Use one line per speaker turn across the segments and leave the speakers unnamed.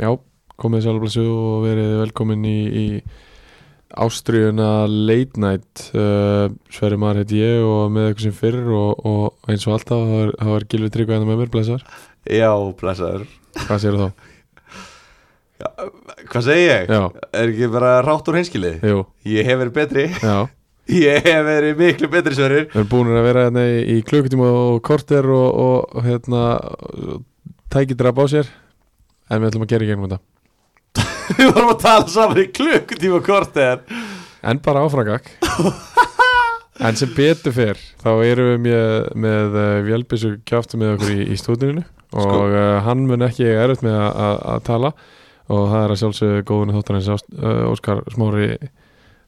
Já, komið sjálfblessu og verið velkomin í, í Ástriðuna Late Night uh, Sverri Mar heiti ég og með eitthvað sem fyrr og, og eins og alltaf það var, það var Gilvi Tryggva hérna með mér, blessar
Já, blessaður
Hvað séu þá?
Hvað segi ég?
Já,
Er ekki bara rátt úr hinskilið?
jú,
Ég hef verið betri
já
Ég hef verið miklu betri svörur
Við erum búin að vera hérna í, í klukkutíma og korter og, og hérna tæki drap á sér en við ætlum að gera í gegnum þetta
Við vorum að tala saman í klukkutíma kort eða
En bara áfrangak En sem betur fer Þá erum við með, með uh, Vélbis og kjáftu með okkur í, í stúdíuninu Og
Sko.
uh, hann mun ekki eiga erut með að- að að tala Og það er að sjálfsögðu góðunni þóttarins Ást- uh, Óskar Smári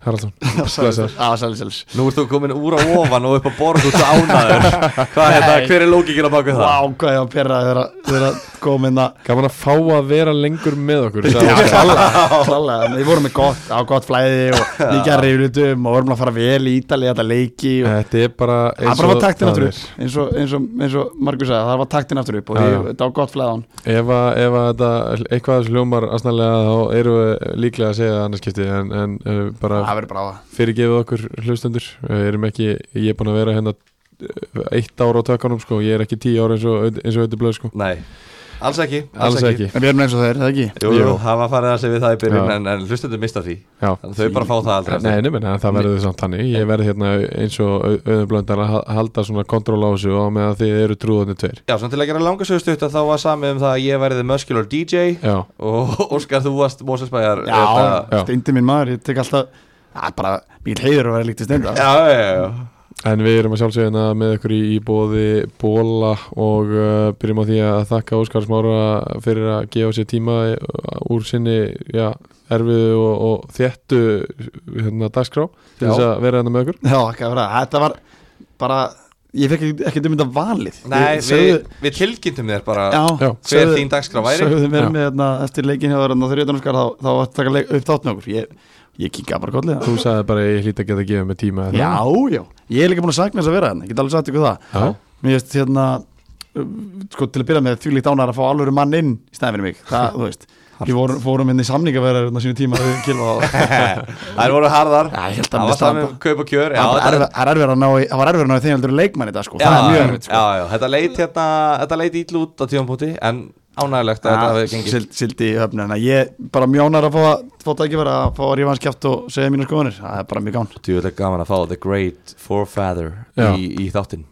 Haraldsson Blessaður.
Sælis, sælis
Nú ert þú komin úr á ofan og upp á borð út ánaður Hvað er það?
Nei.
Hver er lókikinn á baku það?
Vá, hvað ég var perrað þegar þegar að koma inn að
Gaman að fá að vera lengur með okkur sagði
Já,
Óskar.
klálega, klálega Við vorum með gott, á gott flæði og líka reyflutum og vorum að fara vel í Ítali þetta leiki og
Þetta er bara
Það bara var taktin
það
aftur
er.
upp eins og, eins og, eins og Margur sagði, það var taktin aftur upp
Já,
og því,
já.
þetta var gott flæðan
Ef að, ef að þetta, eitthvað þessu hljómar aðsnaðlega þá eru við líklega að segja það annarskipti en, en uh, bara
Það verður bara á það
fyrirgefið okkur hlustendur við erum ekki, ég er búin að vera hérna eh, eitt ár á tökkanum sko ég er ekki tíu ár eins og eins og auðvitað blöð sko
Nei, alls ekki
alls ekki,
En við erum eins og þeir, það ekki?
Jú, jú, það var farið að segja við það í byrjun
Já.
en, en hlustundum mista því
já
Þannig að þau bara fá það aldrei
Nei, nei, menn, það verður samt þannig Ég verð hérna eins og auðvitað blöndar að ha- halda svona kontról á þessu og með að þið eru trúðanir tveir
Já, svona til að gera langasögustutt að þá var samið um það að ég værið the muscular DJ
Já,
og Óskar, þú varst Moses hérna. Bæjar
Já,
Já.
steindi mín maður, ég tek alltaf Það er bara mikil heiður að vera líkt í steinda
já, já, já.
en við erum að sjálfsögna með ykkur í, í bóði bóla og uh, byrjum á því að þakka Óskar Smára fyrir að gefa sér tíma eh, úr sinni, já, erfiðu og, og þéttu hérna dagskrá til
Já.
þess að vera hérna með okkur
Já, hvað var það? Þetta var bara, ég fekk ekki- ekkert um þetta valið
Nei,
Þið
við,
sögðu-
við tilkynntum þér bara
Já,
Já.
hver
sögðu-
þín dagskrá væri
Sögðu mér
Já.
með hérna eftir leikin hjá þarna þrjóðanarskar þá, þá var þetta leik, upp þátt með okkur Ég, ég kinga bara kollið
Þú sagði bara ég hlýtt að geta að gefa mig tíma er það?
Já, já, ég er líka búin að sakna þess að vera hérna Ég get alveg sagt ykkur það
Já.
Mér veist hérna um, sko, til að byrja með því líkt ánar að fá alvöru mann inn í stæðin fyrir mig, það, þú veist Við vorum, fórum hérna í samningaverðar hérna á sínu tíma við Gylfa og-
Þær voru harðar
Já, ég held að
Það
mér
var
staðan
það með kaup og kjör Já,
Það var bara
þetta-
erfi- það er erfið að ná í- það var erfið að ná í þeim heldur en leikmann í dag sko,
já,
það er mjög erfið
já,
sko.
já, þetta leit hérna Þetta leit ítl út á tífampunkti En ánægilegt að þetta hafi gengið
Sild, sildi í höfnu, en ég bara mjónar að fá að fá það ekki vera að fá að rífa hans kjátt og segja mínu skoðanir, það er bara mjög gán
Tjóðilega gaman að fá The Great Forefather
Já.
í, í þáttinn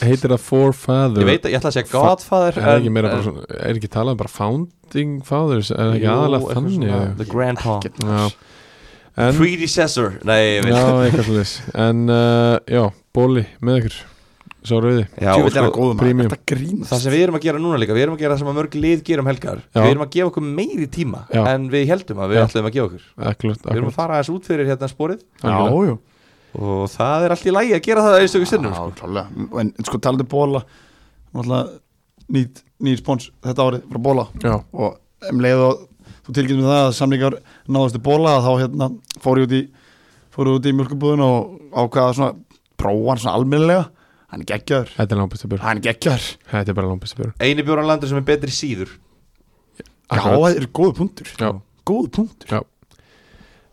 Heitir það Forefather
Ég veit að ég ætla að segja
Fa-
Godfather
Er
en-
ekki meira
en-
bara svona, er ekki talað um bara Founding Fathers, er það ekki
Jú,
aðalega
eitthvað
þannig
svona,
eða?
The Grandpa
Ekkert
Já,
mál.
en,
Predecessor Nei, ég
já,
veit
eitthvað slúðis En uh, já, bóli með ykkur Sá rauði
Já,
Djú,
og
vill er hann
sko,
góður maður,
premium.
Þetta grínast
Það sem við erum að gera núna líka, við erum að gera það sem að mörg lið gerum helgar
Já.
Við erum að gefa okkur meiri tíma
Já.
en við heldum að við
Já.
ætlum að gefa okkur
Akkurat,
Við erum að
akkurat
fara aðeins út fyrir hérna sporið
algjörlega.
Já, jú
og það er allt í lægi að gera það einstöku sinnum
Já,
sko.
klálega, en sko talaðu bóla náttúrulega nýtt nýr spons þetta árið frá bóla
Já,
og um leið og þú tilgjum með það að samlingar náðustu bóla þá hérna fór ég út í fór ég út í mjölkubúðun og ákvaða svona prófa hann svona almennilega hann er geggjar,
þetta er lámbæsta björn
hann er geggjar
Þetta er bara lámbæsta björn
Eini bjóran landur sem er betri síður
Já, það eru góðu punktur
Já.
góðu punktur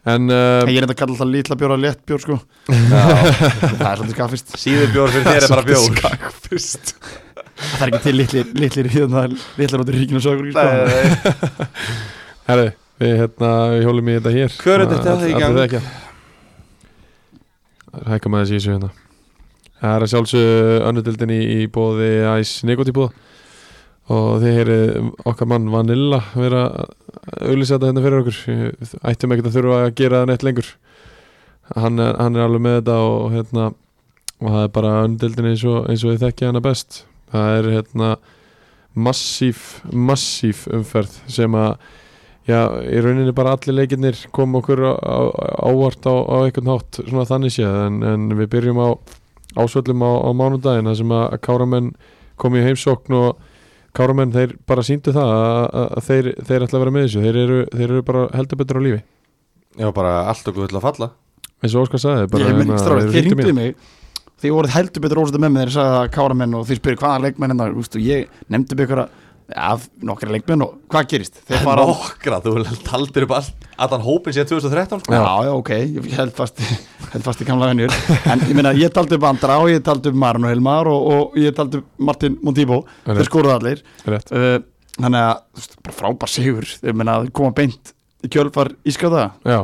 En uh,
Ég er enda að kalla alltaf lítla bjóra léttbjór sko
Já,
það er svolítið skaffist
Síður bjór fyrir þér er bara bjór
skakfist
Það er ekki til litlir, litlir, hérna, litlir út í ríkinu sögur sko.
Nei, nei, nei.
Herri, við hérna, við hjólum í þetta hér
Hver er þetta
All-
í
allir
gang?
þekkja. Hækka maður þessi í þessu hérna Það er að sjálfsögðu önnudildin í, í bóði Æs Nikotipúða og þið heyrið okkar mann Vanilla vera að auðlýsa þetta hérna fyrir okkur Við ættum ekkert að þurfa að gera það neitt lengur hann er, hann er alveg með þetta og hérna og það er bara önnudildin eins og, eins og þið þekkja hana best það er hérna massíf, massíf umferð sem að Já, í rauninni bara allir leikirnir kom okkur á, á, ávart á, á einhvern hátt svona þannig séð en, en við byrjum á ásvöllum á, á mánudaginn þar sem að Káramenn kom í heimsókn og Káramenn þeir bara síndu það að, að, að þeir, þeir ætla að vera með þessu þeir eru, þeir eru bara heldur betur á lífi
Já, bara allt okkur vill að falla
eins og Óskar sagði bara,
Ég minn
hérna,
ekki strálega,
þeir
þið
hringdu í
ringduði mig hérna, Þið voruð heldur betur ósættu með mig þegar ég sagði það að káramenn og þið spyrir hvaða leikmenn hennar Ég nefndi byggur að af nokkra leikmenn og hvað gerist? Þeir fara á
Nokkra, þú taldir upp all, allan hópin síðan 2013 sko.
Já, já, ok, ég held fast, held fast í gamla venjur En ég meina, ég taldi upp Andra og ég taldi upp Marun og Helmar og, og ég taldi upp Martin Montibo
Rétt.
Þeir skoruðu allir
Rétt.
uh, Þannig að, þú veist, bara frábær sigur Ég meina, þeir koma beint í kjölfar ískjáta
Já,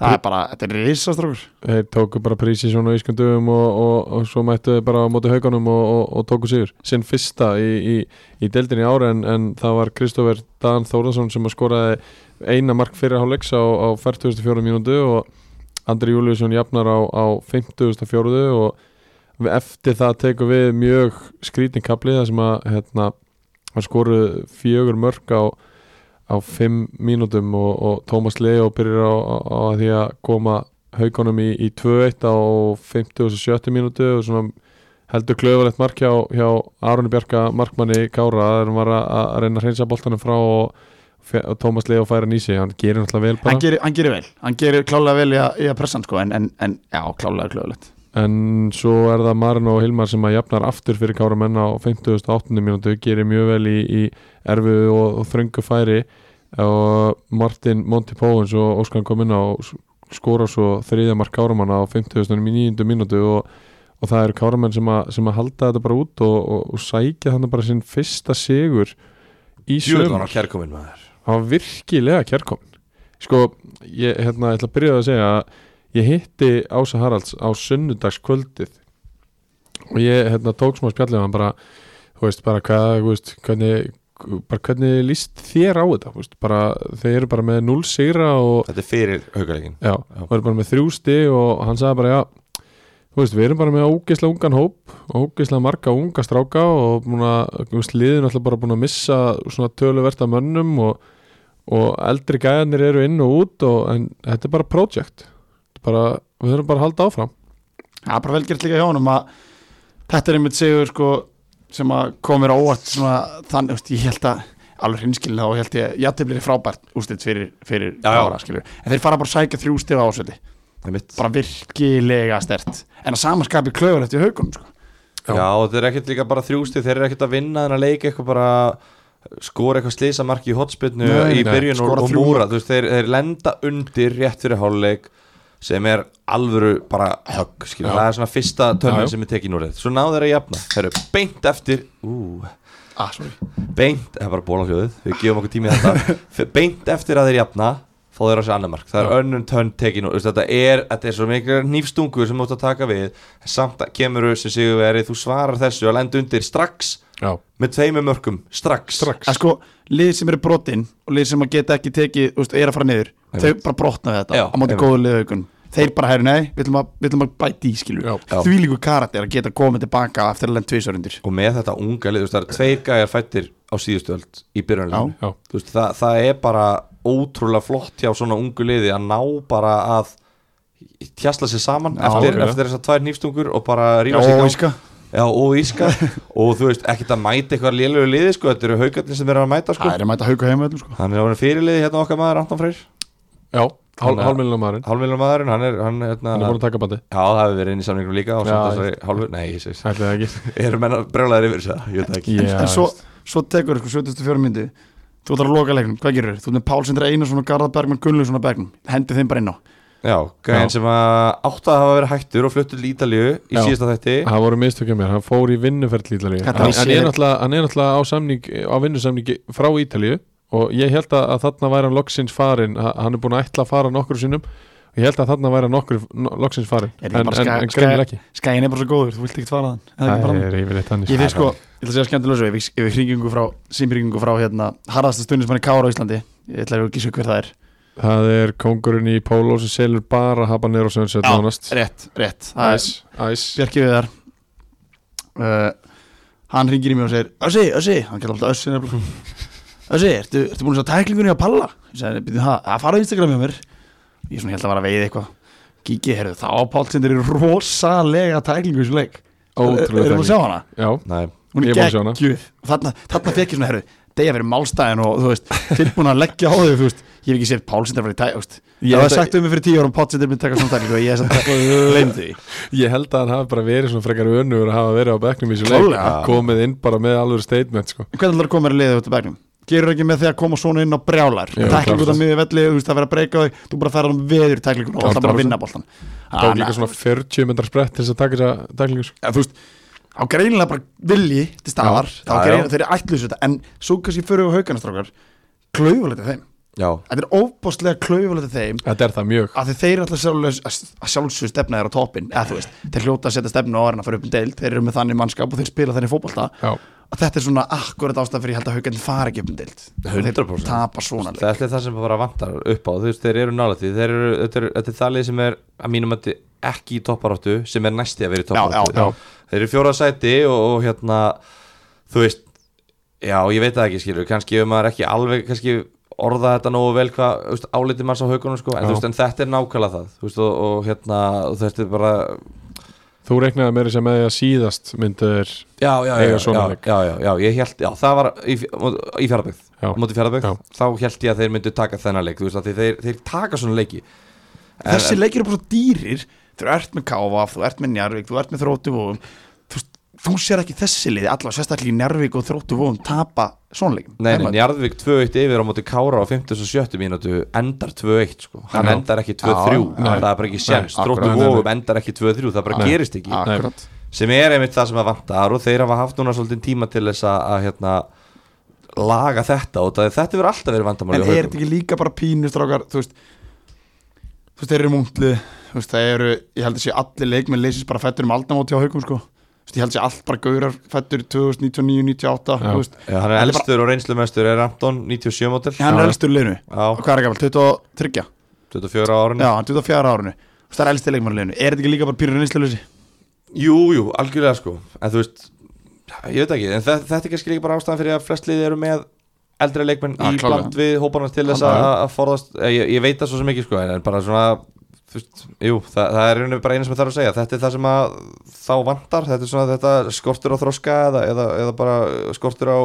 Það er bara, þetta er risastrókur
þeir tóku bara prísi svona í skundum og, og, og svo mættu þeir bara á móti hauganum og, og, og tóku sigur sinn fyrsta í, í, í deildinni í ára en, en það var Kristófer Dan Þórðarsson sem að skoraði eina mark fyrir hálfleiks á, á 44 mínútu og Andri Júliusson jafnar á, á 54 og við- eftir það tekur við mjög skrýtingkabli þar sem að hérna, hann skoru fjögur mörg á, á fimm mínútum og, og Tómas Leo byrjar á, á, á að því að koma haugunum í, í 2-1 á 57 mínútu og svona heldur klöfulegt mark hjá, hjá Aroni Bjarka markmanni Kára þegar hann var að, að reyna að hreinsa boltanum frá og, fe- og Tómas Leo færa hann í sig hann gerir náttúrulega vel bara
hann gerir, hann gerir vel, hann gerir klálega vel í að, í að pressa hann sko En, en, en já, klálega klöðulegt
en svo er það Marin og Hilmar sem að jafnar aftur fyrir Kára menn á 58. mínútu gerir mjög vel í, í erfu og, og þröngu færi og Martin Monty Póhens og Óskan kom inn á og s- skora svo þriðja mark Káramann á 59. mínútu og, og það eru Káramenn sem, að- sem að halda þetta bara út og, og, og sækja þannig bara sinn fyrsta sigur í
Jöfnum var
sömur
hann kærkominn maður
hann var virkilega kjærkomin sko, ég hérna, ég ætla að byrja á að segja að ég hitti Ása Haralds á sunnudagskvöldið og ég hérna, tók smá spjallið hann bara, þú veist, bara hvað þú veist, hvernig, bara hvernig líst þér á þetta, þú veist, bara þeir eru bara með 0 sigra og
Þetta er fyrir haugalegin
Já,
Já.
og er bara með þrjú stig og hann sagði bara, já, þú veist, við erum bara með ógeðslega ungan hóp og ógeðslega marga unga stráka og búin að, þú veist, liðin alltaf bara búin að missa svona töluverta mönnum og, og eldri gæðanir eru inn og út og, en þetta er bara project, Þetta er bara, við erum bara að halda áfram.
Það er bara vel gert líka hjá honum að Þetta er einmitt sigur sko sem að komir óvart svona þannig, veist, ég held að alveg hinskilin þá held ég, játtiflir er frábært ústilt fyrir, fyrir
Já, já.
Kára, skilur. en þeir fara bara að sækja þrjú stig á ásöldi
Það er mitt
bara virkilega stert en að samanskapi klöfur eftir haugunum sko.
Já.
Já, og þetta er ekkert líka bara þrjústi Þeir eru ekkert að vinna þennan leik eitthvað bara skora eitthvað slísamarki í hotspilnu
Nei,
í
nei,
byrjun og,
skora
og
þrjú
múra Þú veist, þeir, þeir lenda undir rétt fyrir háluleik sem er alvöru bara högg, skilja,
Já.
það er svona fyrsta
Já, já.
tönnin sem er tekin úr þetta, svo náðu þeir að jafna þeir eru beint eftir ú,
ah, sorry.
beint, það er bara bólafljóðið við gefum okkur tími í þetta F- beint eftir að þeir jafna fá þeir á sig annar mark, það er
Já.
önnum tönn tekin og þetta er, þetta er svo mikil nýfstungur sem þú átt að taka við, samt að kemur sem sigur verið, þú svarar þessu að lenda undir strax,
Já,
með tveimur mörkum strax,
strax.
að sko, lið sem eru brotin og lið sem að geta ekki tekið, þú veist, er að fara niður
Einmitt.
þau bara brotna við þetta,
Já,
á móti
einmitt.
góðu lið haugun þeir bara hæru, nei, við ætlum að, við ætlum að bæti í skilur,
Já.
Já.
því líku karakter að geta komið tilbaka eftir að lenda tvisarundir
og með þetta unga lið, þú veist, það er tveir gæjar fættir á síðustöld í byrjunleginu
Já.
Þú veist, það, það er bara ótrúlega flott hjá svona ungu liði að ná bara að tjasla sér saman
Já,
eftir,
algjörlega.
eftir þessar tvær nýfstungur og bara rífa sig í
og
gang.
íska
Já, og Íska og þú veist, ekkert að mæta eitthvað lélögu liði sko, þetta eru haugarnir sem eru að mæta sko
Það er að mæta hauka heima öllum sko
Hann er á hann fyrirliði hérna okkar maður, Anton Freyr
Já, hál,
Þannig að-
hálfmiljum maðurinn,
Hálfmiljum maðurinn, hann er, hann, hérna,
hann er búin að taka bandi.
Já, það hefur verið inn í samlingum líka og
Já,
samt
ég-
þessari hálfu, nei, ég sést
Ætli það ekki.
Eru menn að brjólaðir yfir þess að, ég veit það ekki
Já,
En svo, svo tekur sko 74 myndi Þú ætlar að loka leiknum, hvað gerur þau? Þú ert með Pál Sindra Einarsson og Garðar Bergmann Gunnlaugsson á begnum Hendi þeim bara inn á
Já, gæðin sem að átt að hafa verið hættur og fluttur til Ítalíu í
Já.
síðasta þætti
Það voru mistökja mér, hann fór í vinnuferð Ítalíu
Þetta
hann,
var
hann, er
sér-
náttúrulega- hann er náttúrulega á, samning, á vinnusamningi frá Ítalíu og ég held að, að þarna væri hann loksins farin Ha- hann er búin að ætla að fara nokkur sinnum og ég held að þarna væri hann nokkur no- loksins farin
Er
en,
ekki
en,
bara
en,
skæ-
en greinir
skæ-
ekki
Skæin er bara svo góður, þú vilt ekki fara þann Það
Það
er ekki bara hann
er yfirleitt hann
Ég fekk sko, ég ætla að segja skemmtilega svo Ég fekk- ég fekk hringingu frá, símringingu frá hérna Harðasta stundismanni Kára á Íslandi Ég ætla að gísa hver það er
Það er kongurinn í Póló sem selur bara habanir og sönnsett
Já,
nánast
Rétt, rétt Það er
Æs, æs
Bjarki Viðar uh, Hann ringir í mig og segir Össi, Össi, hann kallar alltaf Össi nefnilega Össi, ertu, ertu búin að sjá tæklingunni að palla? Ég sagði, byrju, ha, að fara á Instagram hjá mér Ég svona held að var að veiði eitthvað Gigi, heyrðu, þá Pálsindir er rosalega tæklingu í þessu leik
Ótrúlega
Er það að sjá
tækling.
hana?
Já,
Nei,
Ég er
Hún er
búin að sjá hana.
geggjuð Þarna, þarna fekk ég svona, heyrðu, deyja fyrir málstæðin og þú veist, tilbúin að leggja á þau þú veist, ég hef ekki séð Pálsindar fyrir tæk veist,
Ég
ég hef
held að-
sagt um mig fyrir tíu árum Pálsindar myndi taka svona tæk og ég hef sagt gleymdi því
Ég held að hann hafi bara verið svona frekar önnur að hafa verið á bekknum í þessu leik
Klárlega.
komið inn bara með alveg statement sko.
hvernig ætlar að koma þér í liðið út af bæknum gerur ekki með því að koma svona inn á brjálar
Jú,
tækling út
klárt.
af miðið velli, þú veist að vera að breyka þig þú bara ferðar um veður tæklingun og
Klárt,
alltaf bara að
klárt.
vinna boltan
tók líka svona 40 myndar sprett til þess að taka þessa tæklingu sko.
ja, þú veist, á greinilega bara vilji til staðar,
Já,
þá
já,
greinilega
já.
þeir eru ætluð þetta en svo kannski fyrir á hauganastrákar klaufulegta þeim,
já,
þetta er óbáslega klaufulegta þeim
Þetta er það mjög
að þeir eru alltaf sjálfsög að sjálfsög stefna þeir á toppin, eða þú veist, þeir hljóta að setja stefna á orðin að fara upp um deild, þeir eru með þannig mannskap og þeir spila þannig fótbolta
Já,
að þetta er svona akkurat ástæð fyrir ég held að haugandi fara ekki upp um deild
100%.
þeir tapa svona leik.
það er það sem bara vantar upp á þú veist, þeir eru nálægt því, þeir eru, þetta er, þetta er það lið sem er að mínum að ekki í topparáttu sem er næsti að vera í topparáttu
Já, já,
þeir eru í fjóra sæti og, og hérna þú veist, já, ég veit það ekki skilur, kannski ef maður ekki alveg kannski orða þetta nógu vel hvað þú veist, áliti manns á haugunum sko,
Já.
en, þú veist, en þetta er nákvæmlega það þú veist, og, og hérna, og þetta er bara
þú reiknaði meira sem með því að síðast myndir
já, já, já,
Eiga
já,
svona
já,
leik.
já, já, já, ég held, já, það var í, í fjárbyggð
Já.
móti fjárbyggð,
Já.
þá held ég að þeir myndu taka þennan leik, þú veist, af því þeir, þeir taka svona leiki
þessi leikir eru bara svo dýrir þú ert með Káfaf, þú ert með Njarvík þú ert með Þróttuvóðum þú, veist, þú sér ekki þessi liði, allavega sérstaklega í Njarvík og Þróttuvóðum tapa svona leikum
Nei, nei, Njarðvík 2-1 yfir á móti Kára á 57 mínútu endar 2-1 sko. hann
Já.
endar ekki 2-3,
Já, já.
það er bara ekki séns
Nei,
Dróttu
akkurat. Nei,
Vóum endar ekki 2-3, það bara
Nei.
gerist ekki
akkurat
sem er einmitt það sem að vantar og þeir hafa haft núna svolítið tíma til þess að, að hérna, laga þetta og það, þetta verður alltaf verið vandamáli
en er þetta ekki líka bara pínu strákar þú veist þú veist, þeir eru múntlið þú veist, það eru, ég held að sé allir leikmenn leysist bara fættur um aldamóti á haugum sko þú veist, ég held að sé allt bara gaurar fættur 2099, 98,
Já.
þú veist
hann er
Þetta er
elstur og reynslumestur er Anton 97 mótil,
hann
Já,
er
já.
elstur í liðinu, og
já,
hvað er gammal, 23
Mm.
24 á árinu
já, hann er 24 árinu, þú veist, það er elstur leikmenn í liðinu er þetta ekki líka bara pínu reynsluleysi
Jú, jú, algjörlega sko En þú veist, ég veit ekki En þe- þetta er kannski líka bara ástæðan fyrir að flest liði eru með eldri leikmenn
Ja,
í
klárlega.
bland við hóparnas til þess
Klárlega.
að að forðast eh, ég, ég veit það svo sem ekki sko en- En bara svona, þú veist, jú Það, það er einu bara einu sem ég þarf að segja Þetta er það sem að þá vantar Þetta er svona þetta skortur á þroska Eða, eða, eða bara skortur á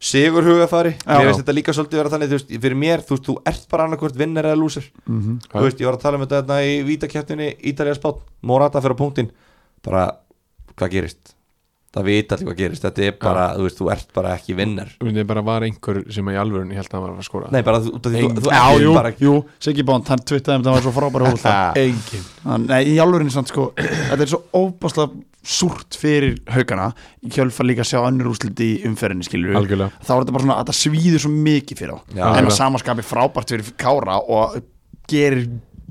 sigur hugafari
Já.
Mér finnst þetta líka svolítið vera þannig Þú veist, fyrir mér, þú veist, þú ert bara annarkvort vinnar eða lúsir
mm
Mhm.
-hmm.
Þú veist, ég var að tala um þetta þarna í vítakjæftinni Ítalija spátt, Morata fyrir á punktin bara, hvað gerist? Það vita allir hvað gerist, þetta er bara þú veist, þú ert bara ekki vinnar
Það bara var einhver sem að í alvörun ég held að hann var að fara að skora
Nei, bara þú, þú, þú, þú
já,
ert
jú,
bara
jú, Siggi Bond, hann twittaði um það var svo frábæri hóðvöld
Engin
Hann- Nei, í alvörinni samt sko Þetta er svo óbáslega súrt fyrir haugana Í kjölfa líka að sjá önnur úslit í umferðinni skilur
Algjörlega
Þá er þetta bara svona að það svíður svo mikið fyrir þá
Já.
En
Algjörlega.
að samaskapi frábært fyrir Kára Og gerir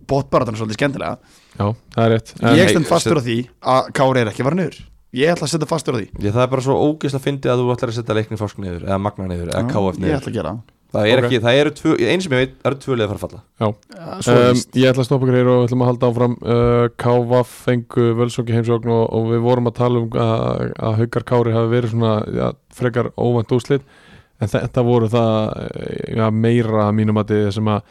bóttbaratan svolítið skemmtilega
Já, það er rétt en,
Ég
nei,
stend fastur á því að Kári er ekki var niður Ég ætla að setja fastur á því
Ég, það er bara svo ógeðslega fyndið að þú ætlar að setja leikni fórsk niður eða magna niður, eða KF
Ég
niður
ætla að gera
Það er
Ok.
ekki, það eru tvö, eins sem ég veit, það eru tvö leið að fara að falla
það Svo
um,
víst.
Ég ætla að stoppa ykkur hér og við ætlum að halda áfram uh, Káva fengu völsóki heimsókn og, og við vorum að tala um að, að Haukar Kári hafi verið svona já, frekar óvænt úslit en þetta voru það eh, já, meira að mínum að þið sem að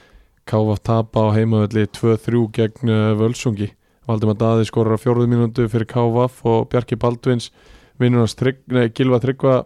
Káva tapa á heimavölli 2-3 gegn uh, völsóki Valdum að Daði skorar á fjóruðu mínútu fyrir Káva og Bjarki Baldvins vinnur hans Trygg- nei, Gilva Tryggva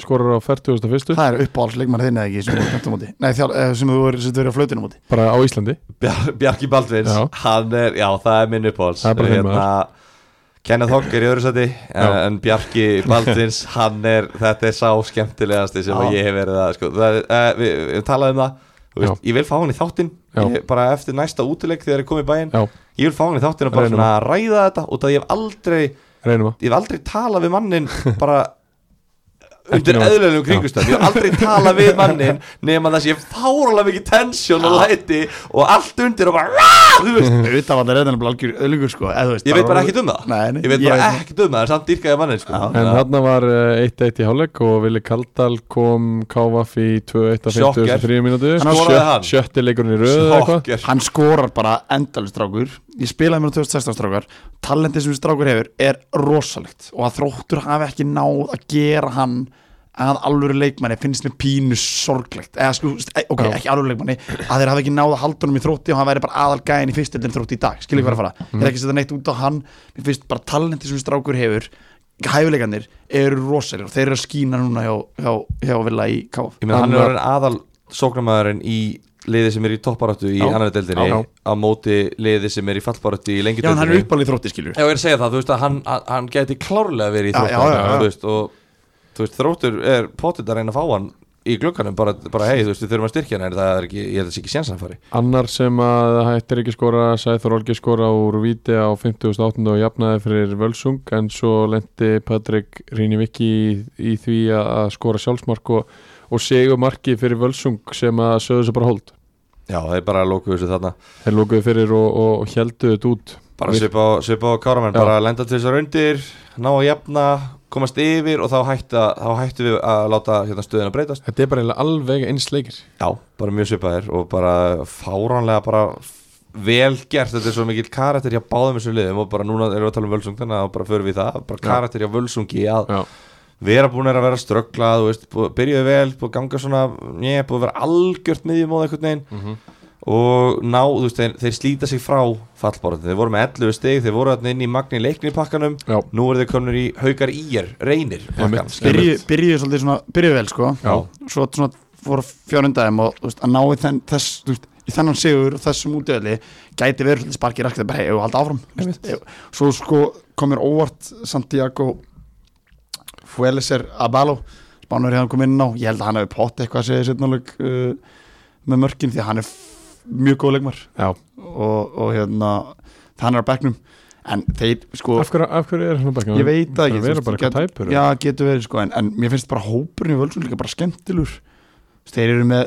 skorar á 41.
Það er uppáhaldsleikmann þinn eða ekki sem þú voru kæmta á móti Nei, þjál, eh, sem þú voru sem þú voru að flötinu móti
bara á Íslandi
Bjar, Bjarki Baldvins,
Já.
hann er, já það er minn uppáhalds hérna,
Það er bara þinn
Kenneth Hogg er í öðru sæti en, en Bjarki Baldvins, hann er þetta er sá skemmtilegasti sem
Já.
ég hef verið að sko, það, uh, við, við talaðum um það þú veist, ég vil fá hann í þáttinn
Já.
ég, bara eftir næsta útileik þegar ég kom í bæinn
Já.
ég vil fá hann í þáttinn og bara
Reynum
svona að ræða þetta út að ég hef aldrei ég
reynum að
hef aldrei talað við mannin bara undir
nóg.
eðlunum kringustöð ég hef aldrei talað við mannin nema þess ég fáralega mikið tensjón og læti og allt undir og bara "Rah!" þú veist
Auðvitað var það reyðan að algjör öðlingur sko eða, þú veist,
Ég veit bara ekkert um það
Nei, nei,
Ég veit
ég
bara
veit það.
ekkert um það En samt dýrkaði mannin sko.
En þarna var eh, 1-1 í hálfleik og Vili Kaldal kom Kávaf í 2-1 að
Sjokker.
53 mínútu
Hann skoraði
Sjö-
hann.
Sjötti leikurinn í röðu eða eitthvað
Sjokker.
hann skorar bara endalist strákur ég spilaði mér á 2016 strákar talentið sem þessi strákur hefur er rosalegt og að þróttur hafi ekki náð að gera hann að alvöru leikmanni finnst mér pínu sorglegt eða sko, e- ok,
Já.
ekki alvöru leikmanni að þeir hafi ekki náð að halda honum í þrótti og hann væri bara aðal gæðin í
Mhm.
fyrstöldin þrótti í dag, skilur hvað er að fara ég er ekki að setja neitt út á hann, mér finnst bara talentið sem þessi strákur hefur hæfileikarnir eru rosalir og þeir eru að skína núna hjá, hjá, hjá Villa í KF
Ég meina hann er
Annar-
orðin aðal sóknarmæðurinn í liði sem er í topparáttu í
Já.
annar deildinni
Já.
á móti liði sem er í fallbaráttu í lengi
Já, en hann er
deildinni
uppalið þrótti skilur
Ef ég er að segja það, þú veist að hann, hann- hann gæti klárlega verið í
Já, já, já, já.
þróttar og þú veist, þróttur er potið að reyna að fá hann í glugganum, bara, bara hei, þú veist, við þurfum að styrkja hann en það er ekki, ég held að sé ekki séns að hann fari
Annar sem að hættir ekki skora Sæþór Olgi skora úr Víti á 50.8. og jafnaði fyrir Völsung en svo lendi Patrik Rínivikki í, í því að að skora sjálfsmark og, og segur marki fyrir Völsung sem að sögðu svo bara hold
Já, það er bara að lóku þessu þarna
þeir lókuðu fyrir og, og, og heldu þetta út
bara
Við-
svipa á, svipa á káramenn,
Já.
bara lenda til þessar undir ná að jafna, komast yfir og þá, hætta, þá hættu við að láta hérna, stöðuna breytast
Þetta er bara eiginlega alveg eins leikir
Já, bara mjög svipaðir og bara fáránlega bara vel gert, þetta er svo mikill karakter hjá báðum þessu liðum og bara núna erum við að tala um völsung þannig að bara förum við í það, bara
Já.
karakter hjá völsungi að
Já.
vera búin að vera strögglað, þú veist, bú- byrjuðu vel, búið að ganga svona, ég, búið að vera algjört miðjum á það einhvern veginn og ná, þú veist, þeir, þeir slíta sig frá fallbáratu, þeir voru með 11 stig, þeir voru þarna inn í magni leikni pakkanum,
Já.
nú eru þeir komnir í haukar íjar, reynir pakkan,
Einmitt.
skilur.
Byrju, byrjuðu svolítið svona, byrjuðu vel sko
Já.
svo svona voru fjörundaðum og þú veist, að ná í þenn, þess, þú veist, í þennan sigur og þessum útöðli gæti verið svolítið sparkið rakkið bara hefur haldið áfram þú veist, ef- svo sko komir óvart Santiago Fueleser Abalo spánur hefðan kom inn á, ég held að hann hefur pott eitthvað að segja setnáleg uh, með mörkin því að hann er f- mjög góð leikmar
Já.
og, og hérna hann er á bekknum en þeir sko
Af hverju, af hverju er hann á bekknum?
ég veit það ekki
Það
þú
er bara
veist,
eitthvað tæpur
já, getur verið sko en, en mér finnst bara hópurinn í völsum líka bara skemmtilur Þú veist, þeir eru með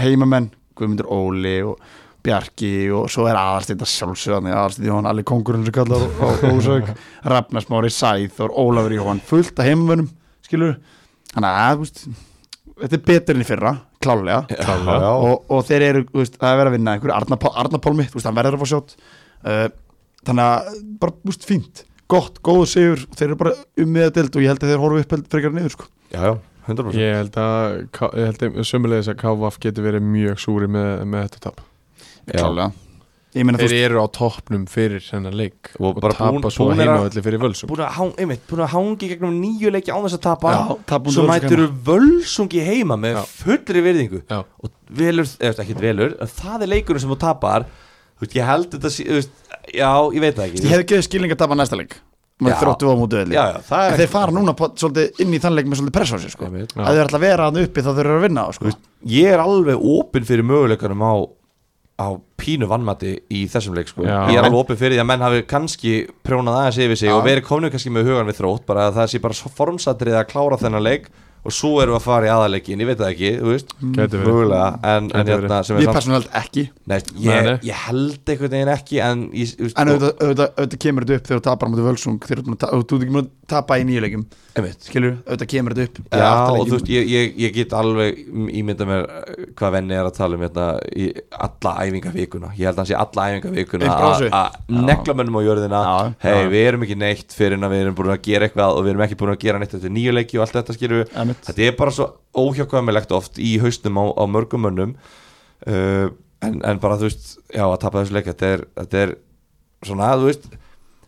heimamenn Guðmundur Óli og Bjarki og svo er aðalstýnda sjálfsögðan aðalstýnda Jóhann, allir kongurinn sem kallar og Ósök, Ragnar Smári Sæþór Ólafur Jóhann, fullt af heimamennum skilur, þannig að þú veist, þetta er betur enn í fyrra, klálega
Já, já.
og, og þeir eru, þú veist, það er verið að vinna einhverju Arna, Pál- Arna Pálmi, þú veist, hann verður að fá sjátt uh, þannig að, bara, þú veist, fínt gott, góðu sigur, og þeir eru bara um miða dild og ég held að þeir horfa upp held- frekar niður, sko
já, já, 100%
Ég held að, K- ég held að sömulegis að KVF getur verið mjög súri með, með þetta tap
Já.
ég meina, þú
Þeir
veist,
eru á toppnum fyrir þennan leik
Og
og,
bara
tapa
búin-
svo
búnir að-
heimavalli fyrir völsum
búin að, hang, einmitt, búin að hangi gegnum nýju leiki án þess að tapa
Já, tapa undir
svo
Völsung
mætur þú völsungi heima með
Já.
fullri virðingu
Já.
og velur, eða ekki velur en það er leikurinn sem þú tapar þú veist, ég held þetta sé, þú veist, já, ég veit það ekki
ég hef gefið skilning að tapa næsta leik
Já.
með þróttu á mútu
já, já, það
en
er
þeir fara núna, på, svolítið, inn í þann leik með svolítið pressa á sig, sko
Einmitt.
að þeir ætla að vera hann uppi, þá þeir eru að vinna, á,
Þú
sko
veist, ég er alveg opinn fyrir möguleikanum á á pínu vannmati í þessum leik sko.
Já.
ég er alveg opinn fyrir því að menn hafi kannski prjónað aðeins yfir sig
Já.
og verið komnum kannski með hugan við þrótt bara að það sé bara svo formsatrið að klára þennan leik og svo erum við að fara í aðalegin, ég veit það ekki þú veist,
Mm. Gæti verið.
mögulega en, en
Gæti verið.
hérna, sem er
ég
samt-
persónulegt ekki,
Nei,
Nei,
ég,
nei.
ég held einhvern veginn ekki en, ég, þú veist,
en
og-
auðvitað, auðvitað, auðvitað kemur þetta upp þegar þú tapar mútu völsung þegar þú ert búin að ta- og þú ert ekki múin að tapa í nýju leikum
einmitt.
skilur, auðvitað kemur þetta upp í
Já,
aftarleikjum.
og þú veist, ég, ég, ég get alveg ímynda mér eh, hvað venni er að tala um hérna, í alla æfingavíkuna ég held að hann sé alla æfingavíkuna
Upp á sig.
að negla mönnum á jörðina
Já,
hei,
já.
við erum ekki neitt fyrir en að við erum búin að gera eitthvað og við erum ekki búin að gera neitt eftir nýju leiki og allt þetta skilur við
Einmitt.
þetta er bara svo óhjákvæmilegt oft í haustum á, á mörgum mönnum uh, en, en bara þú veist já, að tapa þessu leik, þetta er, þetta er svona, þú veist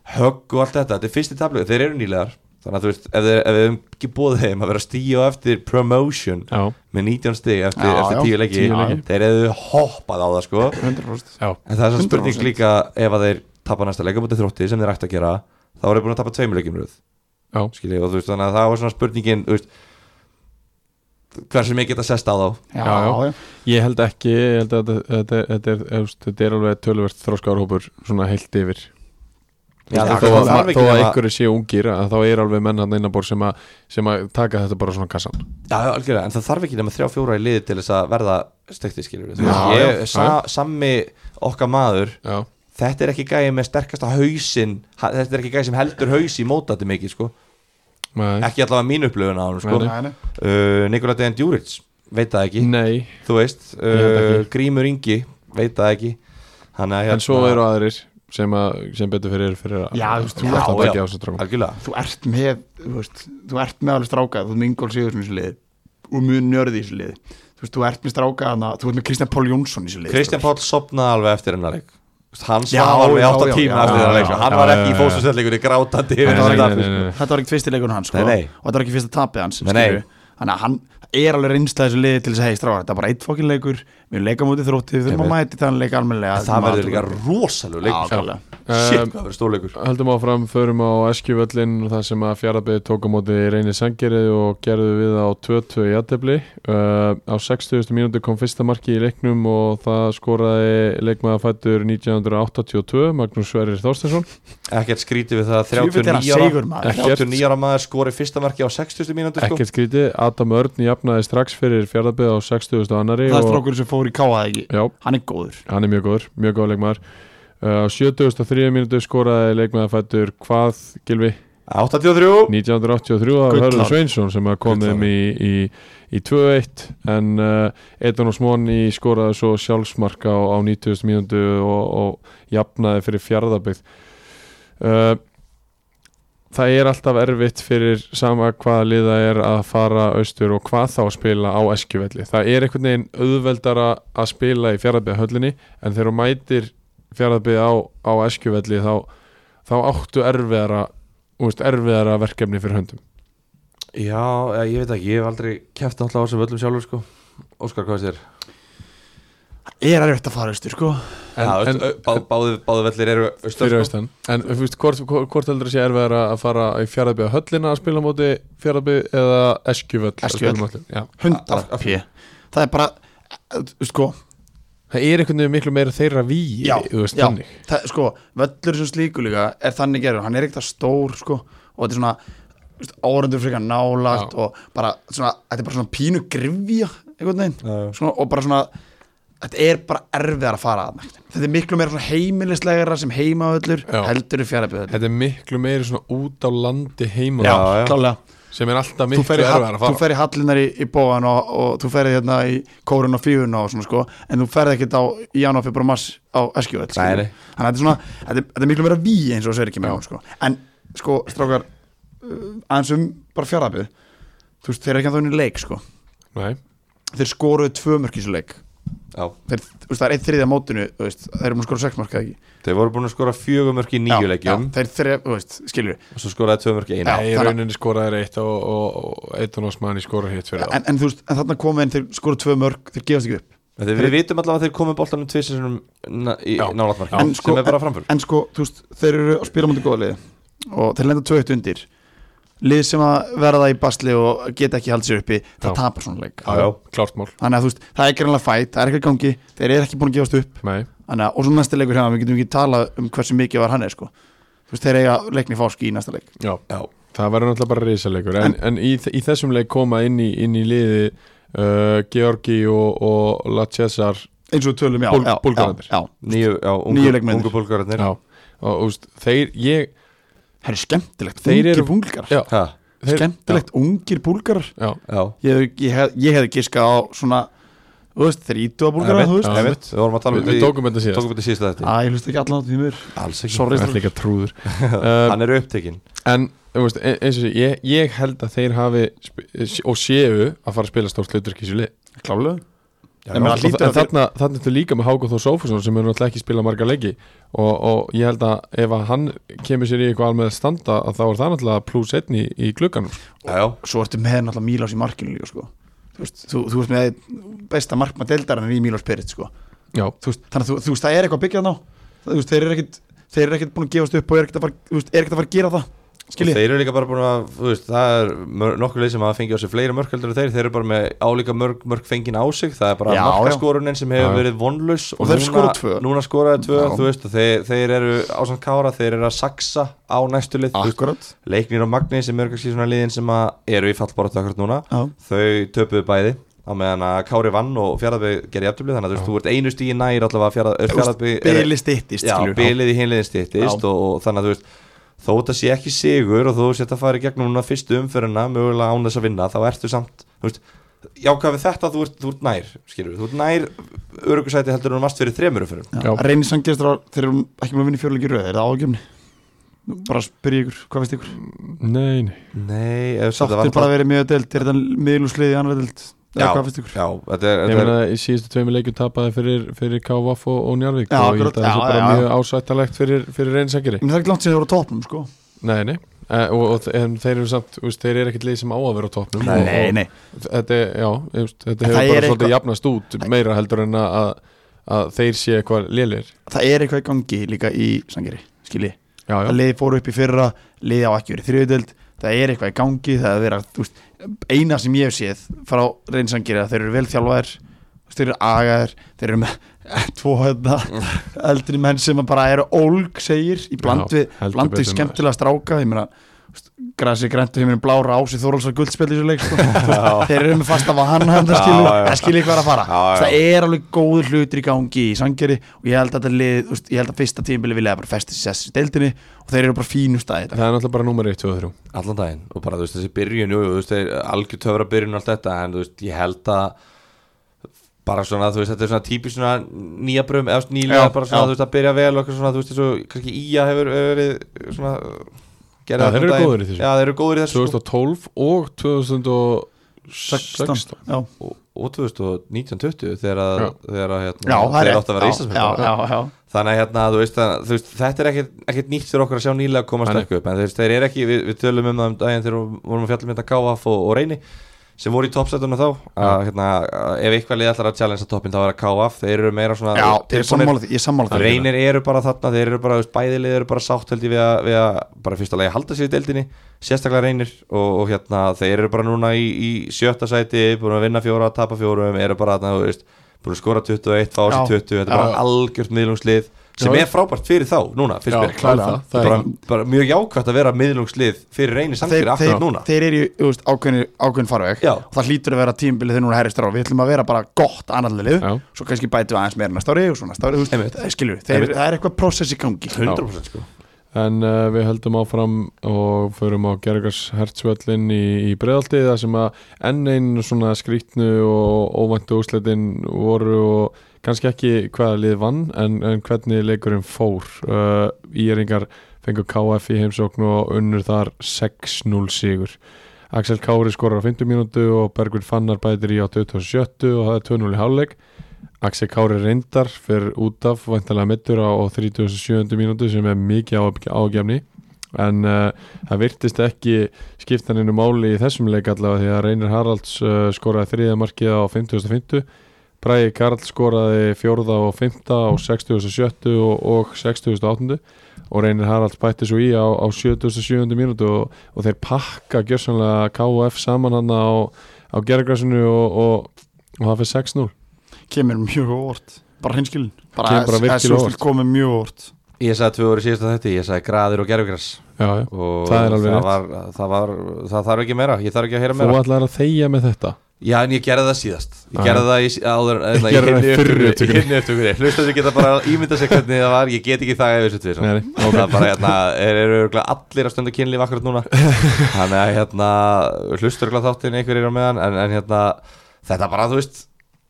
högg og allt þetta, þetta er fyrsti tablið, þeir eru nýlegar þannig að þú veist, ef, þeir, ef við hefum ekki búið þeim að vera stíu eftir promotion
Já,
með 19 stig eftir,
Já,
eftir
já,
10 leiki,
tíu leiki.
þeir hefðu hoppað á það sko,
100%
já,
en það er svona spurning
100%.
líka ef að þeir tapa næsta leika mútið þrótti sem þeir ætti að gera, þá eru þeir búin að tapa tveimur leikim röð,
já
skilji, og þú veist þannig að það var svona spurningin, þú veist hversu mikið geta sest á þá
já,
Já, já.
já,
Ég held ekki, ég held að þetta- þetta þetta er, þú veist, þetta er alveg tölvert þróskarhópur svona heilt yfir Þú
Já,
veist,
það
Þó
þarf
að,
ekki
þó að
nema-
einhverju séu ungir að þá er alveg menn hann innabór sem, að- sem að taka þetta bara svona kassan
Já, já, algjörlega, en það þarf ekki nema þrjá fjóra í liði til þess að verða stekti skilur
Já,
ég,
já,
sa, Sammi okkar maður
Já,
þetta er ekki gæði með sterkasta hausin þetta er ekki gæði sem heldur haus í mótati mikið sko,
nei,
ekki allavega mín upplöfun á hann sko.
Nei,
já, já.
uh, Nikola Dejan Djuric veit það ekki,
nei.
þú veist
held
uh, Grímur Ingi, veit það ekki hérna- Hanna,
En svo eru aðrir sem, að, sem betur fyrir eru fyrir að
Hérna- Já, þú veist, þú-
að
Já,
bækja
já.
á þessu dráma
algjörlega
þú ert með þú, veist, þú ert með alveg stráka þú ert með Ingól Sigurðsson í þessu liði og mjög njörði í þessu liði þú, veist, þú ert með stráka hana, þú ert með Kristján Pól Jónsson í þessu liði sko.
Kristján Páll sopnaði alveg eftir hennar leik hann
Já,
svaf alveg
já,
átta
já,
tíma
já,
eftir
já,
þennan
já,
leik sko. hann
já,
var
já,
ekki í
já,
fósusvellingunni grátandi yfir
Nei,
þessu
nei,
tapi,
nei, nei.
þetta var ekki fyrsti leikunum hans sko.
Nei, nei.
og þetta var ekki fyrsta tapið hans
Nei, nei.
skilurðu. þannig að hann er alveg reynslað þessu liði til þess að hei stráðar, þetta er bara eitt fokkin leikur við erum leika mótið þrótti, við þurfum að
Einmitt.
mæti þann leik almennilega
sko. það verður líka rosalegu leikur sko.
rosalega
shit,
Um,
hvað verður stórleikur
Höldum áfram, förum á Eskjuvöllin þar sem að Fjarafið tók á móti reynir sangerið og gerðu við á 2-2 í aðtefli uh, á 60. mínúti kom fyrsta marki í leiknum og það skoraði leikmaða fættur 1982 Magnús Sverrir Þorstinsson
ekkert skrítið við það að
Djöfull er hann
39
seigur,
ára
maður.
Ekkert.
39 ára maður skori fyrsta marki á 60 mínútur sko.
ekkert skrítið, Adam Örn jafnaði strax fyrir Fjarafið á 60. annari
það er
og,
strákur sem fór í káa ekki
já,
hann er góður
hann er mjög góður, mjög góð leikmaður uh, á 73. mínúti skoraði leikmaða fættur hvað, Gilvi?
83
1983 af
Gullár.
Hörður Sveinsson sem að kom þeim í, í, í 2-1 en uh, Eitan og Smóni skoraði svo sjálfsmark á, á 90. mínútu og, og jafnaði fyrir fjárðabyggð uh, Það er alltaf erfitt fyrir sama hvaða liða er að fara austur og hvað þá að spila á eskjuvelli. Það er einhvern veginn auðveldara að spila í fjárðabyggða höllinni en þegar þú mætir fjárðabyggða á, á eskjuvelli þá, þá áttu erfiðara þú veist, erfiðara verkefni fyrir höndum
Já, eh, ég veit ekki, ég hef aldrei kæft alltaf á þessum völlum sjálfur sko Óskar, hvað er þér?
er erfitt að fara austur sko
En-
Ja,
en-
veist, bá, báði, báði vellir eru austar
fyrir
sko.
austan en þú veist, hvort, hvort hvort heldur þessi erfiðara að fara í fjaraðbyða höllina að spila á móti fjaraðbyð eða eskjuvöll að spila
Eskjuvöll.
á móti? Já.
hundar
Af- af-
pí það er bara sko
það er einhvern veginn miklu meira þeirra víi
Já,
þú veist,
já.
þannig
það, sko, völlur sem slíku líka er þannig gerður, hann er ekkert að stór sko, og þetta er svona veist, árendur frekar nálagt
Já.
og bara svona, þetta er bara svona pínu grifja einhvern veginn,
Já, já.
svona, og bara svona þetta er bara erfiðar að fara að þetta er miklu meira svona heimilislegra sem heimavöllur
Já.
heldur í fjarafjöðullur
þetta er miklu meira svona út á landi heima
Já, já.
klálega,
sem er alltaf
þú
miklu
fer í,
erfiðara
hall,
að
þú
fara
fer í hallinar í, í bóðan og, og þú ferði hérna í kórun og fífun og svona sko, en þú ferði ekkert á í janúar, februar, mars á eskjöðull
Nei, nei.
þannig að þetta er svona, þetta er, þetta er miklu meira ví eins og þessu er ekki með hún sko, en sko strákar, uh, aðeins um bara fjárðabið, þú veist, þeir eru ekki að þóinu leik sko,
Nei.
þeir skoruðu tvö mörk í þessu leik
Já,
þeir, þú veist, það er einn þriðja mótinu, þú veist þeir eru múin að skora sex mörk eða ekki
þeir voru búin að skora fjögumörk í
Já,
nýju leikjum
um.
já, þeir þriðja, þú veist, skilur
og svo skoraði tvömörk í einu
Já.
Nei, í
þannig-
rauninni skoraði eitt og, og, og eitt og náttúrulega skoraði hitt fyrir það
en, en þú veist, en þarna komið en þeir skoruðu tvö mörk, þeir gefast ekki upp
En þeir- Við vitum allavega að þeir komu boltanum tvissinum í
Já.
nálatmarki
En sko-
sem er bara framför
en sko, þú veist, þeir eru að spila mútið góða liði og þeir lenda 2-1 undir lið sem að verða í basli og geta ekki haldið sér uppi, það
Já.
tapar svona leik
Já, já.
klárt mál
þannig að þú veist, það er ekki reynilega fætt, það er ekki í gangi þeir eru ekki búin að gefast upp,
Nei.
þannig að og svo næsti leikur hérna, við getum ekki talað um hversu mikið var hann er sko, þú veist, þeir eiga leikni fáski í næsta leik,
Já.
Já.
það verður náttúrulega bara risalegur en, en í, í þessum leik koma inn í, inn í liði uh, Georgi og, og Lachesar
eins og við tölum, já,
Búl-
já,
Búlgararnir.
já, já.
Nýju, já,
Nýju
ungu,
leikmennir.
ungu bólgararnir
Já, og úst, þeir, ég
það er skemmtilegt,
Þeir
ungir
eru-
búlgar
Já,
Ha,
þeir-
skemmtilegt, ungir búlgar
já,
já,
ég, hef- ég, hef- ég hefði giskað á svona þú veist, þeir ítu að búlgara,
Einmitt,
þú veist
já.
ég veit, við vorum að tala um
við, við tókum þetta síðast
tókum þetta síðast þetta
Æ, ég hlusta ekki allan á því mér
Alls ekki,
Sorry,
Það er
strákar.
líka trúður uh,
hann er upptekinn
En þú veist, e- eins og sé, ég, ég held að þeir hafi sp- e, og séu að fara að spila stórt hlutur ekki sér
Klálega
Já,
Nei, menn,
já.
allir- hlýtur
En
að þeir-
þarna, þarna ertu líka með Hákóð Þór Sófusson sem er náttúrulega ekki spila marga leiki og, og ég held að ef að hann kemur sér í eitthvað alveg að standa að þá er það náttúrulega pluss einn í, í glugganum sko.
Já, já.
Svo ertu með náttúrulega Mílás í markinu líka sko. þú, veist, þú, þú veist með besta markma deildarinn í Mílás Perit sko.
Já,
þú veist, Þannig að þú, þú veist, það er eitthvað byggjað ná Það- þú veist, Þeir eru ekkit Þeir eru ekkit búin að gefast upp og er ekkit að fara, þú veist, er ekkit að fara að gera það
Og
Skiljið
þeir eru líka bara búin að, þú veist, það er mör- nokkur leið sem hafa fengið á sig fleiri mörk heldur en þeir, þeir eru bara með álíka mörk, mörk fengin á sig, það er bara
Já, já.
markaskorunin sem hefur
Já, já.
verið vonlaus
Og þeir skora tvö.
núna skoraði tvö,
Já.
þú veist, og þeir, þeir eru ásand kára, þeir eru að saksa á næstu
Ah.
lið, þú veist,
Akkurat
leiknir og magni sem eru kannski svona liðin sem að eru í fallboratu akkurat núna,
Já.
þau töpuðu bæði á meðan að Kári vann og Fjaraðby gerði jafntöfli þannig að þú veist, þú ert einu stíði nær allavega Fjaraðby
Bili styttist
Já,
skilurðu.
bilið í hinliðin stýttist
Já.
og, og þannig að þú veist þó þetta sé ekki sigur og þú sétt að fara í gegnum núna fyrstu umferðina mögulega án þess að vinna þá ertu samt, þú veist jákvæð við þetta, þú ert, þú ert nær skilur, þú ert nær örugusæti heldur en þú varst fyrir þremur umferðum
Já.
Já.
Reynir sangjastur þeir eru ekki búin að vinna í fjöruleiki í röð, er það ágefni bara spyrja ykkur, hvað veist ykkur
nei, nei
Nei, ef
Sáttir bara verið mjög deild, er þetta miðlúsliði í annar deild Eða
Já.
hvað finnst ykkur?
Já, þetta er,
Ég
þetta
meina, í síðustu tveimu leikjum tapaði fyrir, fyrir KVF og, og Njarvík
Já,
og ég
akkurat,
held að það
já,
er bara
já, já. Mm.
mjög ásættalegt fyrir, fyrir reynsækjari
En það er ekki langt sem þeir voru á topnum sko
Nei, nei, uh, og, og, en þeir eru samt úst, þeir eru ekkert lið sem á að vera á toppnum og, og,
nei
þetta, er- já, ég veist, þetta hefur
En
bara
það er
svolítið
eitthvað-
jafnast út meira heldur en að, að- að þeir sé eitthvað lélir
Það er eitthvað í gangi líka í Sangeri Skilji
já, já,
að liði fóru upp í fyrra liði á ekki verið þriðudeld það er eitthvað í gangi, það er verið að þú veist, eina sem ég hef séð frá reynsangir að þeir eru vel þjálfaðir þú veist, þeir eru agaðir, þeir eru með tvo hérna eldri menn sem að bara eru ólg segir í bland
Já,
við,
heldur
bland við
betur,
skemmtilega stráka ég meina þú veist, grasi græntu heimurinn blára ási Þóralsar guldspil í þessu leik sko. þeir eru með fasta að hann hann
Já,
skilur,
já.
það skilur hvað er að fara
Já, já.
það er alveg góður hlutur í gangi í sangeri og ég held að þetta lið, þú veist, ég held að fyrsta tímabili vilja bara festi sér í deildinni og þeir eru bara fínu stæði
það er náttúrulega bara númer 1, 2 og 3
er allan daginn og bara þú veist þessi byrjun, jú, jú, þú veist þeir algjör töfra byrjun og allt þetta en þú veist ég held að bara svona þú veist þetta er svona típist svona nýja brum eða svona nýlega
Já,
bara svona
já.
þú veist að byrja vel og eitthvað svona þú veist þessu kannski Ía hefur verið svona
Já,
gerði allan
þeir eru
daginn.
góðir í þessu.
Já, þeir eru góðir í þessu sko.
2012 og 2016
16. Já.
og, og 2019 20 þegar að
Já.
þegar að hérna
Já, það er
þeir
rétt.
átt að vera
Já,
Íslandsmyndar
já, já, já.
Þannig að hérna, þú veist, að, þú veist þetta er ekkert, ekkert nýtt fyrir okkur að sjá nýlega komast
Nei, nei.
ekki upp en þú veist, þeir eru ekki, við, við tölum um það um daginn þegar við vorum að fjalla mynda KF og, og Reyni sem voru í toppsetuna þá að, hérna, að, ef eitthvað liði allar að challenge toppin þá er að KF, þeir eru meira svona
Já,
þeir
ég er sammála því, ég er sammála því
Reynir eru bara þarna, þeir eru bara, þú veist, bæðilið eru bara sátt held ég við að, við að bara fyrsta lagi halda sér í deildinni, sérstaklega reynir og, og hérna, þeir eru bara núna í, í sjötta sæti, búin að vinna fjóra, tapa fjórum, eru bara þarna, þú veist, búin að skora 21, fá á
Já.
sér 20, þetta er
Já.
bara algjört miðlungslið sem
Já.
er frábært fyrir þá núna, fyrst mér.
klárlega.
klárlega.
Það
Það
er-
er bara, bara mjög jákvæmt að vera miðlungslið fyrir reynir samtýri
þeir,
akkur núna.
þeir eru í þú veist, ákveðin, ákveðin farveg
Já.
og það hlýtur að vera tímbilið þegar núna herri strá við ætlum að vera bara gott annarlið
Já.
svo kannski bætum við aðeins meira næsta ári og svo næsta ári, þú
Einmitt.
veist, skilju þeir, það er eitthvað process í gangi
100% sko.
En uh, við höldum áfram og förum á Gergars hertsvöllin í, í breðaldi þar sem að enn einn svona skrýtnu og óvæntu úsletin voru og kannski ekki hvaða lið vann en, en hvernig leikurinn fór. Uh, Íringar fengur KF í heimsókn og unnur þar 6-0 sigur. Axel Kári skorar á 50 mínútu og Bergvin Fannar bætir í á 27 og það er 2-0 í hálfleik. Axel Kári reyndar fyrir út af væntalega mittur á, á 37. mínútu sem er mikið ágefni en uh, það virtist ekki skiptaninu máli í þessum leik allavega því að Reynir Haralds uh, skoraði þriðja markið á 50.50 Bræði Karl skoraði fjórða og fymta á 60.70 og, og 60.80 og Reynir Haralds bætti svo í á, á 70.70 mínútu og, og þeir pakka gjörsanlega KF saman hann á, á gerðgræsunu og, og, og það fyrir 6-0
kemur mjög óvart, bara hinskilin
Kemur bara virkilega á óvart.
komið mjög óvart
Ég sagði tvö voru síðast að þetta, ég sagði graðir og gerfgræs
Já, já
og
Það er alveg rétt.
var, það, var, það þarf ekki meira, ég þarf ekki að heyra
Þú
meira
ætlar að þegja með þetta
Já, en ég gerði það síðast Ég
Já.
gerði það í, áður
Ég gerði það í fyrri upptökunni.
Hinni upptökunni Hlustu sem geta bara ímynda sér hvernig það var Ég get ekki það ef þessu tvið
Nei,
saman.
nei,
Það er bara hérna Er eru örugglega allir að stunda kynlíf akkurat núna Þannig að hérna Hlustu örugglega þáttinn einhverjir á meðan en, en hérna Þetta bara, þú veist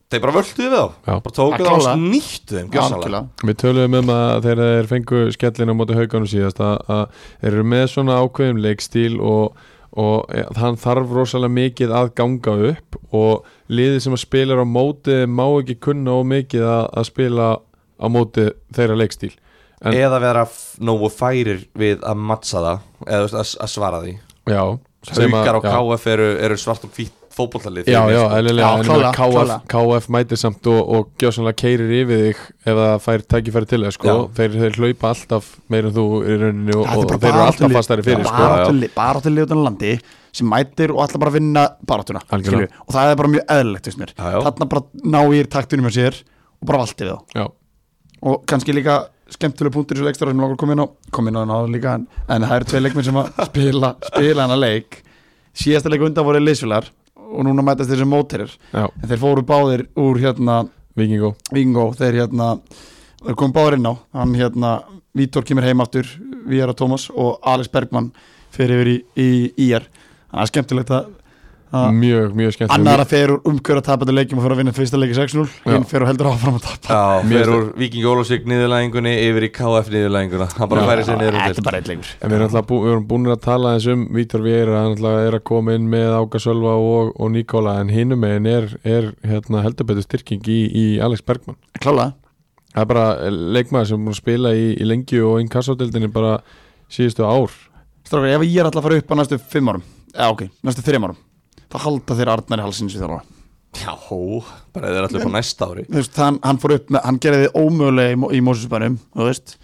Þeir bara völduðu við þá
Já.
Bara tókuðu
Að
þá og
klára.
snýttu þeim gjörsamlega.
Algjörlega.
Við töluðum um að þegar þeir fengu skellin á móti hauganum síðast að, að þeir eru með svona ákveðum leikstíl og, og e, hann þarf rosalega mikið að ganga upp og liðið sem að spila á móti má ekki kunna og mikið að, að spila á móti þeirra leikstíl En-
Eða vera f- nógu færir við að matsa það Eða þú veist, að, að svara því
Já, sem að-
Haukar og
já.
KF eru, eru svart og fýtt fótbollalið
Já, já,
Já,
eðlilega, en
klálega,
klála, KF,
klálega.
KF mætir samt og, og gjössanlega keirir yfir þig ef það fær tækifæri til þess sko.
Já.
þeir, þeir hlaupa alltaf meir en þú í rauninni og,
Þetta er
og
bara
þeir eru alltaf
baráttulið-
fastari fyrir sko.
já.
baráttulið- baráttulið utan á landi sem mætir og ætla bara að vinna baráttuna
Algjörlega.
skilju. og það er bara mjög eðlilegt finnst mér.
Já, já.
þarna bara ná ég taktunum hjá sér og bara valdi við þá
Já.
og kannski líka skemmtileg punktur í þessu leikstöra sem langar kom inn á kom inn á hann áður líka en, en það eru tvei leikminn sem að spila, spila hann að leik síðasta leik undan voru leysfélagar og núna mætast þeir sem móterir
Já.
en þeir fóru báðir úr hérna
Víkingó
Vingó, þeir hérna þeir kom báðir inn á, hann hérna Vítor kemur heim aftur, Viera Thomas og Alex Bergmann fyrir yfir í, í, í IR þannig að það er skemmtilegt að
Mm,
Það-
mjög, mjög skemmt
annar að fer úr umkjöra tapandi leikjum og fyrir að vinna fyrsta leiki 6-0 hinn
Já.
fer og heldur áfram að tapa
Já,
Mér
fyrir
finnst-
úr Viking Ólafsvík niðurlæðingunni yfir í KF niðurlæðinguna Hann bara
Já.
færi sér niður um
Þetta
undir
er bara eitt leikur
En við erum alltaf bú, við erum búin að tala eins um Vítor Vieira, hann alltaf er að koma inn með Áka Sölva og, og Nikola en hinum megin er, er hérna, heldur betur styrking í, í Alex Bergman
Klála
Það er bara leikmaður sem er búin að spila í, í lengju og inn kassadeldinni bara síðustu ár
Strákar, ef ég er alltaf að fara upp á næstu 5 árum Já, ok, næstu 3 árum þá halda þeir Arnar í halsins við þjálfara
Já, hó, bara þeir eru
Mm.
allir på næsta ári
Þú veist, hann, hann fór upp með, hann gerði þið ómögulega í, Mo- í Mósusbænum, þú veist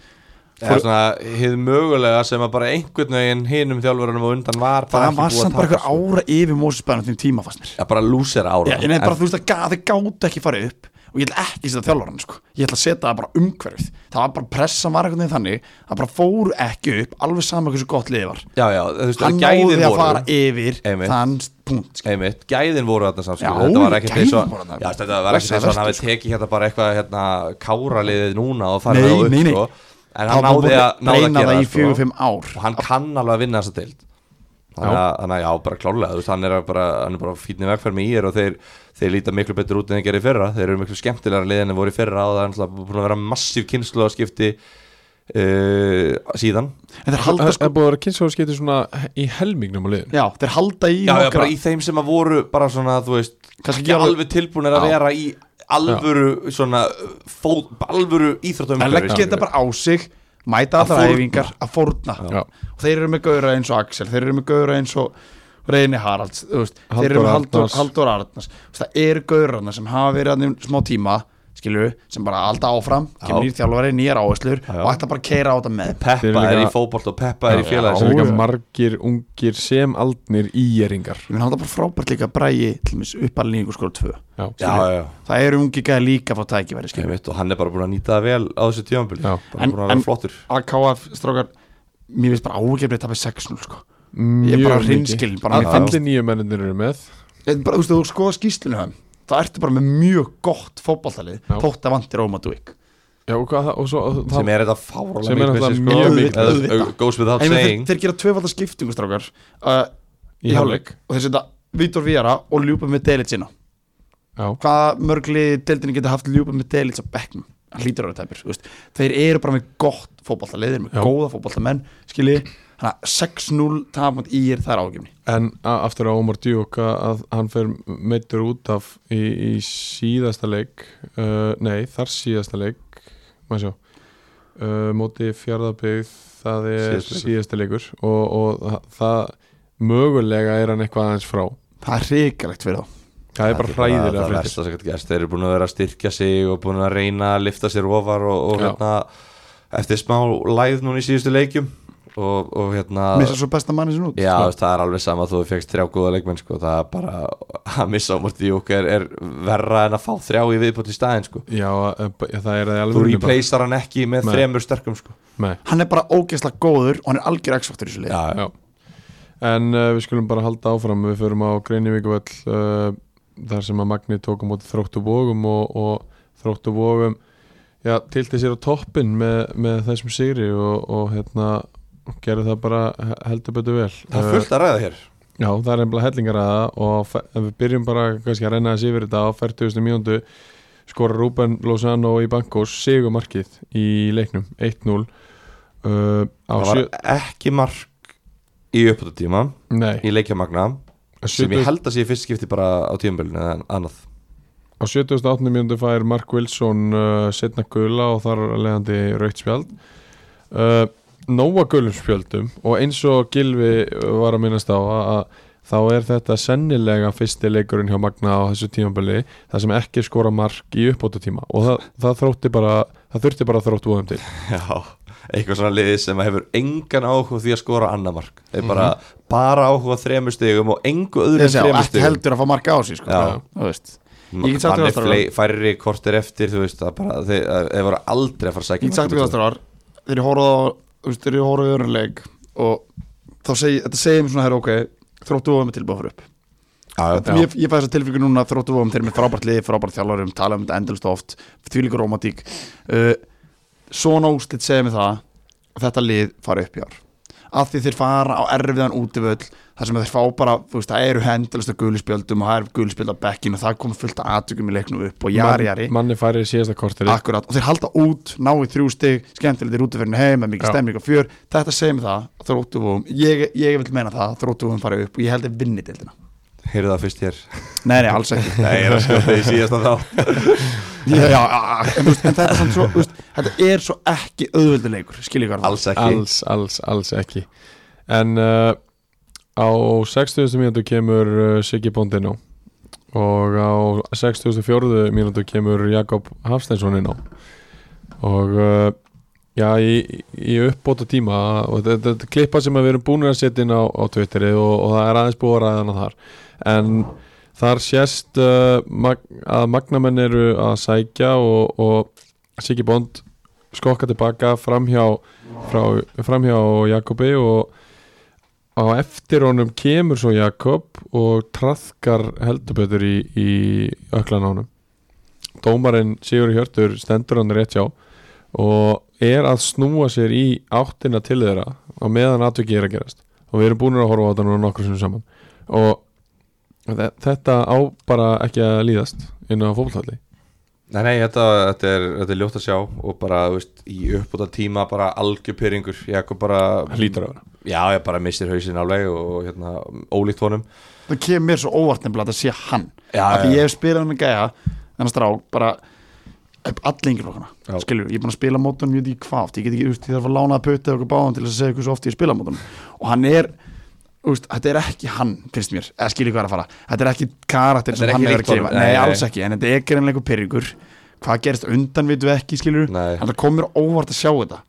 Eða svona, hið mögulega sem að bara einhvern veginn hinum þjálfurunum og undan var bara
það
ekki
var
búið að
samt bara
taka sko.
einhver ára yfir Mósusbænum þeim tíma fannst mér
Já, bara lúsera ára
Já, en það er bara, þú veist, það gá- þeir gáttu ekki farið upp og ég ætla ekki að setja þjálfarann, sko ég ætla að setja það bara umhverfið það var bara pressa var einhvern veginn þannig það bara fóru ekki upp, alveg sama hversu gott liðið var
já, já, þú veist,
hann
gæðin
náði að
voru-
fara yfir
Einmitt.
þann punkt sko.
einmitt, gæðin voru þarna samt
Já,
skilur, þetta var ekkert
gæðin
eins og
voru þarna.
já, þetta var ekkert
Blessaði
eins og hann hafi
vertu,
tekið hérna bara eitthvað hérna, káraliðið núna og farið
Nei,
það upp
nei, nei.
sko. en
Það
hann
var
náði
búið
að, náði að
reyna
gera
það
það
í fjögur,
sko.
fimm ár
og hann kann alveg að vinna þessa deild þannig að, þannig að já, bara klálega þú veist, hann er að bara, hann er bara fínni vegfermi í er og þeir, þeir líta miklu betur út en þeir gerði í fyrra þeir eru miklu skemmtilegar liðin en voru í fyrra og það er alltaf búin að vera massíf kynslu að skipti uh, síðan
en þeir
Það
halda
það
sko
er búin að kynnsáðskipti svona í helmingnum á liðin
já, þeir halda í
já, já,
nokkra
bara í þeim sem að voru bara svona, þú veist,
Kannski
ekki
ekki alveg-
alveg tilbúinir að
Já.
vera í alvöru svona, uh, fót, alvöru íþróttum
að leggja þetta bara á sig
Að
mæta allar
fórna.
æfingar að fórna
Já.
og þeir eru með gauðra eins og Axel þeir eru með gauðra eins og Reyni Haralds þú veist, þeir eru
Halldór
með Haldur,
Arnars.
Haldur Arnars Þú veist, það eru gauðrarna sem hafa verið þarna í smá tíma skilur sem bara alltaf áfram
Já.
kemur nýr þjálfari, nýjar áherslur
Já.
og ætla bara að keira á þetta með
Þeir
Peppa
eru
er
líka-
í fótbolt og Peppa er í félagi
Það er
sem-
líka margir ungir sem aldnir íjeringar
ég menn halda bara frábært líka bræði til mis uppalningu skóla 2
Já,
Já, já, já,
það eru ungi gæði líka að fá tækifæri skilur
einmitt, og hann er bara búin að nýta það vel á þessu tímanbili
Já.
bara
En-
búin að vera
en-
flottur
AKF strókar mér finnst bara ágefnir að tapa 6-0 sko. ég er
mjög
bara
mikið
hreinskilin bara, mér finnst-
Allir nýju menninir eru með
Þetta er bara, þú veist, þú skoða skýslinu hann Það ertu bara með mjög gott fótballtalið
Já.
Þótt að vantir Óma Duik
Já, og, hvað, og svo, það,
sem er þetta
Sem er
fáralega mikið
náttúrulega
sko.
mjög
mikið.
Eða,
Auðvitað.
uh, Goes without
En ég meina, þeir,
saying
þeir gera tvöfaldar skiptingu strákar uh, Í hálfleik Og þeir setja Vítor Viera og ljúpa með Delic sinna
Já,
Hvaða mörgli deildinu geta haft ljúpa með Delic á bekknum Hann hlýtur ára tæpir, þú veist Þeir eru bara með gott fótballtalið Þeir eru með
Já.
góða fótballtamenn, skilji Þannig að 6-0 tapand í er það er ágefni
en a- aftur á Omar Djúk að að hann fer meittur út af í, í síðasta leik uh, Nei, þar síðasta leik Maður sjá uh, Móti fjárðabyggð Það er
Síðasti leikur.
síðasta leikur og, og það mögulega er hann eitthvað aðeins frá
Það er hrikalegt fyrir þá
Það er bara hræðilega
það
fréttir
versta sem gæti gerst þeir eru búin að vera að styrkja sig og búin að reyna að lifta sér ofar og, og
Já.
hérna eftir smá læð núna í síðustu leikjum og, og hérna
Missa svo besta manni sinni út
Já, þú veist, það er alveg sama þú fegst þrjá góða leikmenn sko, það er bara að missa á morti í okkur er verra en að fá þrjá í viðbútt í staðin sko.
Já, eh, b- já, það er það
þú
alveg
replacear hann ekki með
Nei.
þremur sterkum sko.
Nei,
Hann er bara ógeðslega góður og hann er algjör x-faktur í þessu lið
já,
já En uh, við skulum bara halda áfram Við förum á Greinivíkvöll uh, Þar sem að Magni tók á móti þróttu bógum og, og þróttu bógum Já, tilti sér á toppin með, með þessum sigri og, og hérna gerði það bara he- heldur betur vel
það er fullt að ræða hér
Já, það er einhverja hellingar að það og fe- ef við byrjum bara kannski að reyna þessi yfir þetta á 40. mínúndu skora Ruben Lozano í bankos sigumarkið í leiknum 1-0 uh, á
það var
sjö...
ekki mark í uppbúttatíma
Nei,
í leikjamagna
á
sem ég
70
held að sé í fyrst skipti bara á tíumbölinu en annað
Á 78. mínútu fær Mark Wilson uh, setna gula og þar af leiðandi raukt spjald uh, Nóa gulum spjöldum og eins og Gilvi var að minnast á að, að þá er þetta sennilega fyrsti leikurinn hjá Magna á þessu tímabili það sem ekki skora mark í uppbótutíma og það, það þrótti bara það þurfti bara að þróttu bóðum til
já, eitthvað svona liði sem hefur engan áhuga á því að skora annað mark þeir bara, bara áhuga á þremur stigum og engu öðru
Ég segi, og
þremur
ekki
stigum
heldur að fá marka á sig sko.
Já.
Þú veist. Ég get sagt
mann
þér
er
það,
flei, færri kortir eftir þú veist að bara þeir, að- þeir voru aldrei að fara að sækja
ég get sagt
mark
við
út
það stráðar þegar ég horfði á þú veist, þegar ég horfði á öðrunleik og þá segi þetta segir mér svona hér ok þróttu vóðum er tilbúið að fara upp
já,
Já.
ég, ég fæ þessa tilfylgu núna þróttu vóðum þeir eru með frábært lið frábært þjálfarum tala um þetta endalst oft þvílíkur romantík uh, svona úslit segir mér það að þetta lið fara upp í ár að því þeir fara á erfiðan útivöll þar sem þeir fá bara, þú veist, það eru hendalast að gulispjöldum og það eru gulispjöld á bekkinu og það kom fullt af atökum í leiknum upp og jari, jari
Man, manni færi í síðasta kortir
Akkurat, og þeir halda út, ná í þrjú stig skemmtilegt er útiförinu heim, með mikið
Já.
stemning og fjör þetta segir mig það, þróttuvum ég, ég vil meina það, þróttuvum fara upp og ég held að vinni deildina,
heyrðu það fyrst hér
nei, nei, alls ekki
Nei, ég er að skjóta í síðasta þá
já, já, já, en, þú veist, en þetta, er samt svo, þú veist, þetta er svo ekki auðvölduleikur skiljið hvað
Alls ekki
alls, alls, alls ekki en uh, á 60. mínútu kemur uh, Siggi Bondin á og á 64. mínútu kemur Jakob Hafsteinsson inn á og uh, já, í, í uppbóta tíma og þetta- þetta þetta er klippa sem við erum búin að setja inn á, á Twitterið og, og það er aðeins búið að ræðana þar en þar sést uh, mag, að magnamenn eru að sækja og, og Siggi Bond skokka tilbaka framhjá frá, framhjá Jakobi og á eftir honum kemur svo Jakob og traðkar heldurböður í, í öklan á honum Dómarinn Sigur Hjörtur stendur hann rétt hjá og er að snúa sér í áttina til þeirra og meðan atvikið er að gerast og við erum búin að horfa á þetta núna nokkur sem saman og þe- þetta á bara ekki að líðast inn á fótballhalli
Nei, nei, þetta, þetta, er, þetta er ljótt að sjá og bara, þú veist, í uppbúta tíma bara algjöpyringur, Jakob bara
hlýtur að vera
Já, ég bara missir hausinn alveg og hérna, ólíkt honum
það kemur mér svo óvart nefnilega að þetta sé hann
Já,
af því
já.
ég hef spilað með gæja þannig strák bara allir yngri
Já.
flokkana skilur, ég er búin að spila mótunum ég veit ekki hvað oft, ég get ekki, úst, ég þarf að lána að pötta okkur báðan til þess að segja hversu oft ég spila mótunum og hann er, úst, þetta er ekki hann finnst mér, eða skilur ég hvað er að fara þetta er ekki karakter
Þetta er ekki
sem hann er að
líkt honum,
gefa
nei,
nei,
nei.
alls ekki, en þetta er greinlega einhver pyrringur hvað gerist undan vitum við ekki, skilur
Nei,
þannig að komur óvart að sjá þetta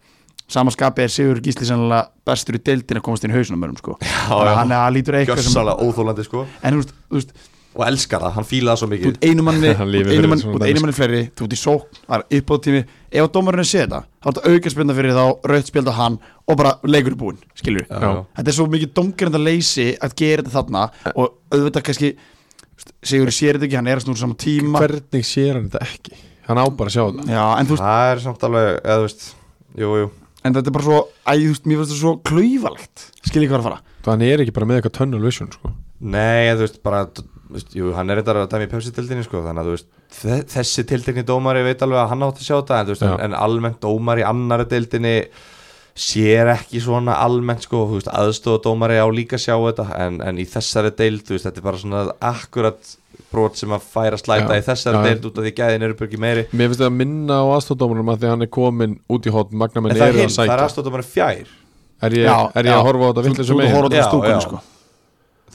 samanskapi er Sigur Gísli sannlega bestur í deildin að komast inn í hausunum mörgum sko. Þannig að hann
já,
að hann lítur eitthvað sem
gjössalega óþólandi sko
en þú veist, þú veist,
og elskar það, hann fílaði svo
þú
mikið
ert einu manni
Hann
þú
lifir
ert einu
fyrir
manni,
svona
þú ert
dæmi,
einu manni fleiri, þú ert í sók það er uppáðtími, ef að dómarinn sé þetta þá er þetta aukarspjönda fyrir þá, rautt spjönda hann og bara leikur er búinn, skilur
Já, já.
þetta er svo mikið domgrind að leysi að gera þetta þarna og auðvitað kannski Sigur sér þetta ekki, hann er að snúra saman tíma
Hvernig sér hann þetta ekki? Hann á bara að sjá þetta
Já, en, þú veist,
Það er samt alveg, eða þú veist Jú, jú,
en þetta er bara svo æ, þú veist, mér finnst þetta svo klaufalegt skilur hvað er að fara
Hann er ekki bara með eitthvað tunnel vision sko.
nei, eða þú veist, bara þú veist, Jú, hann er reyndar að dæmi í pepsitildinni sko Þannig að þú veist, þe- þessi tiltekni dómari veit alveg að hann átt að sjá þetta En, þú veist,
Já.
en, en almennt dómari í annari dildinni sér ekki svona almennt sko, þú veist, aðstofa dómari á líka að sjá þetta en, en í þessari deild, þú veist, þetta er bara svona akkurat brot sem að færa slæta
Já.
í þessari
Já.
deild út af því gæðin eru byrgi meiri
Mér finnst það að minna á aðstofdómarum að því hann er komin út í hótt
En
Magnamenn
það er
eru að
hinn, það
sækja
er aðstofa dómari fjær
er, ég, er ég að horfa á þetta
Þú-
villu sem
Þú ert að
megin?
Já,
horfa á þetta frá stúkunni,
já.
sko.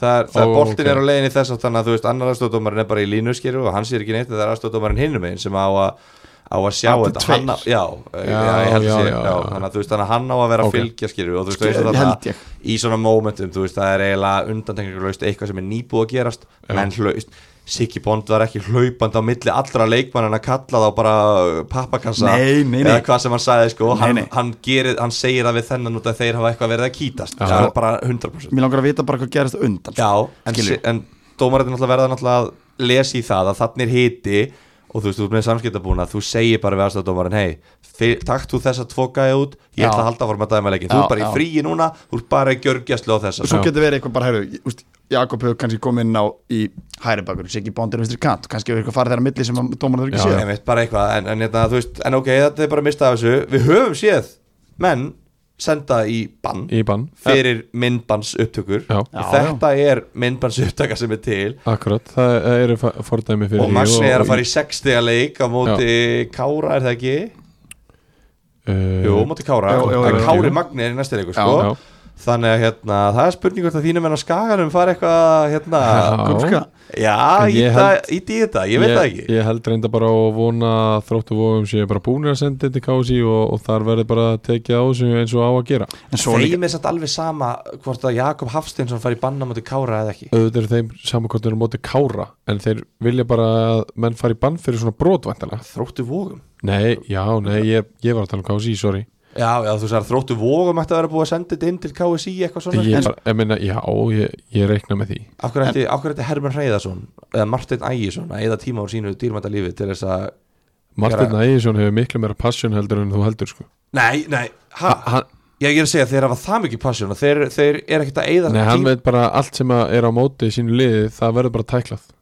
Það er, það
Ó,
er boltin
ok.
er á leiðin í þess átt þannig að þú veist annar aðstofdómarinn er bara í línu skýru og hann sér ekki neitt en það er aðstofdómarinn hinum einn sem á að á að sjá
Allir
þetta
tveir.
hann á, já, já,
Já,
já, ég held
já,
sér,
já,
já,
já.
þannig að þú veist þannig að hann á að vera
Ok.
að fylgja skýru og þú veist, þú veist
Skilur,
þannig
held
að
ég.
í svona momentum þú veist það er eiginlega undantekningarlaust eitthvað sem er nýbúið að gerast
Já.
menn hlaust, Siggi Bond var ekki hlaupand á milli allra leikmann en að kalla þá bara uh, pappakassa
Nei, nei, nei.
eða hvað sem hann sagði sko,
Nei,
hann,
nei.
hann, gerir, hann segir það við þennan út að þeir hafa eitthvað verið að kýtast
Já.
það er bara 100%
Mér langar að vita bara hvað gerist á undan sko.
Já, en,
Skilur.
si- en dómarinn náttúrulega verða náttúrulega að lesa í það að þannig er hiti og þú veist, þú ert með samskiptabúna þú segir bara við aðstæðdómarinn hei, takt þú þessa tvo gæja út ég
Já.
ætla að halda að fara með dæmalegin, þú
Já,
ert bara
já.
í fríi núna þú ert bara í gjörgjastlu á þessa
og svo
Já.
getur verið eitthvað bara, heyrðu, úst, Jakob hefur kannski komið inn á í hæri bakur, Siggi Bond er á vinstri kant og kannski hefur eitthvað farið þeirra á milli sem dómarna þurfi
Já,
ekki séð
Einmitt, bara eitthvað, en, en, hérna, þú veist, en ok, þetta er bara mistað af þessu við höfum séð menn senda í bann
Í bann
fyrir myndbans upptökur
Já,
Já,
þetta er myndbans upptaka sem er til
akkurat Það það eru fa- fordæmi fyrir
og Magni er að fara í 60 leik á móti Kára, er það ekki?
uh,
Jú, móti Kára,
Jú, jú,
en
jú,
Kári
jú.
Magni er í næsta leikur
Já,
sko.
já.
Þannig að hérna, það er spurning hvort að þínum en á skaganum fara eitthvað hérna,
Já.
Gulka.
Já,
En ég
íta,
held-
íti í þetta, ég veit það ekki
Ég held reynda bara að vona að þróttu vóðum sé bara búinir að senda þetta í kási og, og þar verður bara að tekja á þessu eins og á að gera
en svo líka,
Þeim er satt alveg sama hvort að Jakob Hafsteinsson fari í banna móti Kára eða ekki
auðvitað eru þeim samankortinu móti kára en þeir vilja bara að menn fari í bann fyrir svona brotvæntalega
Þróttu vógum
Nei, já, nei, ég, ég var að tala um kási, sorry
Já, já, þú sagðir þróttu vógum ætti að vera búið að senda þetta inn til KSI eitthvað svona
Ég,
En-
bara, ég meina, já, ég, ég reikna með því
Akkur ætti, akkur ætti Herman Hreiðarsson eða Martin Ægjesson að eða tíma úr sínu dýrmænta lífi til þess að
Martin Ægisson hefur miklu meira passion heldur en þú heldur sko.
Nei, nei, ha,
hann,
Já, ég er að segja, þeir hafa það mikið passjón og þeir, þeir er ekkert að eyða
Nei, hann veit bara allt sem að er á móti í sínu liði, það verður bara tæklað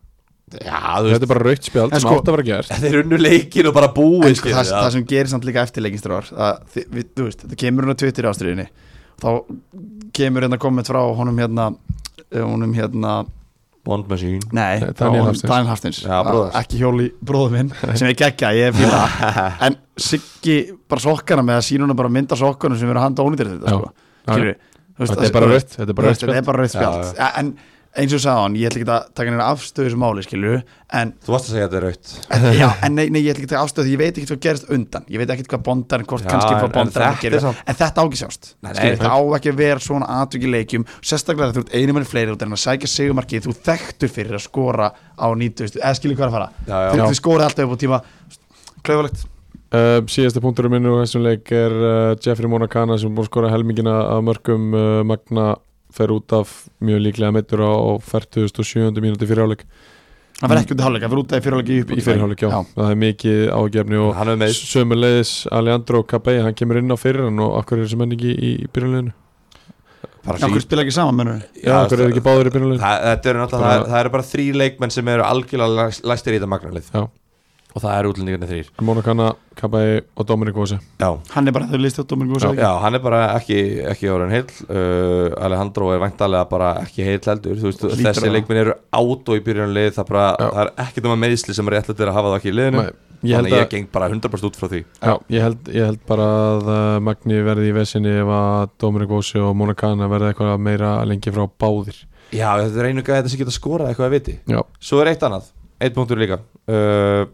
Já,
Þetta
þú veist,
er bara raukt spjald
En
sem
sko-
átt að vera gert
þeir unnu leikinn og bara búið
en sko, það, það sem gerir samt líka eftirleikistrar að þi- við, þú veist, það kemur hún á Twitter ástriðinni þá kemur hérna komment frá honum hérna eh, honum hérna,
Bond Machine
nei,
Eh,
frá
Daniel
honum-
Hafsteins.
Daniel Hafsteins
Já, bróðir.
Að- ekki hjóli bróður minn sem ég geggja, ég er fíla en Siggi bara sokkana með að sína hún bara mynda sokkana sem eru handa ónýtir
Já.
þetta sko. Skilurðu? Þú veist,
Þetta er bara
þú veist,
raukt, þetta er bara raukt
þetta er
spjald
bara rautt
Já,
spjald Ja, en eins og sagði hann, ég ætla ekki að taka henni afstöðu sem máli skilur, en
Þú varst að segja að þetta er raut
En- Já, en nei, nei, ég ætla ekki að taka afstöð því ég veit ekkert hvað gerist undan, ég veit ekkert hvað bondar hvort
Já,
kannski
en-
hvað
en
bondar
þetta er samt-
en þetta á ekki sjást
Nei, nei.
Skilur, þetta á ekki að vera svona atvik í leikjum sérstaklega þegar þú ert einu mann fleiri út en að sækja sigumarkið þú þekktur fyrir að skora á 90 eða skilur hvað er að fara
Já, já.
Þú-
Já.
þú skorið alltaf upp á tíma klaufalegt
Uh, síðasta punkturinn minn úr þessum leik er uh, Jeffrey Monacana sem búin að skora helmingina af mörgum uh, Magna fer út af mjög líklega meittur á, á 47. mínúti fyrir áleik
það fyrir ekki út í hálfleik, það fyrir út í fyrirhálfleik upp
í fyrir áleik, já. það er mikið ágefni og
Hann er með
sömulegis Alejandro Cabey hann kemur inn á fyrir hann og akkur er þessi menn ekki í, í byrjunleginu
bara
Já,
sí-
hverju spila ekki saman, mennur
já, akkur er ekki báður í byrjunleginu
Það, þetta eru náttúrulega,
Bara-
það, það eru bara þrý leikmenn sem eru algjörlega læs- læstir í þetta magnarlið
Já.
Og það eru útlendingarnir þrýr
Monacana, Cabey og Dominic Vose
Já,
hann er bara þau listið á Domingo
já, hann er bara ekki, ekki orðin heill uh, Alejandro er væntalega bara ekki heill heldur Þú veist,
Hlýtur að
Þessi
það.
leikmenn eru átó í byrjunlið Það, bara,
Já.
það er ekkert um að meðsli sem er réttlega til að hafa það ekki í liðinu
Nei, ég held
Þannig að
að-
ég geng bara 100% út frá því
Já, ég held, ég held bara að uh, Magni verði í vesinni ef að Dominic Vose og Monacana verði eitthvað meira lengi frá báðir
Já, þetta er einu gæði þetta sem geta skorað eitthvað að viti
Já,
Svo er eitt annað, eitt punktur líka uh,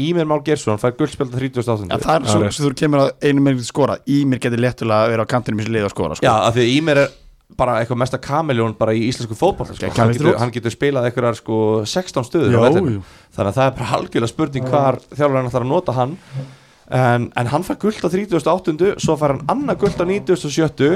Ímir Már Geirsson fær guldspelda 38.
Já, það er svo,
Já, rétt.
svo þú kemur að einu meir skora í mér getur léttulega að vera á kantinum í þessu lið að skora sko.
Já, af því að Ímir er bara eitthvað mesta kameljón bara í íslensku fótball sko.
Gekk
hann,
hann
getur-
út.
hann getur spilað eitthvað sko 16 stöður á
Jú,
vellinum.
jú.
Þannig að það er bara halgjörlega spurning hvar þjálfurinn þarf að nota hann en, en hann fær guld á 38. Svo fær hann annað guld á 97.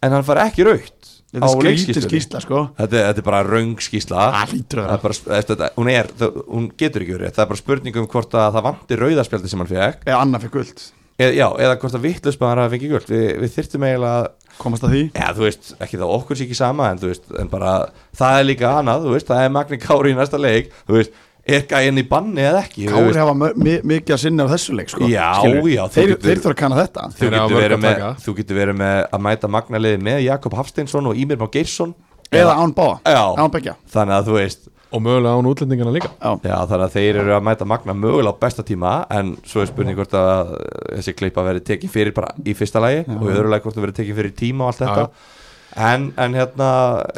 En hann fær ekki raukt á
þetta er skrítið
leikskýrslunni
skýrsla sko.
Þetta, er- þetta er bara röng skýsla
Það hlýtur að vera.
er bara, sp- þetta, þetta- hún, er, það, hún getur ekki verið Það er bara spurning um hvort að það vanti rauðarspjaldi sem hann fekk
eða annar fyrir guld
eð, Já, eða hvort að vittlusmaður hafi fengið guld Við, við þyrftum eiginlega að-
komast að því
Já, þú veist, ekki þá okkur sé ekki sama en, þú veist, en bara, það er líka annað þú veist, Það er Magni Kári í næsta leik Þú veist, er gæinn í banni eða ekki þú
Kári
veist,
hafa mö- mi- mikið að sinna á þessu leik sko.
Já,
Skilurðu?
já, þú
þeir,
getur-
þeir þurfa að kanna þetta
Þú
Þeir hafa
getur,
mörg
verið
að
með,
taka.
þú getur verið með að mæta magnaliði með Jakob Hafsteinsson og Ímir Má Geirsson
eða án báa,
Já.
án begja
Þannig að þú veist,
og mögulega án útlendingana líka
já.
Já, þannig að þeir eru að mæta Magna mögulega á besta tíma en svo er spurning hvort að þessi klippa verið tekin fyrir bara í fyrsta lagi og í öðru lagi hvort það verið tekin fyrir í tíma og allt þetta En, en hérna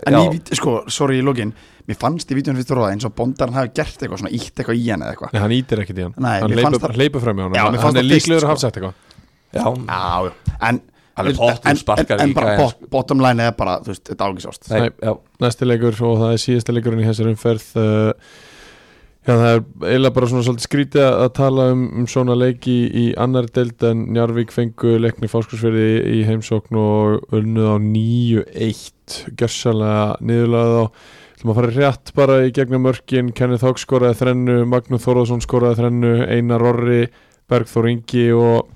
en
já,
í víti, sko, sorry í lokin mér fannst í vítjónu fyrst og ráða eins og bondarinn hafi gert eitthvað svona ítt eitthvað í hann eða eitthvað
Nei, hann ítir ekkert í hann
Nei,
Hann
mér fannst
leipur
það-
leipu fram í hann
Já, mér
Hann,
fannst
hann er
það fyrst,
líklegur að
sko.
hafa sagt eitthvað
já,
já, já, en
Hann er pottur
en,
sparkar
en, en
líka,
bara
en-
bot, bottom line er bara, þú veist, þetta ágisjást
nei,
Nei.
já,
Næsti leikur og það er síðasta leikurinn í þessari umferð uh, Já, það er eiginlega bara svona svolítið skrítið að tala um, um svona leiki í annar deild en Njarvík fengu leikni fáskursfyrði í, í heimsókn og unnuð á 9-1 gjörsalega niðurlega þá ætlum að fara rétt bara í gegnum mörkin Kenneth Hawk skoraði þrennu, Magnúð Þórðarsson skoraði þrennu, Einar Orri Bergþór Ingi og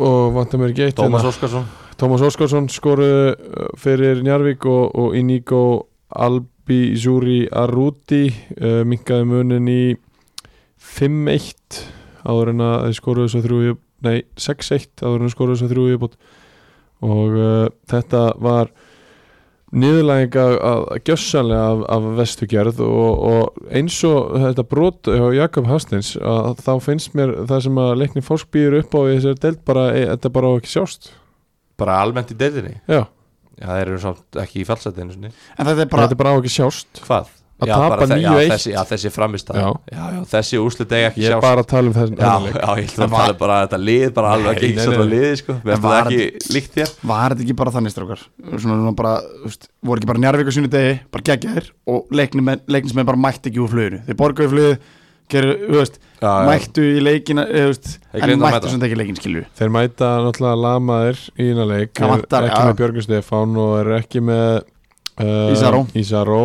og vantar mér ekki eitt hérna.
Tómas Óskarsson
Tómas Óskarsson skoru fyrir Njarvík og, og Inigo Albi Júri Arruti uh, minkaði munin í 5-1 áður en að þeir skoruðu svo þrjú í- nei 6-1 áður en að skoruðu svo þrjú í uppbót og uh, þetta var niðurlæging að, að gjössanlega af, af vestugjörð og, og eins og þetta brot hjá Jakob Hastins að þá finnst mér það sem að leikni fólk býður upp á í þessari deild bara, e, þetta bara á ekki sjást
bara almennt í deildinni
Já,
Já, þeir eru samt ekki í fallseti einu sinni
en þetta er
bara,
bara,
þetta er bara á ekki sjást
Hvað?
Að
já,
tapa
bara þe-
9-1.
Já, þessi, já, þessi framist
Já.
já, já, þessi úrslit eigi ekki
Ég er
sjást.
bara að tala um þess
Já,
þennan leik.
já, ég ætla
En
að
var-
tala bara að þetta lið bara alveg
Nei,
ekki
nei,
svona
nei.
liðið, sko Mér
En
finnst það
var-
ekki líkt þér
var þetta ekki bara þannig strákar svona, svona bara, þú veist, voru ekki bara njárvík á sunni degi, bara geggja þér og leiknismenn, leiknismenn bara mætti ekki úr fluginu þeir borgaði flugið, gerir, þú veist
Já, já.
mættu í leikina, eh, þú veist
Þeir
en
gleymdu að mæta.
mættu sem ekki í leikin, skilju
Þeir mæta náttúrulega lamaðir í eina leik
Það
er
vantar,
Ekki
já.
með Björgun Stefán og er ekki með uh,
Ísaró.
Ísaró.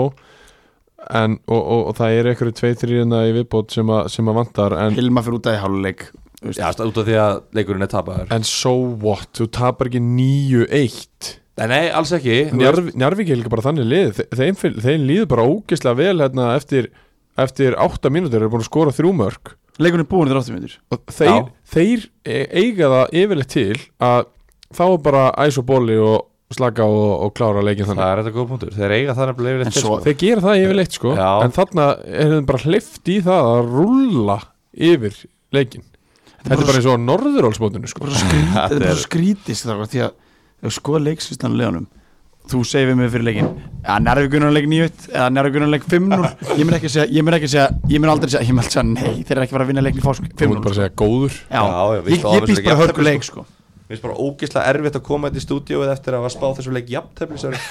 En, og, og, og það er einhverju tvei þrýðina í viðbót hérna sem, að- sem að vantar en
Hilma fyrir út að í háluleik þú veist.
Já, st- út af því að leikurinn er tapaður
En so what, þú tapar ekki 9-1
Nei, nei, alls ekki
Njarv- Njarvík er líka bara þannig lið Þe- Þeim, fyl- þeim líður bara ógeðslega vel hérna, eftir, eftir 8 mínútur eru búin að skora þrjú mörg
leikurinn er búin þegar 80 minnur
og þeir, þeir e- eiga það yfirleitt til að þá er bara æs og bóli og slaka og, og klára leikin
Það
þannig
er þetta góð punktur Þeir eiga það nefnilega
En
yfirleitt til,
svo-
Þeir gera það yfirleitt sko
Já.
en þarna er þeim bara hlift í það að rúlla yfir leikin Þetta er bara eins og á norðurálsmótinu sko
bara skrít, þetta er
Þetta
bara
er-
skrítist þá því að ef skoða leiksvistan leðanum þú segir við mig fyrir leikin eða nærvíkunarleik 9-1 eða nærvíkunarleik 5-0 ég mun ekki segja, ég mun ekki segja ég mun aldrei segja, ég mun aldrei segja nei þeir eru ekki að fara að vinna leikin í fásk
Þú mútt
5-0
bara segja góður
Já,
Já, já, við
ég,
stóðum
ég
þessu
býst
leik
bara
jafntefli,
hörku leik sko
Mér finnst bara ógislega erfitt að koma þetta í stúdíóið eftir að spá þessu leik jafntefnisöru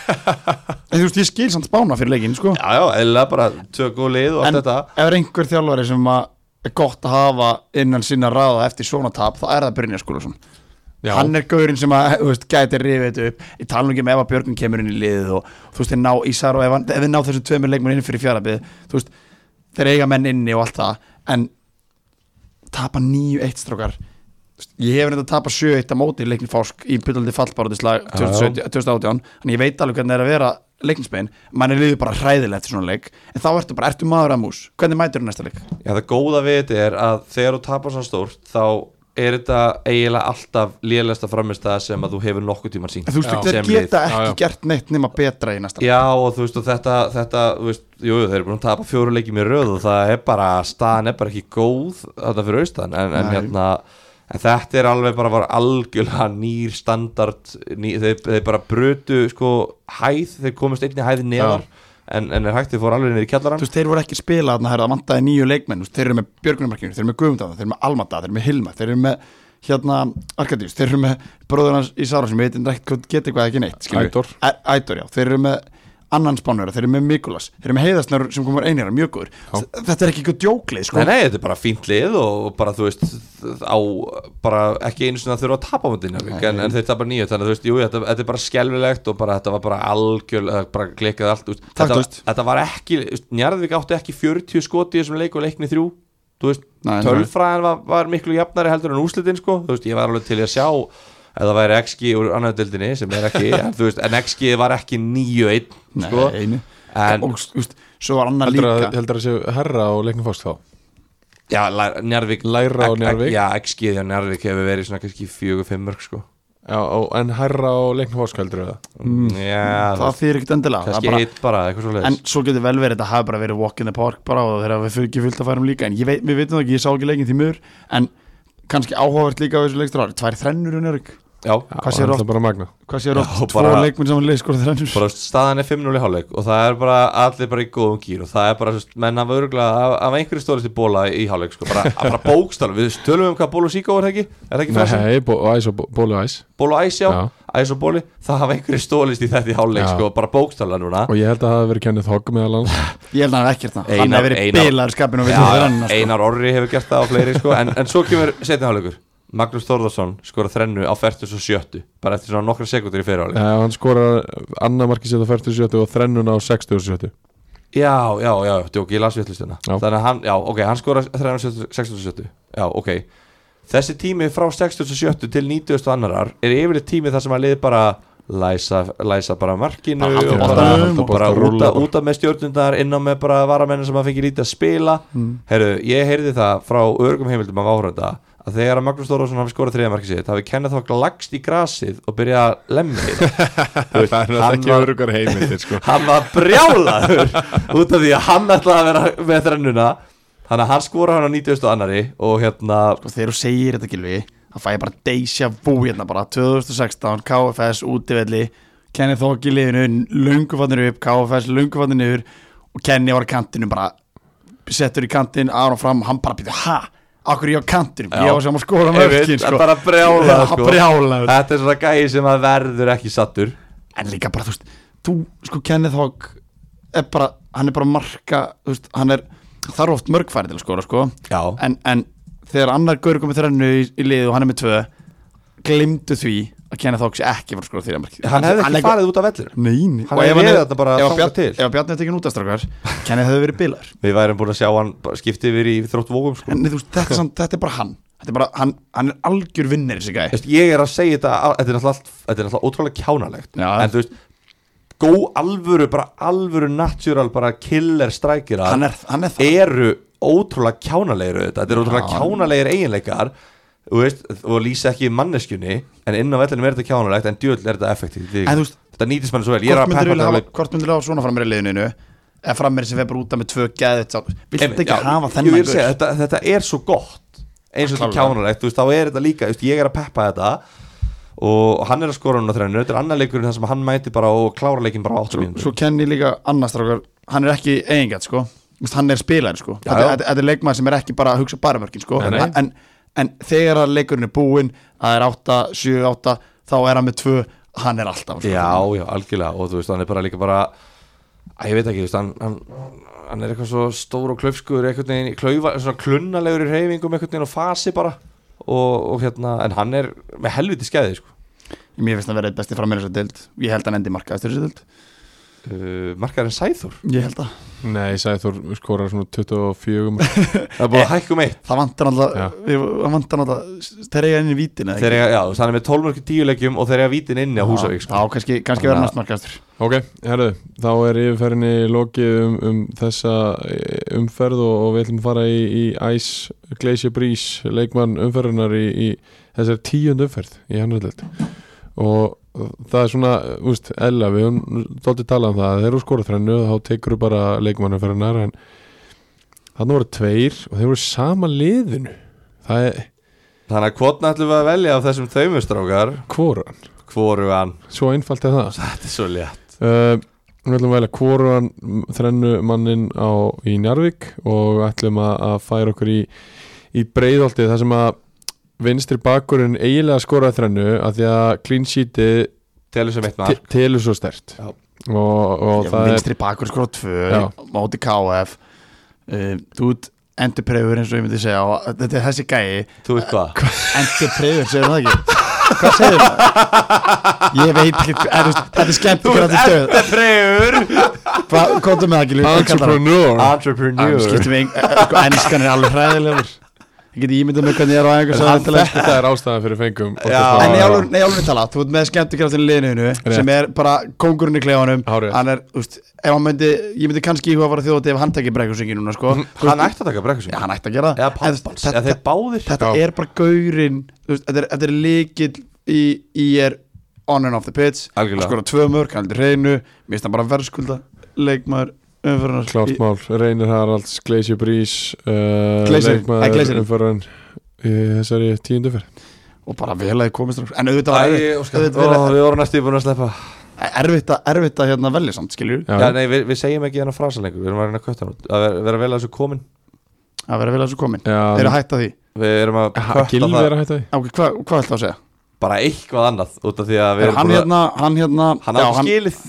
En þú veist, ég skil samt spána fyrir leikin sko
Já, já, eða bara tvö góð lið og allt
En
þetta
ef er einhver þjálfari sem að er gott að hafa innan sinna ráða eftir svona tap þá er það Brynja Skúlason
Já,
hann er gaurinn sem að, þú veist, gæti rifið þetta upp ég tala nú ekki um ef að Björgun kemur inn í liðið og þú veist, þeir ná Ísar og ef, hann- ef þeir ná þessum tveimur leikmenn inn fyrir fjarlabið þú veist, þeir eiga menn inni og allt það en tapa 9-1 strókar ég hef reynda að tapa 7-1 á móti í leikni fásk í byllandi fallbáraðislag 2018 þannig ég veit alveg hvernig það er að vera leiknisbein mann er liðið bara hræðilegt eftir svona leik en þá ertu bara, ertu maður að mús hvernig mætur næsta leik?
Já, það góða við þetta er að þegar þú tapar svo stórt þá er þetta eiginlega alltaf lélegasta framistæða sem að þú hefur nokkuð tíma sín
En þú veist,
Já.
þeir
Sem lið.
geta
Já,
ekki
já.
gert neitt nema betra í næsta leik
Já og þú veist og þetta, þetta þú veist, jú, jú, þeir eru búin að tapa fjóru leikjum í röð og það er bara, staðan er bara ekki góð þarna fyrir austan en, en,
Nei.
hérna, en þetta er alveg bara var algjörlega nýr standard ný, þeir, þeir bara brutu sko, hæð, þeir komast einni hæð neðar en, en er hægt þeir fóru alveg niður í
þú
kjallaran
veist, þeir voru ekki spilað þarna, herra, það vantaði nýju leikmenn, þú veist, þeir eru með Björgunumarkinu, þeir eru með Guðmundáð, þeir eru með Almata, þeir eru með Hilma, þeir eru með, hérna, Arkadíus, þeir eru með bróður hans í Sára sem við veitum ekki hvað geta eitthvað eða ekki neitt, skilur
Ædor.
Ædor, já, þeir eru með annan spánverða, þeir eru með Mikulas, þeir eru með Heiðarsnar sem komur einhverja, mjög góður,
Já.
þetta er ekki eitthvað djóklið, sko,
Nei, nei, þetta er bara fínt lið og bara þú veist á, bara ekki einu sinna þurfa að tapa mundin en, en þeir tapa nýju, þannig að þú veist, jú, þetta, þetta er bara skelvilegt og bara þetta var bara algjör eh, bara klikkaði allt, þú veist, þetta,
Taktlaust.
þetta var ekki þú veist, Njarðvík átti ekki 40 skot í þessum leik og leikni þrjú, þú veist
Nei, nei.
tölfræðan var, var miklu jafnari heldur en úslitin sko, þú veist, ég var alveg til í að sjá að það væri XG úr annaðu dildinni sem er ekki, en, þú veist, en XG var ekki 9-1, sko
Nei, einu.
en,
og, þú veist, svo var annar
heldur að,
líka,
heldur að séu herra á leiknum fást þá
Já, læ- Njarðvík
Læra á
Ek- ek-
Njarðvík.
Já, XG á Njarðvík hefur verið svona kannski fjögur, fimm mörg sko
Já, og- en herra á leiknum fást heldur að Mm,
Já,
það þýðir ekkert endilega, það er
kannski
bara-
eitt bara, eitthvað svo
en svo getur vel verið að það hafi bara verið walk in the park bara og þeirra við ekki fyllt að færum líka en ég veit, við veitum það ekki, ég sá ekki leikin því mör en kannski áhugavert líka á þessu leikstur ári tvær þrennur hún er ekki,
Já,
Hvað
Hvað sér
sér bara magna
hvað séu rátt
Já,
tvo
bara-
leikmenn saman leik skora þrennur
bara staðan er 5-0 í hálfleik og það er bara allir bara í góðum gýr og það er bara, þú veist, menn hafa örgulega af, af einhverju stólist í bóla í hálfleik sko, bara, bara bókstala, við tölum um hvað ból og síkó er það ekki, er það ekki frasa,
Nei, bó- æs og bó- bóli og æs
ból og æs já,
Já.
æs og bóli, það hafa einhverju stólist í þetta í hálfleik
Já.
sko, bara bókstala núna
Og ég held að það hafi verið kennið þokk meðal hans
ég held að hann er ekkert það, hann
Einar-
er verið
Einar-
bilaður skapin og við
Já,
þrennuna sko.
Einar Orri hefur gert það á fleiri sko, en, en svo kemur setni hálfleikur Magnús Þórðarsson skora þrennu á 47 bara eftir svona nokkra sekundir í fyrir hálfleik
Já, Eh, hann skorar annað markið sér á 47 og þrennuna á 67
Já, já, já, djók, ég las vittlistuna
Já.
Þannig að hann, já, ok, hann skora þrennu á 67 Já, ok Þessi tími frá 67 til 90 annarar er yfirleitt tími þar sem að liði bara læsa, læsa bara markinu
Bara
og
halda
bara,
boltanum
halda
og-
bara
og
út,
rúlla
af,
bara.
út af með stjórnundar inn á með bara varamennin sem að fengi lítið að spila Herru, ég heyrði það frá örgum heimildum af áhörunda að þegar að Magnús Þórðarsson hafi skorað þriðamarkið sitt hafi kennið þá lagst í grasið og byrjað að lemja í það. Þú veist, hann var-
örugar heimildir sko
hann var brjálaður út af því að hann ætlaði að vera með þrennuna þannig að hann skora hann á 90. annari og hérna
sko, þegar þú segir þetta gilvi þá fæ ég bara deysja vú hérna bara 2016, KFS, útivelli Kenny Þók í liðinu, lungufatnir upp KFS, lungufatnir niður og Kenny var á kantinu bara settur í kantin, Aron fram og hann bara býtur, ha? Akkur er ég á kantinu?
Já.
Ég var sem að
Ég
skora
veit,
mörkin,
hann
sko
bara brjálaður
Já,
sko.
brjálaður.
þetta er svona gæði sem að verður ekki sattur
En líka bara, þú veist, þú, sko, Kenny Þók er bara, hann er bara að marka, þú veist, hann er þarf oft mörgfæri til að skora, sko
já,
en, en þegar annar gaur komið þrennu í, í liðu og hann er með tvö glimtu því að Kenneth Hawks ekki var skora því að marki
hann hefði ekki farið út af vellur
Nein,
Hann hefði verið þarna bara
ef
þangað
að Bjarni-
til.
ef að Bjarni hefði tekið út af strákar Kenneth hefði verið bilar
við værum búin að sjá hann bara skipta yfir í þrótt vókum sko.
en þú, veist, þetta, er samt, þetta er bara hann Þetta er bara, hann, hann er algjör vinnir þessi gæ
Veist, ég er að segja þetta, al- þetta er náttúrulega, allt- þetta er náttúrulega ótrúlega kjánalegt
Já.
en þú veist, gó alvöru bara alvöru natural, bara killer strækir
Hann er, hann er það
eru ótrúlega kjánalegir auðvitað. þetta eru ótrúlega kjánalegir eiginleikar þú veist, og lýsa ekki manneskjunni en inn á vellinum er þetta kjánalegt en djöðl er þetta effektivt því-
En þú veist,
þetta nýtist mann svo vel, ég er
hvort
að
myndir
peppa
vilja
þetta
hafa,
alveg-
hvort myndir hafa svona framir í liðinu eða framir sem við bara úta með tvö gæðið Viltu
Einmitt,
ekki
já,
hafa
ég
þennan
vil segja,
gaur?
þetta, þetta er svo gott eins og þetta er
Klárlega.
kjánalegt, þú veist, þá er þetta líka þú veist, ég er að peppa þetta og hann er að skora hún á þrennu, þetta er annar leikurinn þar sem hann mæti bara og klára leikinn bara á 8
Svo,
mínútur
svo kenni ég líka annars strákar Hann er ekki eigingætt sko Þú veist, Hann er spilaðin sko
Já,
Þetta
já.
þetta- þetta er leikmaður sem er ekki bara að hugsa bara mörkin sko
Nei, nei.
En- En, en þegar að leikurinn er búinn Það er 8, 7, 8 Þá er hann með tvö Hann er alltaf sko.
Já, já, algjörlega og þú veist, hann er bara líka bara að ég veit ekki, þú veist, hann, hann, hann er eitthvað svo stór og klaufskur einhvern veginn, í klaufa, svona klunnalegur í reyfingum einhvern veginn og fasi bara og, og hérna, en hann er með helviti skæði sko.
Mér finnst það að vera eitt besti framir þessu deild Ég held að hann endi markaðist þessu deild
uh, markaðurinn Sæþór
Ég held að
Nei, Sæþór skorar svona 24 mörg.
það er búin að hækka um eitt
Það vantar
Já.
alltaf við- Það vantar alltaf Þeir eiga inn í vítin eða ekki?
þegar, já, þú veist, hann er með 12 mörg tíuleikjum og þegar ég vítin inni á Húsavík sko.
Já, kannski, kannski verða
Þannig að-
næst markaðistur
Ok, herðu, þá er yfirferðinni lokið um, um þessa eh, umferð og, og við ætlum að fara í, í Ice Glacier Breeze leikmann umferðinar í, í þessar tíund umferð í hannarlegt og það er svona, úst, Ella við höfum dóltið talað um það, þeir eru skorað þrennu þá tekur bara leikmann umferðinar en þannig voru tveir og þeir voru í sama liðinu það er
þannig að hvotna ætlum við að velja af þessum þaumustrákar
kvoran,
hvoru hann,
svo einfalt er það
þetta er svo létt
Uh, Við ætlum að velja kvoruðan þrennu mannin á, í Njarvík og ætlum að, að færa okkur í, í breiðoltið þar sem að vinstri bakurinn eiginlega skoraði þrennu að því að clean sheetið
telur sem eitt
te-
mark
telur svo stert
Já.
og, og
Já,
það er
vinstri bakur skora
Já.
tvö móti KF uh, þú ert endurpreyfur eins og ég myndi segja og þetta er þessi gæi
þú veit hvað
endurpreyfur, segir það ekki hvað segir það? ég veit ekki, er, þú veist, þetta er skemmt
þú
hvað
ert
þetta stöð
eftirfreyður
hvað komdu með það ekki Lúður? Hvað kallar það?
entrepreneur
Ah,
entrepreneur
skiptum við eng- sko, enskan er alveg hræðilegur ég get ímyndað með hvernig ég er á einhvers
Það- Þetta er ástæðan fyrir fengum
Já.
En
Oftast
ég
var-
alveg, nei, alveg tala, þú ert með skemmtikraftin liðinu
Rétt.
sem er bara kóngurinn í klefanum
Hárrétt.
hann er, þú veist, ef hann myndi ég myndi kannski íhuga að fara þjóðið ef hann tekir brekkusengi núna, sko Þú
hann ætti
veist,
að taka brekkusing
ja, hann ætti að gera
eða
En þú
pappans,
veist,
eða þeir
þetta,
báðir
þetta
Já.
er bara gaurinn þú veist, þetta er, þetta er líkil í, í er on and off the pitch hann
algjörlega,
skora tvö mörg, hann er reynu mér finnst hann bara verðskulda leikmaður umfyrunar
Klárt mál, Reynir Haralds, Glacier Breeze uh,
Glacier, nei,
Leikmaður
Glacier.
umfæran í þessari tíundu fyrir
og bara vel að þið komist strax. en auðvitað var
Æ,
erfitt-
Óskar,
auðvitað
ó,
var
við vorum næstu búin að sleppa
erfitt að- erfitt að hérna velja samt, skiljur
Já, nei, við, við segjum ekki hennar frasa lengur Við erum að reyna að kötta hann út Að vera, vera vel að þessu komin
að vera vel að þessu komin
Já,
þeir eru að hætta því
Við erum að
Ha-
kötta
Gylfi
það
er að hætta því
Ok, hvað hva ætlaðu að segja?
Bara eitthvað annað Út af því að við
Er
erum
hann
búin
hérna, hann hérna
að Hann átti skilið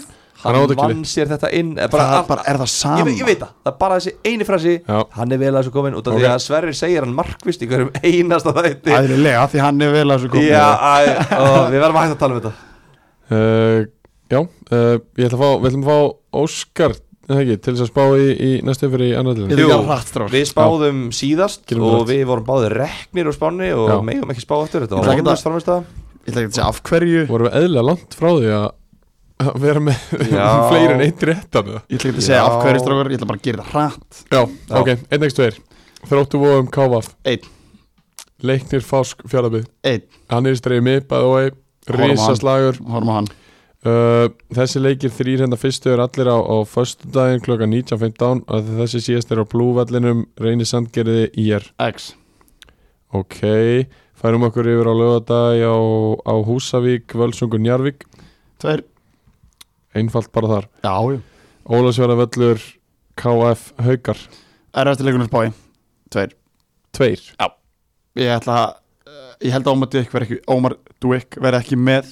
Hann átti
Hann
skilið.
vann sér þetta inn Er bara
bara,
allt-
bara, Er það
Ég,
sama?
ve- ég veit það, það er bara þessi eini frasi
Já.
Hann er vel að þessu komin Út af því
Ok.
að Sverrir segir hann markvist Í hverjum einasta þætti
Æðrilega, því hann er vel að þessu komið
Já, æ, ó, við verðum að hægt að tala um þetta
Uh, já, uh, ég ætla að fá, við ætlum að fá Óskar er það ekki, til þess að spá í, í næstu fyrir í annar
Ég
liðin
Jú.
vil ekki að hratt stráð
Við spáðum síðast
Gerum
og
gott.
við vorum báðir reknir úr spánni og
Já.
megum ekki spá eftir þetta
Ég
og
ætla ekki
vonlust framist það
Ég ætla ekki að segja af hverju Ég
vorum við eðlilega langt frá því að að vera með
Já.
fleiri en eitt rétt af það
ætla ekki að segja
Já.
af hverju stráður Ég ætla bara að gera það hratt
já, ok, einn ekki stveir þróttu um vóðum Kávaf,
Einn,
leiknir Fásk fjárlabið
einn,
hann er í streið mið, bæði og ei
Horfum á hann.
risaslagur
horfum á hann
uh, þessi leikir þrýr hérna fyrstu er allir á, á föstudaginn klokka 19.15 og þessi síðast er á blúvallinum reynir sandgerði í er
X
Ok, færum okkur yfir á lögadag á, á Húsavík, Völsungur, Njarvík
Tveir
Einfalt bara þar
Já, jú
Ólafsfjörðavöllur, KF, Haukar
Erfasti leikunum spái Tveir
Tveir
Ég ætla að eh, Ég held að Ómar Duik verði ekki Ómar Duik verði ekki með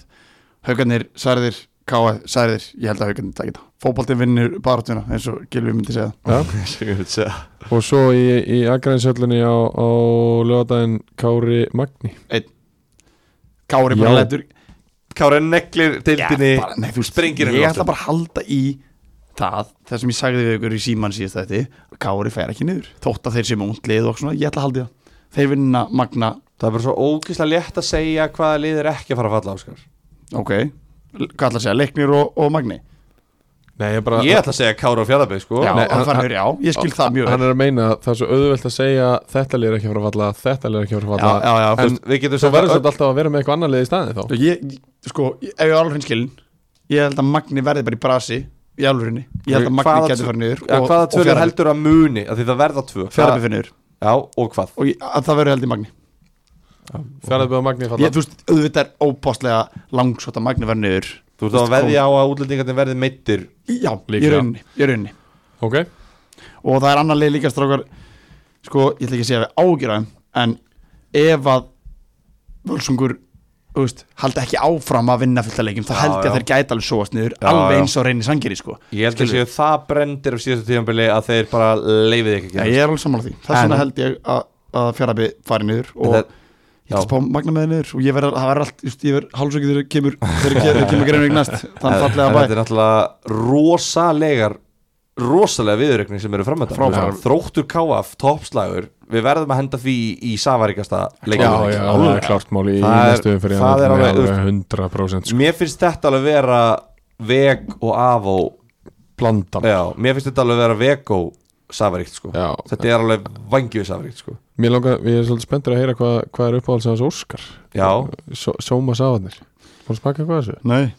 Haukarnir, Særðir, K.A. Særðir Ég held að haukarnir takit það Fótboltinn vinnur baratuna eins og Gilvi myndi segja
ja. Og svo í, í Akrænshöllinni á, á lögadaginn Kári Magni
Kári
Já.
bara lætur
Kára neglir deildinni
bara, nei, þú
springir henni
Ég
í loft
ætla bara að halda í það Það sem ég sagði við ykkur í síman síðast þetta Kári fer ekki niður Þótt að þeir sem unglið og svona Ég ætla að halda í það Þeir vinna magna
Það er bara svo ógeðslega létt að segja hvaða lið er ekki að fara að falla áskar
Ok, hvað ætla að segja, Leiknir og, og Magni
Nei, ég bara
Ég ætla að segja Kára og Fjarlabeg sko
Já,
nei,
hann,
hann-
hann, já, ég skil það mjög
Hann
vel
er að meina að það er svo auðvelt að segja Þetta lið er ekki að fara að falla, þetta lið er ekki að fara að
Já,
falla
já, já, þú
en,
veist,
Við getum
Svo
sagt
verður
að
þetta alltaf að vera með eitthvað annað lið í staðin þá
ég, Sko, ef ég er alveg hinn skilin Ég held að Magni verði bara í brasi Í alvörinni, ég held að
Hvaða
Magni
tvö-
getur farið niður
ja, Hvaða tvölu heldur að muni að Því það verða tvö
Fjarabi fyrir niður
Já, og hvað
Og ég, að það verður held í Magni
Fjarlabbi og Magni falla
ég, Þú veist, auðvitað er óbóstlega langsótt að Magni verði niður
Þú ert þá að veðja á að útlendingarnir verði meittir
Já, ég
Líklega.
er unni, ég er unni
Ok,
og það er annar leið líka strákar sko, ég ætla ekki að segja við ágjöraðum en ef að völsungur þú veist, haldi ekki áfram að vinna fullt að leikjum þá
Já,
held
já.
ég að þeir gæti alveg sóast niður
Já,
alveg
já.
eins og reynir sangeri sko
Ég held að séu það brendir af síðasta tíðanbili að þeir bara leifið ekki að
Já,
gera
ég er alveg sammála því, þess
En-
vegna held ég að, að fjarabi fari niður
En
og
það-
ég held
já.
að spá magna með þeir niður og ég verð, það verður allt, just, ég verð hálsökið þegar kemur, þegar kemur, kemur greinvík næst
En-
þannig
en
fallega bæ
Þetta er náttúrulega rosalegar rosalega viðurreikning sem eru framönda
Frábærar.
Þróttur KF, toppslagur Við verðum að henda því í safaríkasta
já,
leikjum
já, það er klárt mál í
Það er-
næstu umferð í
það er
annarri,
alveg- þú
alveg 100% sko.
Mér finnst þetta alveg vera veg og avó
Blandan
Já, mér finnst þetta alveg vera veg og safaríkt sko
Já,
Þetta er alveg vangjöð safaríkt sko
mér langar, ég er svolítið spenntur að heyra hvað, hvað er uppáhalds hans Óskar
Já,
Só- Sóma sáðanir Búin að smaka eitthvað af þessu?
Nei,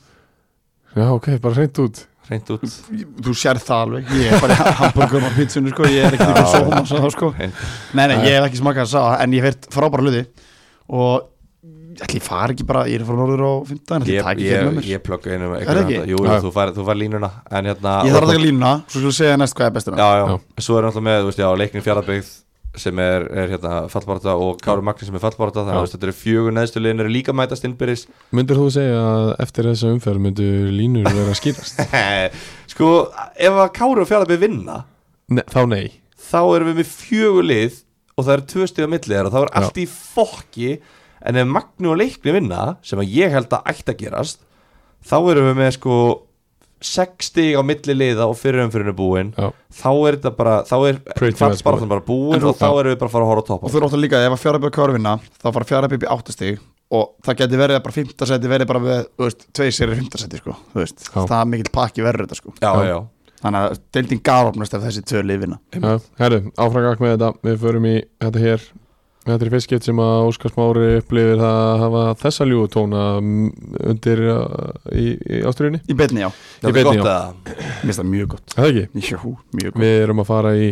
Já, ok, bara hreint út
reynd út
þú sér það alveg, ég er bara í hamburgum á pítsunni sko, ég er ekkert ekki
Já.
sóma svo sko
Hreint.
Nei, nei, ég hef ekki smakað þess að en ég hef heyrt frábæra hluti og ætli ég fari ekki bara, ég er frá norður á 15,
Ég,
ætli ég taki
ég,
fyrir með mér
ég plugga einu
hérna, Er það ekki?
Jú,
Já.
þú fær, þú fær línuna En hérna
Ég þarf að taka línuna, svo skulle ég segja næst hvað er hérna. bestur
já, já.
Já.
svo er náttúrulega með, þú veist, já, leiknir fjaraðbyggð sem er, er hérna fallbarata og Kári Magni sem er fallbarata þannig
Já.
að þú veist, þetta eru fjögur neðstu liðin eru líka að mætast innbyrðis
Myndir þú segja að eftir þessa umferð myndu línur vera að skýrast?
sko, ef að Kári og fjaraðbyggð vinna
ne, þá nei
þá erum við með fjögur lið og það eru tvö stíða millið þeirra, þá er
Já.
allt í fokki en ef Magni og leikni vinna sem að ég held að ætti að gerast þá erum við með sko 60 á milli liða og fyrir umfyririnu búin
Já.
þá er þetta bara þá er
Pretty much
fallbaratan bara búin
En þú-
og þá erum við bara að fara að horfa á topa
Og þú er óttan líka að ef að fjárabjöð kvarfinna þá fara fjárabjöð upp í áttastig og það geti verið að bara 15 seti verið bara við, þú veist, tvei sérir 15 seti sko, þú veist,
Já.
það er mikill pakki verður þetta sko
já,
Já.
já.
Þannig að deildin galopnast ef þessi tvö liðvinna
Já, herru, áfrangak með þetta Við förum í þetta hér Þetta er fyrst skipt sem að Óskar Smári upplifir það að hafa þessa ljúutóna undir uh, í, í ástriðinni
Í betni já,
Ég
Þetta
veit
er
ekki,
gott
já.
að
mér finnst það mjög gott
Það ekki?
Jú, mjög gott
Við erum að fara í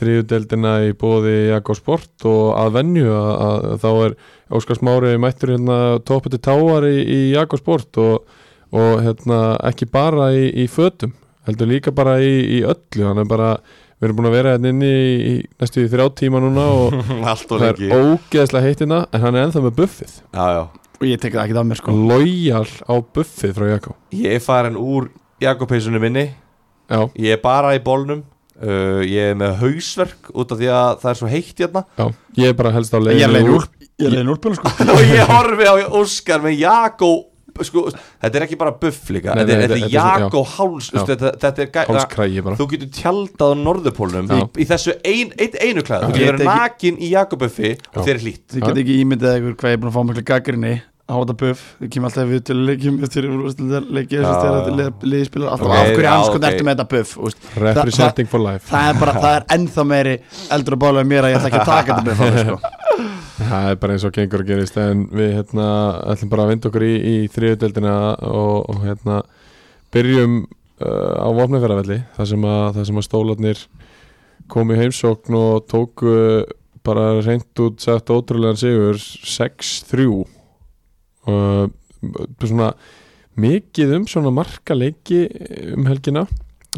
þriðudeldina í bóði Jakko Sport og að venju að, að, þá er Óskar Smári mættur hérna toppið til táar í, í Jakko Sport og, og hérna ekki bara í, í fötum heldur líka bara í, í öllu hann er bara, við erum búin að vera hérna inni í, í næstu í þrjá tíma núna og
allt og
það er
lengi
ógeðslega heitina en hann er ennþá með buffið
já, já.
Og ég tek það ekki af mér sko
lojal á buffið frá Jakko
Ég er farin úr Jakobheisunum minni
Já,
Ég er bara í bólnum uh, Ég er með hausverk út af því að það er svo heitt hérna
já, ég er bara helst á
Ég er
leiðinu
leiðin
úr.
úr, ég er leiðin úr sko
Og ég horfi á Óskar með Jakó sko, Þetta er ekki bara buff líka
Nei,
Þetta
nei,
er,
þetta
þetta er
er svo-
Jakó háls
Já.
þetta, þetta er gæ...
hálskrægi bara
Þú getur tjaldað á norðupólnum í,
Já.
í þessu ein, ein, einu klæð Þú
Ég
getur
get
verið nakin í Jakobuffi og
Já.
þér er hlýtt
Þið get ekki ímyndið ykkur hvað ég er búin að fá miklu gaggrinni á þetta buff, þið kemur alltaf við til leikjum eftir leikjum
Já, já.
liðspilar, alltaf
Ok,
af hverju
já,
hans sko
ok.
ertu með þetta buff þú veist? Þa- það,
Representing for life
það er bara, það er ennþá meiri eldur að bálega mér að ég ætla ekki að taka þetta buff alveg, sko.
Það er bara eins og gengur að gerist en við hérna ætlum bara að vinda okkur í, í þriðudeldina og, og hérna byrjum uh, á vopnafjaravelli þar sem að, þar sem að stólarnir komu í heimsókn og tóku bara reynd út sagt ótrúlegan sigur 6-3 uh, svona mikið um svona marka leiki um helgina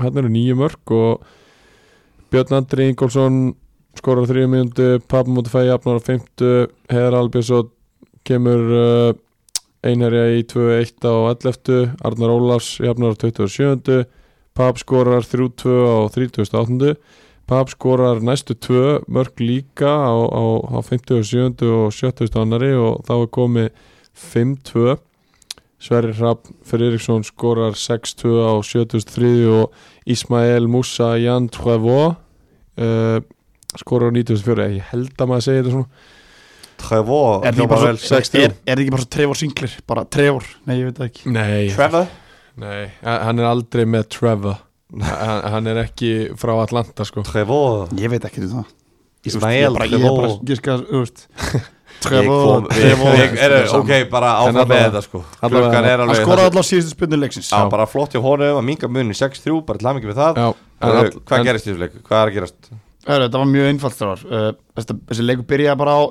hann eru nýju mörg og Björn Andri Ingolson skorar á þrjú mínútu, pappa mútu fæði jafnar á fymtu, Heðar Albjörnsson kemur uh, einherja í 2-1 á 11 Arnar Ólafs jafnar á 27 Papp skorar 3-2 á 38 Papp skorar næstu 2 mörg líka á, á, á 57 og 70 annari og þá er komið 5-2 Sverrir Hrapp Friðriksson skorar 6-2 á 73 og Ismael Moussa Jan eh, Trevaux uh, skorar á 94 ég held að maður segi þetta svona
Trevor
Er það ekki
hljómar
bara
vel.
svo, er, er það ekki bara svo Trevor Singler Bara Trevor, nei ég veit það ekki
Nei,
Trevor
nei a- Hann er aldrei með Trevor Hann hann er ekki frá Atlanta sko
Trevor
Ég veit ekki um það Ég,
Ismael,
ég, bara, ég er bara
Trevor.
gíska, þú veist
Ég kom-
Trevor,
ég-
Trevor
ég- er- Ok,
En
bara áfram með
allavega-
þetta sko
allavega-
Klukkan er
Hann
alveg
skoraði alltaf síðustu spynnu leiksins
Já, bara flott hjá honum að minga munin 6-3, bara til hamingi með það
Já, en
Herru,
all-
Hvað
en-
gerist í þessu leik? Hvað er að gerast?
Hörru, þetta var mjög einfalt þar uh, þessi, þessi leikur byrjaði bara á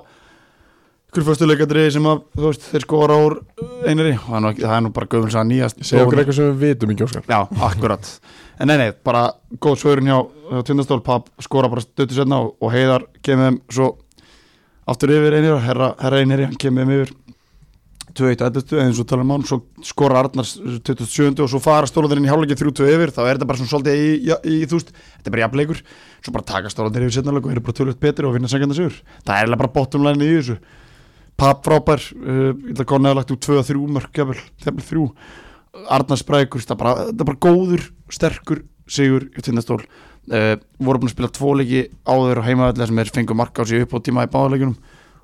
ykkur fyrstu leikadri sem að þú veist, þeir skora úr uh, einari og það er nú, ekki, það er nú bara gömul að nýjast
Segðu okkur eitthvað sem við vitum ekki óskar
Já, akkurat En nei, nei, bara góð svörun hjá, hjá Tindastól Papp skora bara stöttu setna og, og Heiðar kemur þeim svo aftur yfir einir og herra, herra einir hann kemur þeim yfir 2-1-11 eins og tala um hann, svo skora Arnar 27. og svo fara stólandir inn í hálfleikin 3-2 yfir, þá er þetta bara svona svolítið í, í, í þú veist, þetta er bara jafnleikur svo bara taka stólandir yfir setna og eru bara tölvöld betri og vinna sengjandi sigur, það er eiginlega bara bottomlæni í þessu Papp frábær, uh, ég ætla að konu eða lagt úr 2-3 mörg, jafnvel, jafnvel 3 Arnar Sprækur, það er bara, það er bara góður, sterkur sigur í tindastól uh, voru búin að spila tvo leiki áður og heimaðallega sem er fengu marka á sig upp á tíma í báðuleikunum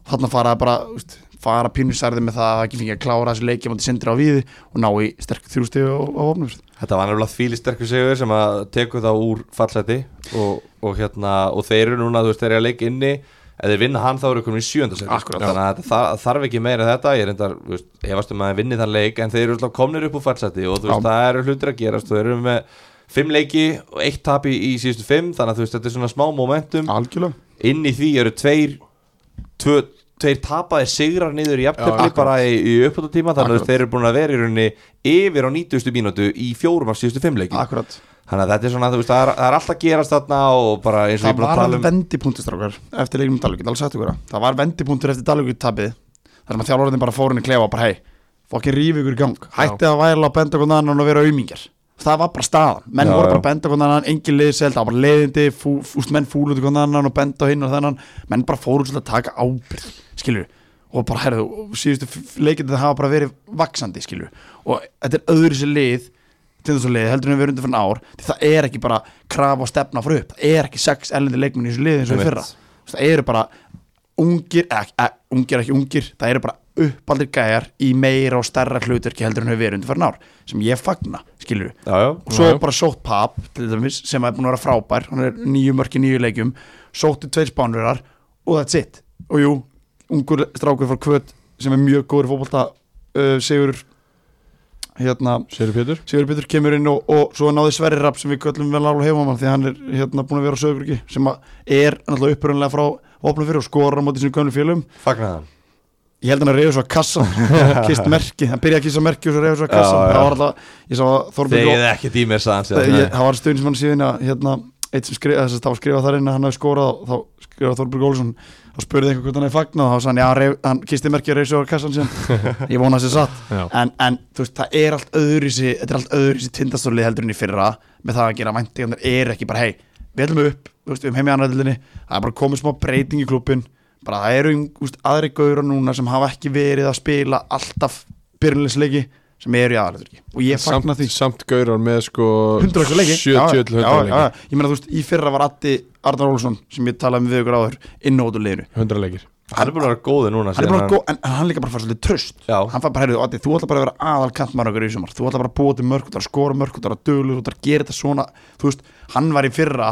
þarna fara það bara, úst, fara pínusærði með það að ekki fengið að klára þessi leiki mátti sendri á viði og ná í sterk þrjústegu á, á ofnum
Þetta var nefnilega þvíli sterkur sigur sem að teku það úr fallseti og, og, hérna, og þeir eru núna, þú veist, þeir eru að leika inni ef þeir vinna hann þá eru komin í sjöndasæti
Akkúrat.
þannig að þetta þar- þarf ekki meira en þetta ég reyndar, þú veist, hefast um að þeir vinni þann leik en þeir eru alltaf komnir upp úr fallseti og þú veist,
Já.
það eru hlutir að gerast og þeir eru með fimm leiki og eitt tap í, í síðustu fimm þannig að þú veist, þetta er svona smá momentum
algjörlega,
inn í því eru tveir tvö, tveir tapaði sigrar niður í jafntefni
Já,
bara í, í uppbúttatíma þannig að
Akkurat.
þeir eru búin að vera í rauninni yfir á 90. mínútu í fjórum af síðustu fimmleikin
akkurat
þannig að þetta er svona, þú veist, það er, það er alltaf gerast þarna og bara eins og ég
það
er búin
var
að tala
alveg
um
vendipunktur strákar eftir leikinum Dalvíkinn, alveg sagt ykkur það það var vendipunktur eftir Dalvíkinn tabið þar sem að þjálfurinn bara fór henni klefa og bara hei, fokkin rífi ykkur í gang hætti að væla að benda hvernig annan og vera aumingar það var bara staðan, menn
Já,
voru bara
já.
að benda hvernig annan engin liðseld, það var bara leiðindi fú, fúst menn fúlutu hvernig annan og benda á hinn og þennan menn bara fóru svolítið að taka ábyrð skilur, og bara herðu og síðustu leikindi það hafa bara verið vaksandi skilur, og þetta er öðru sér lið til þessu liði heldur en við erum undir fyrir ár því það er ekki bara krafa og stefna fyrir upp það er ekki sex ellendi leikmenn í þessu liði eins og í
Einmitt.
fyrra Þú veist, það eru bara ungir, ekki, ekki, ungir ekki ungir það eru bara uppaldir gæjar í meira og stærra hlutverki heldur en við erum undir fyrir ár sem ég fagna, skilur
já, já,
og svo
Já, já.
bara sótt Papp til dæmis sem er búin að vera frábær hann er nýju mörki nýju leikjum sótti tveir spánverðar og that's it og jú, ungur strákur frá Kvöt sem er mjög góður í fótbolta uh, Sigur hérna
Séru Pétur
Sigur Pétur kemur inn og, og svo náði Sverri Rapp sem við köllum vel alveg heimamann því að hann er hérna búin að vera á sögurki sem að er náttúrulega upprunlega frá vopnum fyrir og skorar á móti sínum gönnum félum
fagna það
ég held hann að reyða svo að kassan kist merki, hann byrjaði að kissa merki og svo reyða svo að kassan
Já, já.
það var alltaf, ég sá að Þorbjörn
þegið ekki dýmir saðan síðan
það, Eh, ég, það var stöðin sem hann síðan að hérna, eitt sem skrifa, þess að það var skrifað þar inn að hann hafi skorað þá skrifað Þorberg Olsson þá spurði einhver hvort hann hefði fagnað og þá sagði hann, já, hann reif- hann kisti merki að reysa á kassan síðan ég vona þessi satt
Já.
en, en þú veist, það er allt öðruvísi þetta er allt öðruvísi tindastólið heldur en í fyrra með það að gera væntingarnar er ekki bara hei, við heldum upp, þú veist, við erum heim í annaðildinni það er bara komið smá breyting í klubin bara það eru um, þú veist, aðri gauður núna sem hafa ekki verið að spila alltaf byrjunleisleiki sem eru í aðalegturki og ég
Samt,
fagna því
samt gaurar með sko
100 leikir leiki
70 til 100
Já, já,
leikir
já. Ég meina þú veist, í fyrra var Addi Arnar Olsson sem ég talaði um við ykkur áður inn á út úr liðinu
100 leikir
hann er búin að vera góði núna
hann er bara góð, en, en hann líka bara fara svolítið tröst
Já.
hann fara bara, heyrðu, Addi, þú ætla bara að vera aðal kantmann okkur í sumar, þú ætla bara að búa til mörg þú ætlar að skora mörg, þú ætlar að dölu, þú ætlar að gera þetta svona þú veist, hann var í fyrra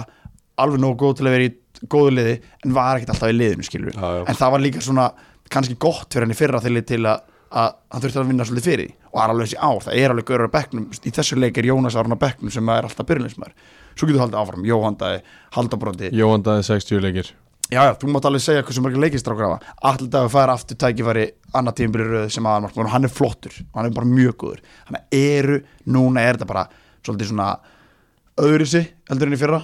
alveg nógu góð til að vera í góðu liði en var ekkert alltaf í liðinu, skilur
Já, já.
en það var líka svona, kannski gott fyrir hann í fyrra þegar til að, að hann þurfti að vinna svolítið fyrir því. og það er alveg þessi ár, það er alveg görur á bekknum, í þessu leik er Jónas Arna bekknum sem er alltaf byrjulinsmaður, svo getur þú haldið áfram Jóhandaði, Haldabróndi,
Jóhandaði 60 leikir
Já, já, þú mátt alveg segja hversu margir leikistrákur hafa Allir dagur fær aftur tækifæri annar tímabili röð sem aðalmarkmann og hann er flottur og hann er bara mjög góður Þannig að eru, núna er þetta bara svolítið svona öðrisi heldur enn í fyrra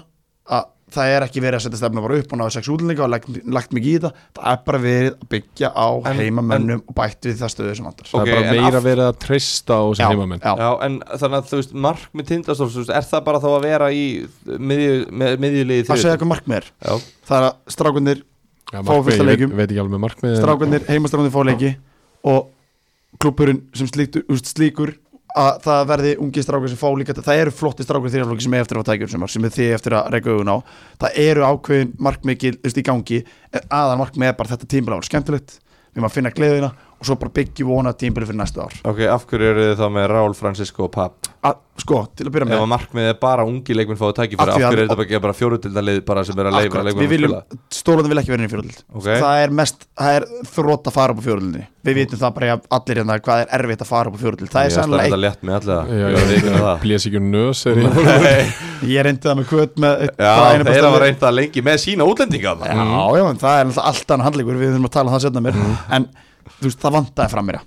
að það er ekki verið að setja stefna bara upp og náðu sex útlendinga og lagt, lagt mikið í þetta það er bara verið að byggja á
En-
heimamönnum og bætt við það stöðu sem vandar
Það
Ok,
er bara
en
meira
aft-
verið að treysta á þessi heimamenn
já,
Já, en þannig að þú veist, mark með tindastóls, þú veist, er það bara þá að vera í miðju- með- miðjuliði
að segja
þriðju?
hvað markmið er
Já,
það er að strákunir
Já,
Fá
markmið, ég
fullt af
veit,
leikjum.
veit ekki alveg með markmið en-
strákarnir, heimastrákarnir fá leiki og klubburinn sem slíktur, úst, slíkur að það verði ungi strákar sem fá líka það eru flotti strákar þrjaflokki sem er eftir að fá tækjum sem, sem er þið eftir að reyka augun á það eru ákveðin markmikið úst, í gangi aðan markmið er bara þetta tímbil ára skemmtilegt við erum að finna gleðina og svo bara byggjum vona tímbili fyrir næsta ár
Ok, af hverju eru þið þá með Raúl, Francisco og Papp?
A, sko, til að byrja
Ef
með
að markmiðið er bara ungi leikminn fáið tækifæri,
Af
af
því að-
hverju er þetta ekki bara fjóruðildanlið bara sem er að leifa
Akkurat, við
leikminn að
viljum,
spila?
stólandi vil ekki vera inn í fjöröld
Ok.
það er mest, það er þrótt að fara upp á fjöröldinni við vitum það bara að allir hérna hvað er erfitt að fara upp á fjöröld það er sannlega,
Þetta létt með allir
Já,
það,
já,
ég veit ekki
já,
það
blés ekki um nös er ég
Nei,
eitt- ég reyndi það með kvöt með eitt-
Já,
bara einu
þeir hafa
bara stærri-
reynt Mhm. það lengi með sína útlendinga þarna.
Já, já, en það er alltaf allt annan handleikur við þurfum að tala um það setna mér
Mhm.
en þú veist, það vantaði fram mér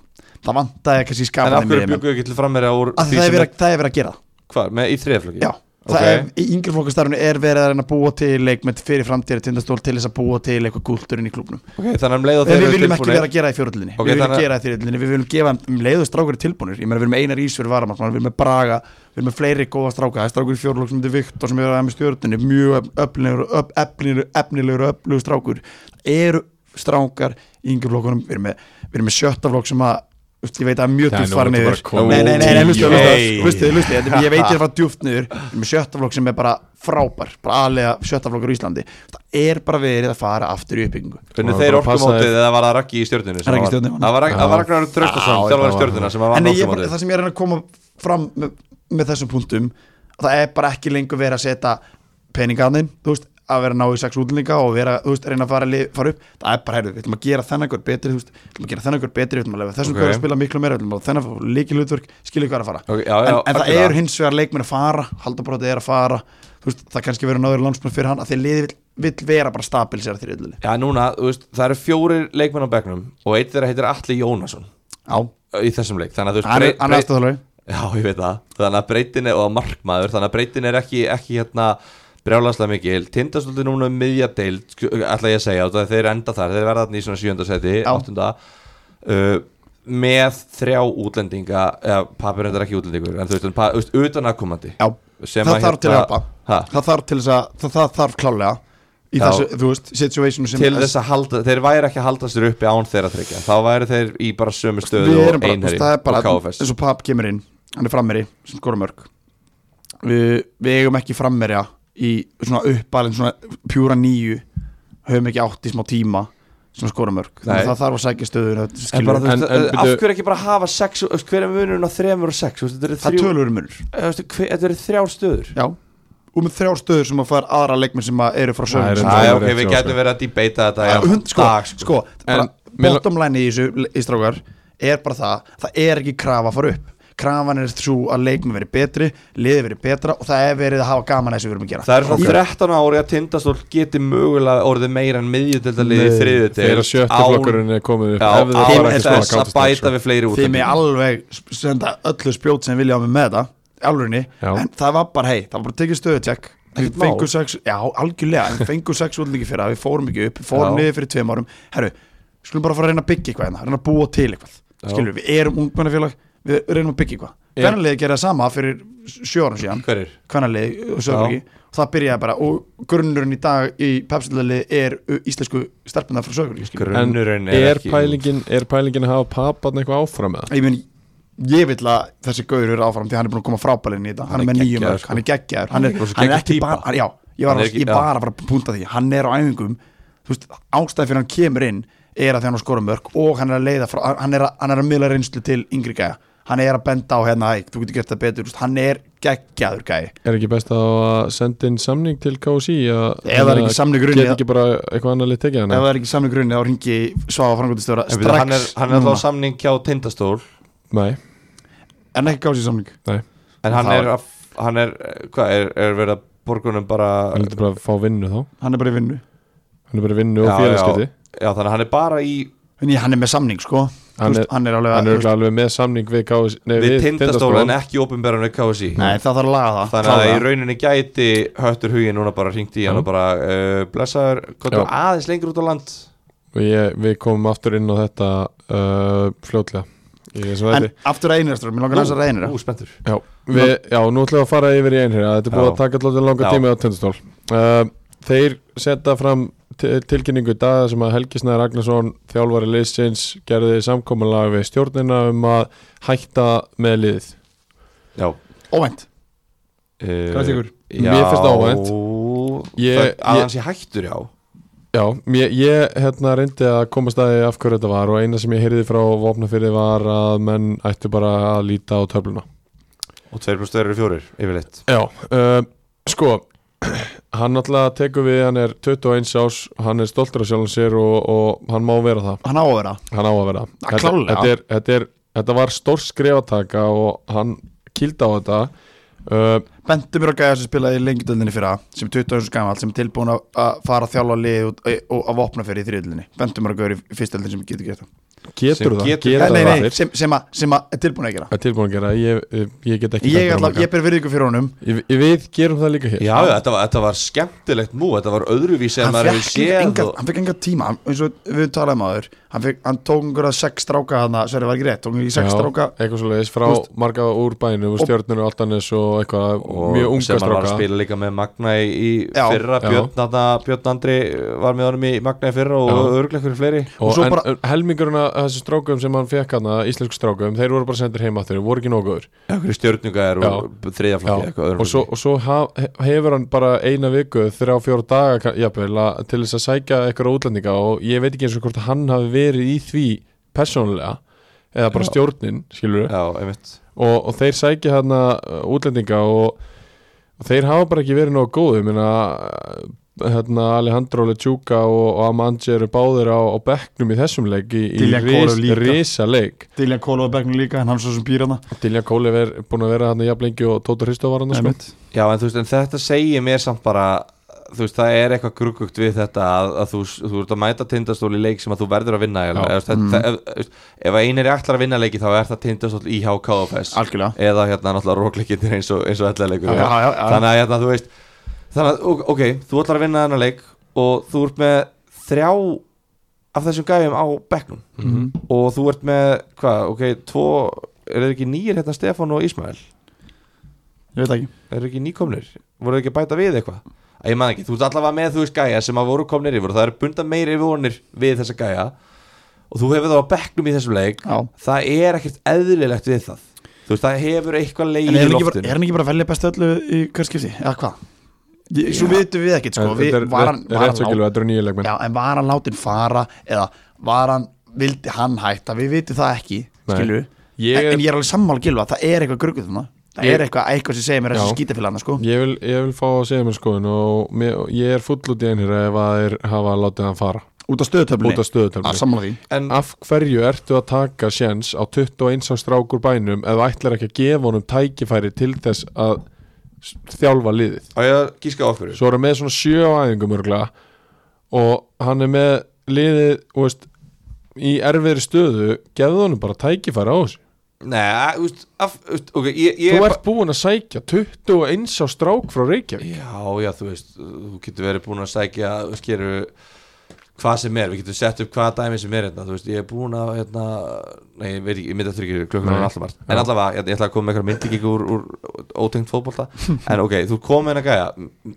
það vantaði
En
kannski
af
skapaði
hverju
mér
byggu ekki til framherja úr
að
því
það er
sem
verið
er,
að- það er verið að gera það.
hvað, með í þriðaflöki?
já,
Ok.
það er, í yngri flokkastarfinu er verið að reyna að búa til leikmynd fyrir framtíðar tindastól til þess að búa til eitthvað gúldurinn í klubnum
Ok, þannig að um leið og
en
þeir
við
eru
viljum ekki
tilbúinir-
vera að gera það í fjörullinni
Ok,
við viljum
þannig að-
gera það í fjörullinni, við viljum gefa um leiðu strákur tilbúinir, ég meina við erum einar ís fyrir varamann við erum með Braga, við erum með fleiri góða stráka það er strákur í fjörulok sem þetta er Viktor sem er að með stjörnunni mjög öfnilegur öf, efnilegur, efnilegur og öflugur strákur Það eru strákar í yngjaflokkunum við erum með, við erum með sjötta flokk sem að þú veist, ég veit að það er mjög
Já,
djúft
nú ertu
fara
bara
niður
komin
nei, nei, nei, nei,
í-
hlustu,
Hey.
hlustu, hlustu, hlustu ég veit ég er að fara djúft niður við erum með sjötta flokk sem er bara frábær bara aðlega sjötta flokkur í Íslandi það er bara verið að fara aftur í uppbyggingu
Hvernig
Það
þeir
bara passaði-
orkumótið eða var það Raggi í stjórninu?
Raggi í stjörnunni var
Það var Raggi-
Já.
það var Ragnar
Já,
Tröstason,
já,
þjálfari
já.
stjórnina sem var
en ég, bara,
orkumótið
það sem ég er að reyna að koma fram með, með þessum punktum það er bara ekki lengur verið að setja peningarnir, þú veist, að vera að ná í sex útlendinga og vera, þú veist, að reyna að fara, lið, fara upp það er bara, heyrðu, við ætlum að gera þennan hver betri þú veist, við ætlum að gera þennan hver betri, við ætlum að lefa þessum
Ok.
okay. hver að spila miklu meira, við ætlum að þennan fá líki hlutverk, skilja hvað er að fara
Ok, já, já,
en, en það
algjörlega.
eru hins vegar leikmenn að fara haldabrótið er að fara, þú veist, það kannski verður náður landsmenn fyrir hann, að þeir liði vill, vill vera bara stabil sér að þeir yllili
Já, núna, þú veist, það eru fjórir leikmenn á bekknum og eitt þeirra heitir Atli Jónasson
Já,
ö, í þessum leik, þannig að þú veist
hann er
brei- brei-
aðstofþjálfari.
Já, ég veit það, þannig að breytin er og markmaður, þannig að breytin er ekki, ekki hérna brjálagslega mikil, tindastóldi núna um miðja deild, sku- ætla ég að segja og það þeir enda þar, þeir verða þarna í svona sjöndasæti
Já.
áttunda uh, með þrjá útlendinga eða pappir þetta er ekki útlendingur en þú veist, en pa- þú veist, utan aðkomandi
Já.
sem að
það
hérna-
þarf til að hjálpa
Ha?
það þarf til þess að það, það þarf klálega í
Já.
þessu, þú veist, situationu sem
til þess að halda, þeir væri ekki að halda sér uppi án þeirra þryggja, þá væri þeir í bara sömu stöðu
við
og
erum bara, þú
einherji
veist, það er bara
og KFS
eins og Papp kemur inn, hann er frammeri sem skora mörg við, við eigum ekki frammerja í svona uppalinn, svona pjúra nýju höfum ekki átt í smá tíma sem skora mörg,
Nei.
þannig að það þarf að sækja stöðun
En bara,
skilur,
þú veist,
En- en
af
byrju-
hverju ekki bara hafa sex þú veist, Hver er munurinn á þremur og sex þú veist, Þetta eru
það
þrjú-
tölur munur
þú veist, hver- þetta eru þrjár stöður
já, og með þrjár stöður sem að fara aðra leikmenn sem að eru frá
Það eru
sögum
tölur
Æ, ok,
rétt
við
hjá,
gætum verið að debata þetta í
Já, hund, sko,
dag,
sko
En
bara,
mér la-
bottom line í þessu í strákar er bara það, það er ekki krafa að fara upp krafan er svo að leikmenn verið betri liðið verið betra og það er verið að hafa gaman að þessu við erum að gera
Það er frá 13 ári að tindastól geti mögulega orðið meira en miðjutöldalið í
Nei,
þriðju
þegar sjötta flokkurinn er komið upp
Já,
ef þeir fara ekki
án þess
svona sko.
að bæta við fleiri
þið
útlendinga
með alveg s- senda öllu spjót sem vilja á mig með þetta álurinn,
Já.
en það var bara hei það var bara tekið stöðutjekk
Ekkert mál.
fengur sex, já algjörlega, en fengur sex útlendingi fyrir að við fórum ekki upp, fórum
Já.
niður fyrir tveim árum herru, skulum bara fara að reyna að byggja eitthvað hérna, reyna að búa til eitthvað,
Já.
skilur við erum ungmennafélag, við reynum að byggja eitthvað
Er-
hvernarlega gerði það sama fyrir sjö árum síðan
Hverjir?
hvernarlega og sögur og það byrjaði bara, og grunnurinn í dag í pepsilöli er uh, íslensku stelpunar frá sögur, skilur
Grunnurinn er,
er
ekki
pælingin, er pælingin að hafa pappan eitthvað áfram með
ég minn ég vil að þessi gaur eru áfram því hann er búin að koma frábælinn í þetta hann,
Hann er
er með nýjum
geggjaður,
mörg,
sko.
hann er geggjaður hann er,
Rosa
hann er
geggjuð
ekki
típa.
bara hann, já, ég var
Hann er
að,
ekki-
ég bara var að punta því hann er á æfingum þú veist, ástæði fyrir hann kemur inn er að því hann er að skora mörg og hann er að leiða frá, hann er að, hann er að miðla reynslu til yngri gæja hann er að benda á hérna, hæ, þú getur gert það betur þú veist, hann er geggjaður gæja
er ekki best að senda inn samning til KSI að-
Ef það er ekki samningur
að-
inni,
get ekki bara eitthvað annar litt tekið
ef
hann
það er ekki samlega grunni þá ringi Svafa frangöndistöra
En byrju,
strax Mm.
Hann er, hann er
núna.
alltaf á samning hjá tindastól
nei,
en ekki gási samling
nei,
En hann
Það
er, að- hann er, hvað, er, er verið að borgunum bara
hann lítið bara að fá vinnu þá
hann er bara í vinnu
hann er bara í vinnu
Já,
og félagskipti
já, já, þannig að hann er bara í
en ég, hann er með samning sko Þú
Hann
veist,
er-
hann er alveg
hann
að-
er örugglega alveg með samning við KSI nei,
við tindastól en
Tindastól.
ekki opinberan við KSI
Nei, það þarf að laga það
Þannig að
klára
í rauninni gæti höttur hugin núna bara hringt í hann
Já.
og bara uh, blessaður, hvað
Já.
er aðeins lengur út á land
og ég, við komum aftur inn á þetta uh, fljótlega í þessum
það. En
þetta
aftur að einhverjastur, mér langar aðeins að reynir
Ú, spenntur
Já, við, já, nú ætlum við að fara yfir í einherja Þetta er búið
Já.
að taka alltaf langa
Já.
tíma á tundustól uh, Þeir setja fram til- tilkynningu í dag sem að Helgi Snæður Agnarsson þjálfari liðsins gerði samkominlega við stjórnina um að hætta með liðið
Já
Óvænt, hvað tekur?
Mér finnst það óvænt. Ég-
Eh, Ég
ég-
Aðeins ég hættur, já
Já, mér, ég hérna reyndi að koma staði af hverju þetta var og eina sem ég heyrði frá vopnafyrði var að menn ættu bara að líta á töfluna
Og 2 pluss 2 eru 4 yfirleitt
Já, uh, sko hann náttúrulega tekur við, hann er 21 ás, hann er stoltur af sjálfum sér og, og hann má vera það
Hann á að vera
hann á að vera
Ja,
þetta,
klárlega.
þetta, er, þetta, er, þetta var stór skrifataka og hann kýldi á þetta uh,
Bentu mér að gæja sem spilaði í lengjadöldinni fyrra sem er 20 árs gamall sem er tilbúin að- að fara að þjálfa lið og, og að vopna fyrir í þriðöldinni Bentu mér að gæja í fyrstöldinni sem getur gert það
Sem
getur það,
getur-
getur
Nei,
það
Nei, nei,
allir?
sem, sem, að, sem að er tilbúin að gera
Það er tilbúin að gera, ég, ég get ekki
Ég,
dæmt
ætla,
hann
ég ber virðingu fyrir honum
Ég, ég, við gerum það líka hér
Já, þetta var, þetta var skemmtilegt mú, þetta var öðruvísi en
hann
maður hefur
fekk, enga,
séð
enga,
og,
hann fekk enga tíma hann, eins og við talaðum aður hann, fekk, hann tók einhverja sex stráka hann Sverri var ekki rétt, tók einhverja sex stráka
eitthvað svo leiðis frá
Þú veist-
marga úr bænum og stjórnur og altanis og eitthvað
og
mjög unga
sem hann var
stráka
að spila líka með Magna í, í
Já.
fyrra,
Já.
Björn, þarna, Björn Andri var með honum í Magna í fyrra og
Já.
örglega hverju fleiri
og,
og svo
en,
bara-
en helmingurinn af þessu strákum sem hann fekk hana, íslensku strákum, þeir voru bara sendir heima þeir voru ekki nóguður
Já, hverju stjörninga er og þriðaflokki eitthvað öðrum
og svo, og svo ha, hefur hann bara eina viku þrjá fjóra daga ka- jafnvel, að, til þess að sækja eitthvað útlendinga og ég veit ekki eins og hvort hann hafi verið í því persónulega eða bara
Já.
stjórnin, skilur
Já, einmitt
og, og þeir sækja hérna útlendinga og, og þeir hafa bara ekki verið nógu góðu Ég meina, eh, hérna, Alejandro Lechuka og, og Amanji eru báðir á, á bekknum í þessum leik í, í
Dillian Kólef líka.
risa leik
Diljan Kóla og Bergnu líka, hann svo sem býr hann
Diljan Kólev er búin að vera hérna jafn lengi og Tóta Hristó var hann sko.
Já, en þú veist, en þetta segir mér samt bara þú veist, það er eitthvað gruggugt við þetta að, að þú, þú ert að mæta tindastól í leik sem að þú verður að vinna eiginlega.
Já.
Eða, þú veist, þetta- ef, ef, ef, ef að einir er allar að vinna leiki þá er það tindastól í HKFS
algjörlega
eða hérna náttúrulega rókleikindir eins og, eins og ellalegur
Já, já, já.
þannig að hérna, þú veist þannig að, ok, ok, þú ætlar að vinna þennan leik og þú ert með þrjá af þessum gæfum á bekknum
Mhm.
og þú ert með, hvað, ok, tvo eru þeir ekki nýjir hérna Stefán og Ísmael
ég veit ekki
eru ekki nýkomnir, voru þeir ekki að bæta við eitthvað Æ, ég man ekki, þú ert allavega með þú veist gæja sem að voru komnir yfir og það eru bunda meiri vonir við þessa gæja og þú hefur þá á bekknum í þessum leik
Já.
það er ekkert eðlilegt við það þú veist, það hefur eitthvað
En
leið í
er hann, ekki bara,
loftinu
er hann ekki bara að velja bestu öllu í hver skipti, eða hvað? Ég- Svo vitum við ekkert sko,
En
við,
þetta er
var hann,
rétt-
var
rétt svo
hann,
gilveg, þetta eru nýja
lát,
leikmenn
já, en var hann látin fara eða var hann, vildi hann hætta við vitum það ekki,
Nei.
skilju
Ég
en,
er-
en ég er alveg sammála gilva, það er eitthvað grugguð þannig, það
Ég-
er eitthvað, eitthvað sem segir mér
Já.
þessi skítafélagna sko
ég vil, ég vil fá að segja mér skoðun og mér, og ég er full út í einhver ef að þeir hafa látið hann fara
út af stöðutöflunni,
út af stöðutöfni
Ah, sammála því
en
af hverju ertu að taka sjens á 21 árs strákur bænum eða ætlar ekki að gefa honum tækifæri til þess að s- þjálfa liðið
á ég að gíska á hverju
svo er hann með svona sjö á æfingum örgla og hann er með liðið þú veist, í erfiðri stöðu gefðu honum bara tækifæri á þessu
Nei, að- þú veist, af, þú veist, ok, ég, ég
þú
er
ert búin að sækja 21 árs strák frá Reykjavík
Já, já, þú veist, þú getur verið búin að sækja, skeru, hvað sem er, við getum sett upp hvaða dæmi sem er hérna, þú veist, ég er búin að, hérna, nei, ég veit ekki, ég myndi að tryggja klukkan
Nei.
er alltaf margt, en allavega, ég, ég ætla að koma með eitthvað myndlíkingu úr, úr ótengt fótbolta, en ok, þú komið hérna gæja,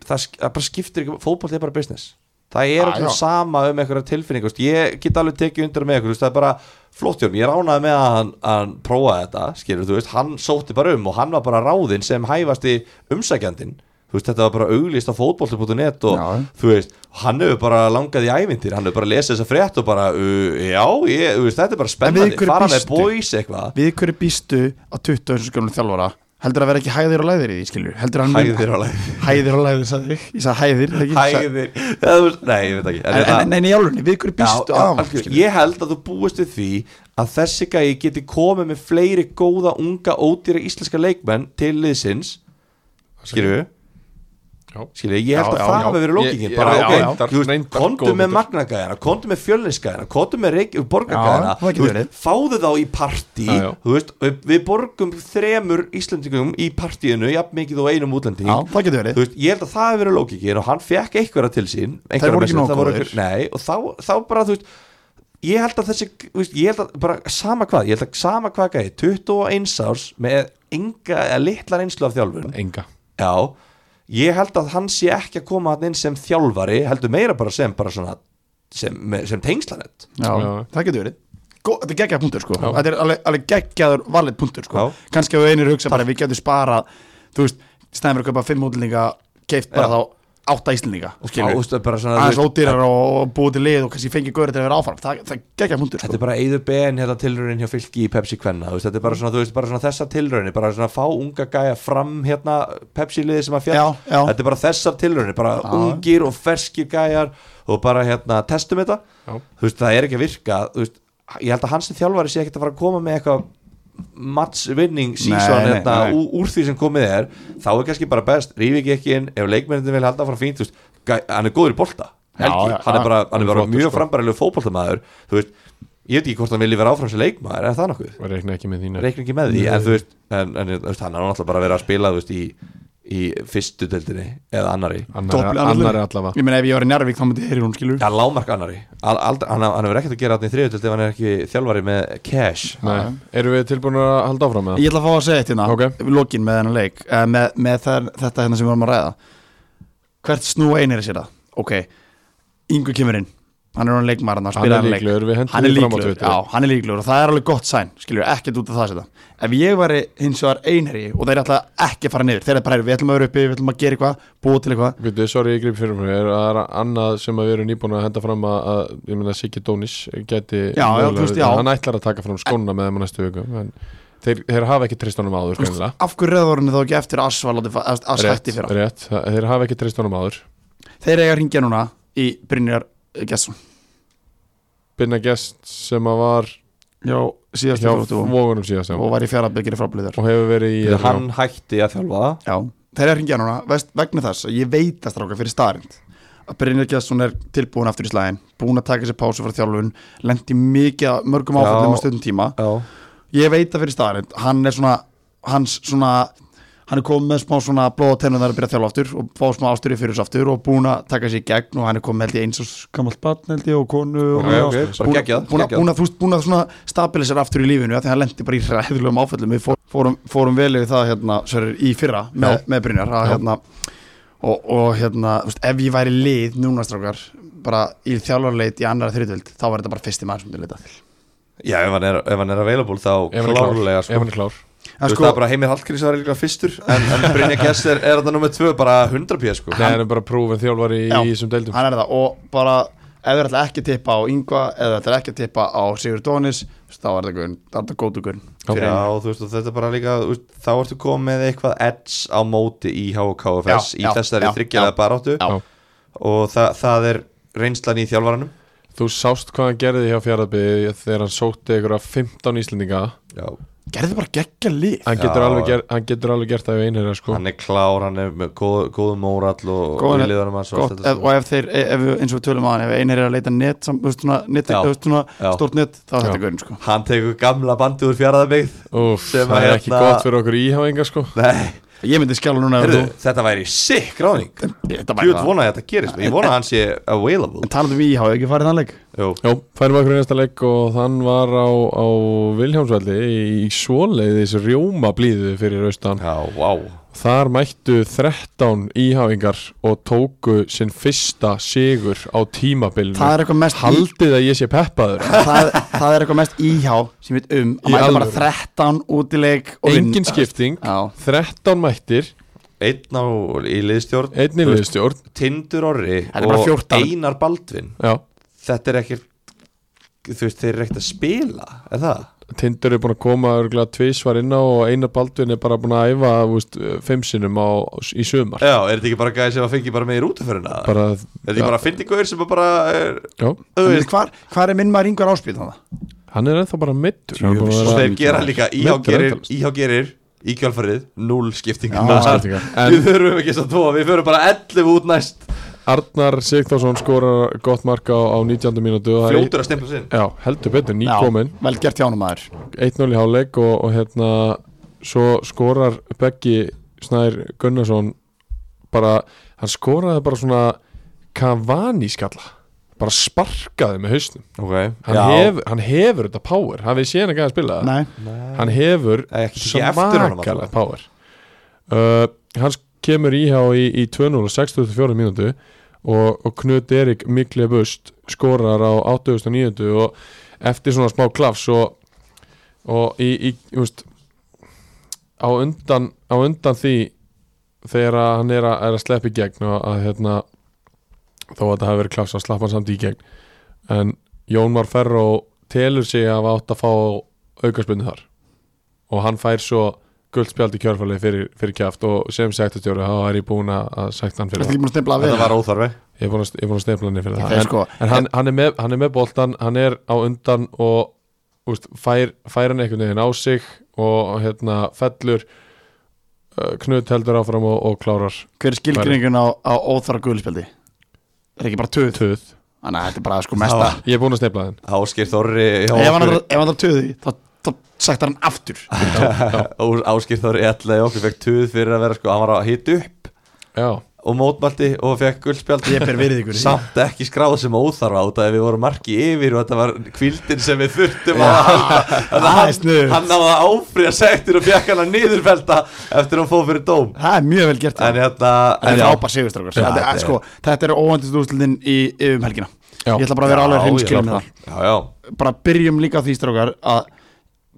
það, sk- það bara skiptir ekki, fótbolta er bara business, það er
Ah,
alltaf
já.
sama um eitthvað tilfinning, þú veist, ég get alveg tekið undir með eitthvað, þú veist, það er bara flott hjá honum, ég ránaði með að hann, að hann prófaði þetta, skilur, þú veist, hann sótti bara um og hann var bara ráðinn sem hæfasti umsækjandinn, þú veist, þetta var bara auglýst á fótbolti.net og
Já.
þú veist, hann hefur bara langað í ævindir, hann hefur bara lesið þessa frétt og bara, uh, já, ég, þú veist, þetta er bara
En við
spennandi,
hverju
fara með
býstu?
boys eitthvað,
við hverju býstu á 20. skjónum þjálfara heldur að vera ekki hæðir og læðir í því skilju heldur að hann muni-
hæðir alveg,
hæðir og læðir, sagði ég, ég sagði hæðir það ekki, Sagði-
hæðir, eða þú veist, nei, ég veit ekki, hérna-
en, en, en í álunni, við hverju býstu
já,
á
algjörlega. ég held að þú búist við því að þessi gæi geti komið með fleiri góða, unga, ódýra íslenska leikmenn til liðsins skilju
Já.
skilju, ég held
Já,
að
já,
það
já.
hafi verið
Ég-
lókingin
já,
bara,
já,
ok,
já.
þú veist,
Reyndar
komdu
góð
með
punktur.
magnagæðina, komdu með fjölninsgæðina komdu með reik-
Já,
borgargæðina
það getur
þú veist,
verið.
fáðu þá í partí
Já, já.
þú veist, við, við borgum þremur íslendingum í partíinu, jafn mikið og einum útlending
Já, það getur verið
þú veist, ég held að það hefur verið lókikinn og hann fekk einhverja til sín einhverja
voru ekki
með sér,
nógu
það
góðir.
einhver- nei, og þá, þá bara, þú veist ég held að þessi, þú veist, ég held að bara sama hvað, ég held að sama hvað gæði 21 árs með enga eða litlar einslu af þjálfun
enga
já, ég held að hann sé ekki að koma hann inn sem þjálfari heldur meira bara sem bara svona sem, með- sem tengslanett
Já,
Já.
það getur verið Gó, Þetta er geggjaður punktur sko
Já.
Þetta er alveg, alveg geggjaður valið punktur sko
Já.
Kannski að við einir hugsa bara við getum sparað Þú veist, stæðum við að kaupa fimm útlendinga Keift bara
Já.
þá átta Íslandinga
og
skilur við.
ástu bara svona
aðeins
þú veist,
ódýrar og búið til lið og kannski fengið gaurið til að vera áfram það, það gegja
Þetta
hundur sko. Mm.
er bara Eyður Ben hérna tilraunin hjá fylki í Pepsi Kvenna þú veist, Þetta er bara svona, þú veist, bara svona þessar tilraunin Bara svona fá unga gæja fram hérna Pepsi liði sem að fjall
já, já,
Þetta er bara þessar tilraunin, bara
Já.
ungir og ferskir gæjar Og bara hérna testum þetta
Já.
Þú veist, það er ekki að virka Þú veist, ég held að hans sem þjálfari sé ekkert að fara að koma með eitthvað matchvinning sísón
Nei, nei,
hérna,
nei.
ú- úr því sem komið er þá er kannski bara best, rífi ekki ekki inn ef leikmennin vil halda frá fínt, þú veist gæ- hann er góður í bolta, Helgi,
Já, já,
hann er bara, hann er bara
flottur,
mjög
sko.
frambærilegu fótboltamaður þú veist, ég veit ekki hvort hann vilji vera áfram sem leikmaður, er það nokkuð?
og reikna ekki með þínu
reikna ekki með því
Nei.
en þú veist, en, en, þú veist, hann er náttúrulega bara að vera að spila þú veist, í, í fyrstu deildinni eða annari,
annar
Dobl-
annari allavega
ég meina ef ég var í Njárvík þá myndi Herjón skilur
ja, lámark annari Al, aldrei, hann, hann hefur ekkert að gera þarna í þriðu deildi ef hann er ekki þjálfari með cash
Nei. eru við tilbúin að halda áfram með
ég ætla að fá að segja eitt hérna
Ok.
við lokin með þennan leik eh, með, með þar, þetta hérna sem við varum að ræða hvert snú einir sér það ok, Ingu kemur inn hann er hann leikmaður hann
það hann
spilaði
er
hann leik
líklegur, við
hann er
hendum því fram á
líklegur,
Twitter
já, hann er líklegur og það er alveg gott sæn, skilur, ekkert út af það sér ef ég væri hins vegar einherji og þeir ætla ekki að fara niður, þeir er bara, "Heyrðu, við ætlum að vera uppi við ætlum að gera eitthvað, búa til eitthvað
Býtu, sorry, ég grip fyrir mér Er- Það er annað sem að við erum nýbúin að henda fram að, að ég meina Siggi Dónis gæti
Já, já,
mögulega-
þú veist, já.
hann ætlar að taka fram skóna með þeim á næstu viku en þeir, þeir hafa ekki treyst honum áður skanlega
af hverju reyðvar hann þá ekki eftir að Asval aðsætti fyrir hann,
rétt, það- þeir hafa ekki treyst honum áður
þeir eiga að ringja núna í Brynjar eh, Gesson
Binna Gest sem að var
já, síðast
hjá
hjá og
vógunum síðast já. og
var í fjarabyggir fráblíðar
hefur verið í
Þegar hann hætti að þjálfa
já, þeir eiga að ringja núna veist, vegna þess að ég veit að stráka fyrir starind að Brynjar Gesson er tilbúin aftur í slæðin búin að taka sér pásu frá þjálfun lendi mikið af mörgum
Já.
áfællum á stundum tíma
Já,
ég veit það fyrir staðarind hann er svona, hans svona hann er komið með smá svona blóð á tennum þar að byrja að þjálfa aftur og fá smá ástur í fyrir þessu aftur og búin að taka sér í gegn og hann er komið held ég eins og gammalt barn held ég og konu og
ok, ok, bara
búin,
geggjað,
búin,
geggjað.
búin, að, þú veist, búin að svona stabilisa aftur í lífinu af því að hann lendi bara í ræðulegum áföllum við fór, fórum, fórum vel yfir það hérna, sver, í fyrra með, með Brynjar að,
Já.
hérna, og, og hérna, þú veist, ef ég væri lið núna strákar bara í þjálfarleit í annara þriðvöld þá var þetta bara fyrsti maður sem þú leitað til
Já, ef hann er, ef hann er available þá
ef hann er klár,
klárlega
ef
sko.
hann er klár.
Þú veist, það er bara Heimir Hallgrís var líka fyrstur en, en Brynja Gess er, er þetta nummið tvö bara 100 pjö sko
Nei, hann er bara prófin þjálfari í
Já.
þessum deildum
hann er það og bara ef þeir ætla ekki að tippa á Ingva eða þeir ætla ekki að tippa á Sigur Dónis þá er það gaun, þá er það gótu gaun fyrir
Já,
einu.
og þú veist, og þetta er bara líka þú veist, þá ertu komið með eitthvað edge á móti í HKFS
Já,
í
já,
þessari
já,
þryggjaða
já.
baráttu
Já.
og það, það er reynslan í þjálfaranum
Þú sást hvað hann gerði hjá fjaraðbyrði þegar hann sótti ykkur 15 Íslendinga
já.
gerði bara geggja lið
hann getur,
Já,
alveg,
já.
ger, hann getur alveg gert það við einherja sko.
hann er klár, hann er með góð, góðum mórall og
Góðan-
viðliðanum hans og allt
Gott,
þetta
ef, og ef þeir, ef, við- eins og við tölum aðan ef einir er að leita net, sam, þú veist, svona, net
Já.
þú veist, svona,
Já.
stort net, þá er
Já.
þetta gaun sko.
hann tekur gamla bandi úr fjaraðabegð
Úf,
Sem
það
að
er ekki
hérna-
gott fyrir okkur íháinga sko
nei,
ég myndi skjála núna ef
heyrðu, þetta væri sick ráning,
þú- þetta væri
hlut
það.
vona að þetta gerist sko. ég vona að hann sé available
en talandum við íhá, ekki farið þann leik
Jú.
Jó, færum okkur í næsta leik og þann var á, á Vilhjámsvelli í, í svoleiðis rjóma blíðu fyrir austan
já, wow
Þar mættu 13 íháingar og tóku sinn fyrsta sigur á tímabilinu
það er eitthvað mest í-
Haldið að ég sé peppaður
það, það er eitthvað mest íhá sem við um
Í
að mæta bara
alvöru.
13 útileik og vinna.
Engin skipting,
Já.
13 mættir,
einn á, í liðstjórn
einni
Þú veist,
liðstjórn
Tindur Orri
Það er bara 14.
Einar Baldvin
Já,
þetta er ekkert þú veist, þeir eru ekkert að spila er það?
Tindur er búin að koma örgulega tvísvar inn á og Einar Baldvin er bara búin að æfa þú veist, fimm sinnum á, í sumar
Já, er þetta ekki bara gæði sem að fengi bara með í rútuförina? Er
bara,
Eh, þetta ekki bara að fyndi gauður sem að bara er,
já,
þú
En
veist,
hvar, hvar er minn maður yngvar áspil þannig?
hann er ennþá bara mittur hann er búin
og
að
þeir
vera
gera líka
Mjög
íhágerir
endalaust.
íhágerir í kjálfarið, núl skiptingar
Núll skiptingar. En-
við þurfum ekki þess að tóa, við förum bara 11 út næst
Arnar Sigþórsson skorar gott marka á, á 19. mínútu og það er-
fljótur að stempla sinn
Já, heldur betur, nýkomin
vel gert hjá hann maður
1-0 í háleik og, og hérna svo skorar Beggi Snær Gunnarsson bara, hann skoraði bara svona Cavani skalla bara sparkaði með hausnum
okay.
hann, hef, hann hefur þetta power, hann við séna ekki að spila það
Nei,
hann hefur
Ekki- ekki eftir honum
svakalegt power uh, hann kemur íhá í, í 2-0 og 64 mínútu og, og Knut Erik mikli bust skorar á 89 og eftir svona smá klafs og, og í, í, þú veist, á undan á undan því þegar að hann er að, er að sleppa í gegn og að hérna þó að það hafi verið klafs að slappa hann samt í gegn en Jón Már Ferro telur sig að átt að fá aukarspunni þar og hann fær svo guldspjald í kjörfæli fyrir, fyrir kjaft og sem sektastjóri þá er ég búin að að sekta hann
Ertu
fyrir það
ekki búin að stempla að
Þetta var
vera
óþarfi
ég er búin að, ég er búin að stefla hann fyrir það
Það er
en,
sko
en hann, hann, er með, hann er með boltan, hann er á undan og úst, fær, fær hann einhvern veginn á sig og hérna fellur uh, knut heldur áfram og, og klárar
Hver er skilgrinningun á, á óþara guðlspjaldi? Er ekki bara töð?
töð
Þannig að þetta er bara sko mesta
ég er búin að stefla þinn
Áskir Þorri hjá
Ef hann
okkur-
er- ef hann þarf töði, þá, þá sættar hann aftur
Ó- Ásgeir Þóri ætlaði okkur fekk tuð fyrir að vera sko, hann var að hita upp
já,
og mótmælti og fekk guldspjald
Ég ber virðingu fyrir því.
samt ekki skráð sem óþarfa út af því að við vorum marki yfir og þetta var kvildin sem við þurftum að halda Þannig að
það er
hann,
sniðugt.
hann náði að áfriða sektir og fekk hann að niðurfelda eftir að hann fóð fyrir dóm
Það er mjög vel gert
en hérna
Þetta
en
er
já,
frábær sigur strákar Þetta
þetta
er-
er-
sko, Þetta eru óvæntist úrslutin í um helgina
Já.
Ég ætla bara að vera
Já,
alveg
já,
hreinskilum með
já, já,
það Bara byrjum líka á því strákar að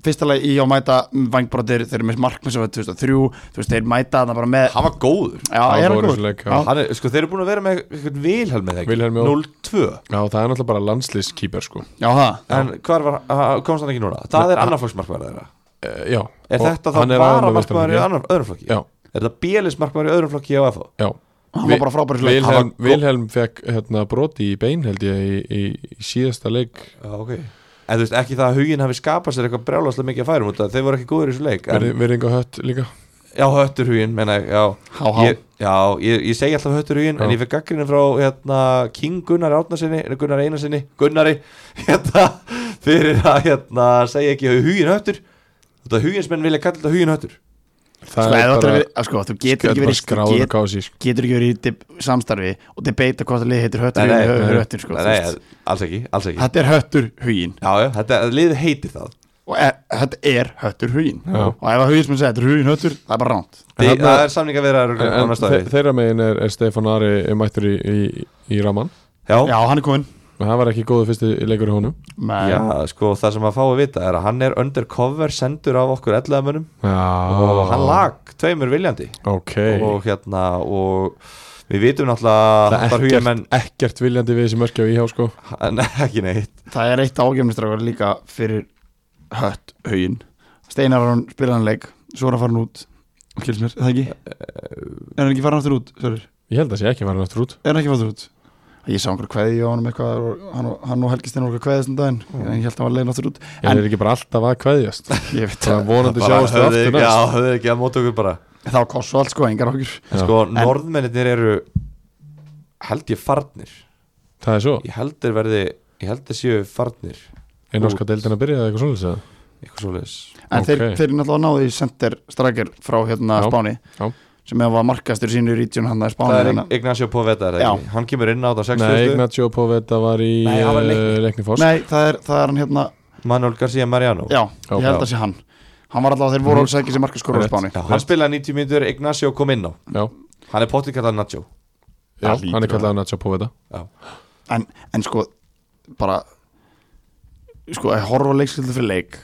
Fyrsta lagi í að mæta vangbrotir Þeir eru með markmenn sem var 2003 Þú veist, þeir mæta þarna bara með
hann var góður
Já,
var
ég er
góður
góður.
þessi leik, já.
Já.
hann er, sko þeir eru búin að vera með einhvern Vilhelm eða ekki
Vilhelm, já.
0-2
já, það er náttúrulega bara landslýskýper sko.
Já, það
en hvar var, ha- komst hann ekki núna það er annarflokksmarkvarð þeirra
uh, já
Er
Og
þetta þá
hann er
bara
aðalmaður
markmaður í
Vesturlandíu.
annar, öðrum flokki?
já,
Er þetta bílis markmaður í öðrum flokki á FH?
já
Hann var bara frábær í leik.
Vilhelm,
Hann var-
Vilhelm fekk hérna, broti í bein held ég í, í, í síðasta leik
Já, ok En þú veist, ekki það að huginn hafi skapað sér eitthvað brjálaslega mikið að færum út af Þeir voru ekki góður í þessu leik en,
Verði- verðing á hött líka
Já, höttur huginn, menna ég, já
Há, há.
Ég, já, ég, ég segi alltaf höttur huginn En
Já.
ég fekk gaggrinu frá hérna, King Gunnar Árnarsinni Gunnar Einarsinni, Gunnari hérna, Fyrir að hérna, segja ekki huginn höttur Þetta huginnsmenn vilja kalla þetta huginn höttur
það
Slæði áttur
bara,
við að Sko, þú getur
er
ekki
bara
verið þú
skráður
get-
kási sko.
Getur ekki verið í deb- samstarfi Og debata hvort að liði heitir höttur
Nei, nei,
huginn
nei,
eða höttur, sko,
Nei,
þú
nei,
veist.
alls ekki, alls ekki
Þetta er höttur hugin
Já, já, þetta liðið heiti það
Og e- þetta er höttur hugin
Já.
Og ef að hugin sem segja þetta er hugin höttur Það er bara ránt
En
Þi,
þarna-
Það er samning að vera
En, en þe þeirra megin er, er Stefán Ari er mættur í, í, í raman
Já,
Já, hann er komin
og það var ekki góðu fyrsti leikur í honum
Men,
Já, sko, það sem að fá að vita er að hann er undercover sendur af okkur ellegamönnum
Já,
og hann lag tveimur viljandi
Ok,
og hérna og við vitum náttúrulega
það
að
er
Hattar
ekkert,
Hugimenn
ekkert viljandi við þessi mörkja í hjá sko
Nei, ekki neitt
Það er eitt ágefnistrákar líka fyrir hött haugin Steinar var hann spila hann leik Svo er hann farin út Kils mér, er það ekki? Er hann ekki farin aftur út? Sörur?
Ég held að sé ekki var hann aftur út
Er hann ekki farin aftur út? Ég sá einhver kveði á honum eitthvað og hann, og- hann og Helgi Steinar voru kveðið svona daginn mm. Ég held að hann var leiðin aftur út
En er ekki bara alltaf að kveðjast
Ég veit
Það er
það
vonandi
Bara
sjáast við
höfðu-
aftur
Já,
næst
höfðu ekki að móta okkur bara
Það var koss og allt sko, engar okkur
Já.
Sko, norðmennir eru held ég farnir
Það er svo,
Ég held þeir verði, ég held þeir séu farnir
einn áska deildin að byrja eða eitthvað svoleiðis eða?
eitthvað svoleiðis
En þeir,
Ok.
þeir náttúrulega náðu í center strækir frá hérna
Já,
Spáni
já.
sem hefur var markastur sínu í region hann að Spáni hérna.
Það er
þannig að-
Ignacio Poveda, er það
Já.
ekki? Hann kemur inn á þetta
Nei,
60.
Ignacio Poveda var í
Nei, hann var í Leikni.
eh, Leikni Foss
Nei, það er, það er hann hérna
Manuel García Mariano
Já,
Já,
ég held að sé hann Hann var alltaf, þeir voru alls ekki sem markaskorur á
Mhm. Rétt.
Spáni
Já, hann spilaði 90 mínútur, Ignacio kom inn á
Já,
Hann er pottið kallað Nacho
já
Það
hann er
hlýtur að-
kallað Ignacio Poveda
en, en sko, bara Sko, að horfa á leikskildu fyrir leik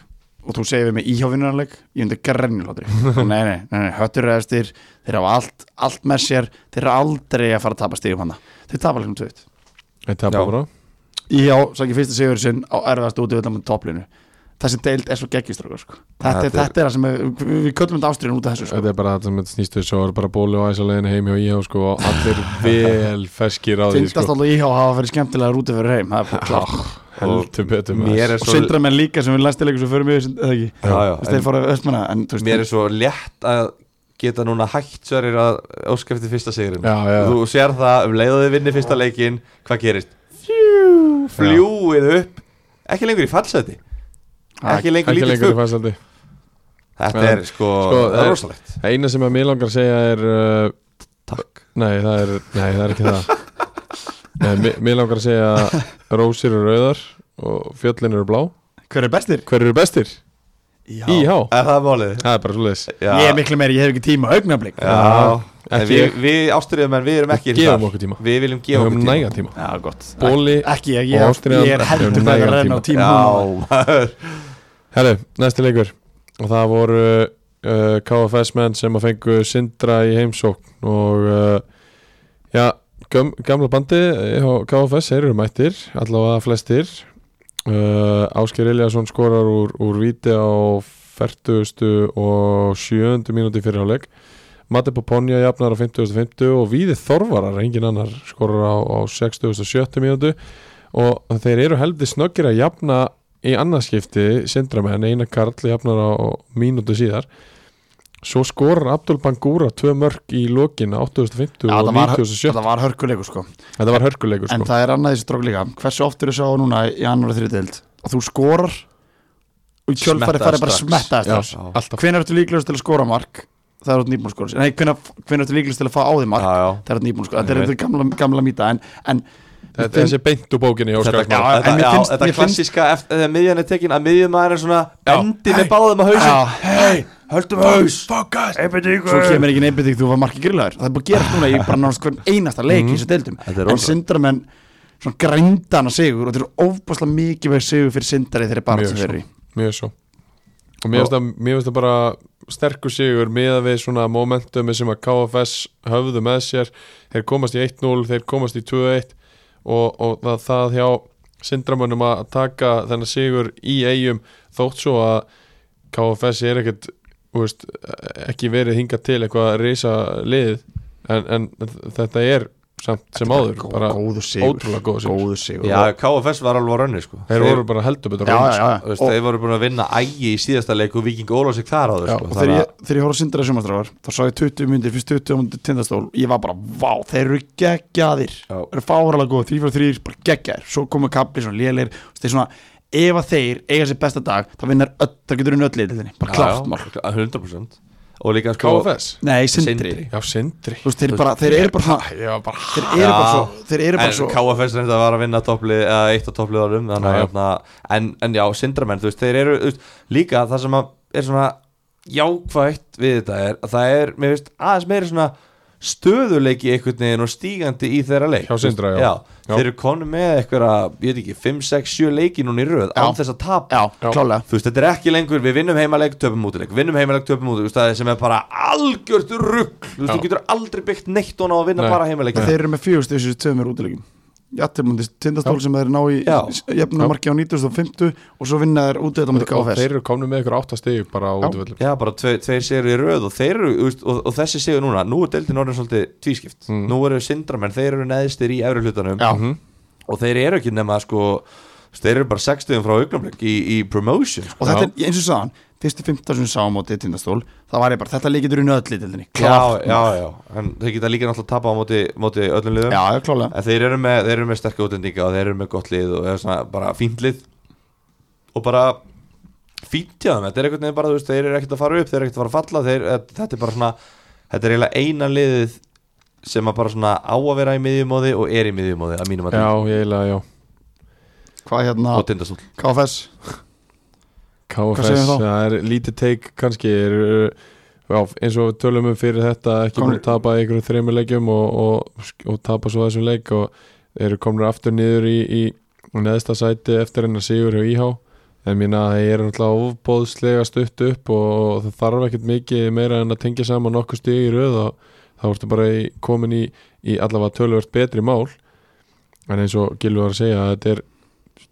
Og þú segir við með íhjávinnanleik Ég myndi grænjulátri Nei, nei, nei, nei höttur eðastir Þeir hafa allt, allt með sér Þeir eru aldrei að fara að tapa stigum hann Þeir tapa leiknum tveit
Þetta er
Já.
bara
Já, sagði fyrsta sigur sinn á erfiðast út Þetta með topplinu Þessi deild er svo geggjistrákur sko. þetta,
Þetta
þetta,
er-
þetta er það sem er, við, við köllum þetta ástriðin út af þessu sko.
Þetta er bara þetta sem þetta snýstu svo er bara bólu og æsalegin heim hjá íhá sko og allir vel ferskir á því
Tindast
sko
alltaf íhjá hafa verið skemmtilega rútið fyrir heim Það er bara klart
heldur betur maður.
Mér er
og
svo,
syndra menn líka sem við læstir leikur sem förum yfir synd- eða ekki
já, já,
Þú veist, þeir
en,
fóru östmanna en þú
mér er
veist
svo létt að geta núna hægt sverjir að óska eftir fyrsta sigurinn
Já, já.
Þú sér það um leiðaði vinni fyrsta leikinn Hvað gerist? Fjú, Fljúið upp Ekki lengur í fallseti Ekki lengur
ekki
lítið
lengur í
skugg
fæsaldi
Þetta
Já.
er sko,
Sko,
það
er-
er rosalegt
Eina sem að mér langar að segja er uh,
Takk
Nei, það er, nei, það er ekki það nei, mér, mér langar að segja að Rósir eru rauðar og fjöllin eru blá
hver er bestir?
Hver eru bestir?
Já.
Íhá
Er það málið?
Það er bara svoleiðis
Já,
ég er miklu meiri, ég hef ekki tíma á augnablik
já. En
Ekki
Við,
ég.
við ástriðum en við erum ekki
Gefum
þar.
okkur tíma.
Við viljum
Við
gefa okkur
höfum
tíma
næga tíma
já, gott
Bóli
ekki, ég,
Og
ég,
ástríðan-
ég er heldur
um
með að
nægan
reyna á tíma
Já, maður
Herru, næsti leikur Og það voru uh, KFS menn sem að fengu Sindra í heimsókn og uh, já, göm, gamla bandi eh, hjá KFS þeir eru mættir, allavega flestir uh, Ásker Eliasson skorar úr, úr víti á 40. og 7. mínúti fyrirháleik Matti Poponja jafnar á 50.50 og Víði Þorvarar, engin annar skorar á, á 60.70 mínútu og þeir eru heldur snöggir að jafna í annarskipti sindramenn, eina karl jafnar á, á mínútu síðar svo skorar Abdul Bangura tvö mörg í lokin á 8.50
Já,
og
það var,
90.70
það var hörkuleikur sko.
þetta var hörkuleikur
en
sko
það er annað þessi drók líka hversu oft eru sá núna í annar og þriðdeild að þú skorar og kjölfari
Smettaðir
farið bara að
strax.
smetta
Já,
eftir
alltaf
hvernig ertu líklegast til að skora mark það er út nýbúin að skora nei, hvernig ertu líklegast til að fá á því mark
já, já.
það er út nýbúin að skora þetta er
Ég
þetta gamla, gamla mýta en, en
þetta er þessi beint úr bókinni hjá
Þetta,
Óskar
já,
Smára.
þetta,
en mér
já,
finnst-
þetta
mér finnst-
klassíska eftir- þegar miðjan er tekin að miðjumæður er svona
Já.
endi
Hey.
með báðum á hausin
já,
hei, höldum haus
Fokast
svo kemur ekki neybytting þú var marki grillaður það er búin að gera núna í bara náttúrulega hvern einasta leik í þessu deildum
Mhm. Þetta er
en
rosalegt.
sindramenn svona grændana sigur og þetta eru ofbáslega mikið sigur fyrir sindari þeirri bara
Mjög
sko.
sem
svo.
verið
Mjög svo Og mér finnst það- mér finnst það bara sterkur sigur miða við svona momentumi sem að KFS höfðu með sér þeir komast í 1-0, þeir komast í 2-1 og, og það, það hjá sindramönnum að taka þennan sigur í eigum þótt svo að KFS er ekkert þú veist, ekki verið hingað til eitthvað að reysa lið en, en þetta er samt sem áður bara
góðu sigur
ótrúlega góð sigur
góðu sigur
já, KFS var alveg á rönni sko.
þeir voru bara heldur betur sko.
já,
á
já,
honum,
já, já.
Þú veist,
Og,
þeir voru búin að vinna ægi í síðasta leik og Viking Ólásik þar á þau
já,
sko.
og þegar
þannig
ég, þegar ég horf að sindra sjómanstráðar þá sá ég 20 myndir, fyrst 20 myndir tindastól ég var bara, vá, þeir eru geggjaðir
Já.
þeir eru fáralega góð, 3 fyrir 3 bara geggjaðir, svo komu kapli, svona lélir og þeir svona, ef að þeir eiga sér besta dag þá vinnar öll, þá getur hún öll liðið þinni bara
að-
klárt mál,
Já, já, 100% og líka sko
KFS?
nei, sindri,
Sindri.
Já, sindri
Þú veist, þeir, bara, þeir eru bara ha-
Já, bara
þeir eru bara
Já.
svo, þeir eru
En
bara svo
KFS reynda var að vinna topli, uh, eitt á toppliðarum
Já, já.
hérna, en, en já, sindramenn þú veist, þeir eru þú veist, líka það sem að er svona jákvætt við þetta er að það er, mér veist, aðeins meiri svona stöðuleiki einhvern veginn og stígandi í þeirra leik
Hjá Sindra, já. Já.
Þeir eru konum með einhverja, ég veit ekki, 5, 6, 7 leiki núna í röð án
Já.
þess að tapa
já,
Já.
klálega
þú veist, þetta er ekki lengur, við vinnum heimaleik töpum útileik, vinnum heimaleik töpum útileik þú veist, það er sem er bara algjört rugg þú veist,
Já.
þú getur aldrei byggt neitt ofan á að vinna
Nei.
bara heimaleik
þeir eru með fjögust þessu tveimur útilegjum Jattilmundi tindastól sem þeir ná í
Já.
jefnumarki á 1950 og svo vinna þeir útilegjum á
Og
móti KFS
þeir eru komnið með ykkur áttastig bara á útvöldum
Já, bara tve, tveir sigur í röð og þeir eru, þú veist, og, og þessi sigur núna nú er deildin orðin svolítið tvískipt
Mm.
nú eru sindramenn, þeir eru neðstir í efri hlutanum
Já.
og þeir eru ekki nema sko, þú veist, þeir eru bara 60 frá augnablik í, í promotion sko.
og þetta er eins og saðan fyrstu 15 sem sá á móti tindastól það var ég bara þetta líkitur í nöðli til þenni
já, já, já, en þeir geta líka náttúrulega tapa á móti, móti öllum liðum
já, já, klálega
en þeir eru með, þeir eru með sterkja útlendinga og þeir eru með gott lið og þeir eru svona bara fínt lið og bara fínt hjá þeim, þetta er einhvern veginn bara þú veist, þeir eru ekkert að fara upp, þeir eru ekkert að fara að falla þeir, eh, þetta er bara svona, þetta er eiginlega eina liðið sem að bara svona á að vera í miðjumóði og er í miðjumóði að mínum að
Já, ég eiginlega, já
hvað hérna,
og tindastól
KFS
KFS,
segirðu þá?
það er lítið teik kannski er, uh, já, eins og við tölum um fyrir þetta ekki
Komnir-
búin að tapa ykkur þreymur leikjum og, og, og tapa svo þessum leik og eru komnir aftur niður í, í neðsta sæti eftir hennar sigur hjá IH en mína það er náttúrulega ofbóðslega stutt upp og það þarf ekkert mikið meira en að tengja saman nokkuð stig í röð og þá ertu bara í, komin í, í allavega tölvört betri mál en eins og Gilvi var að segja þetta er,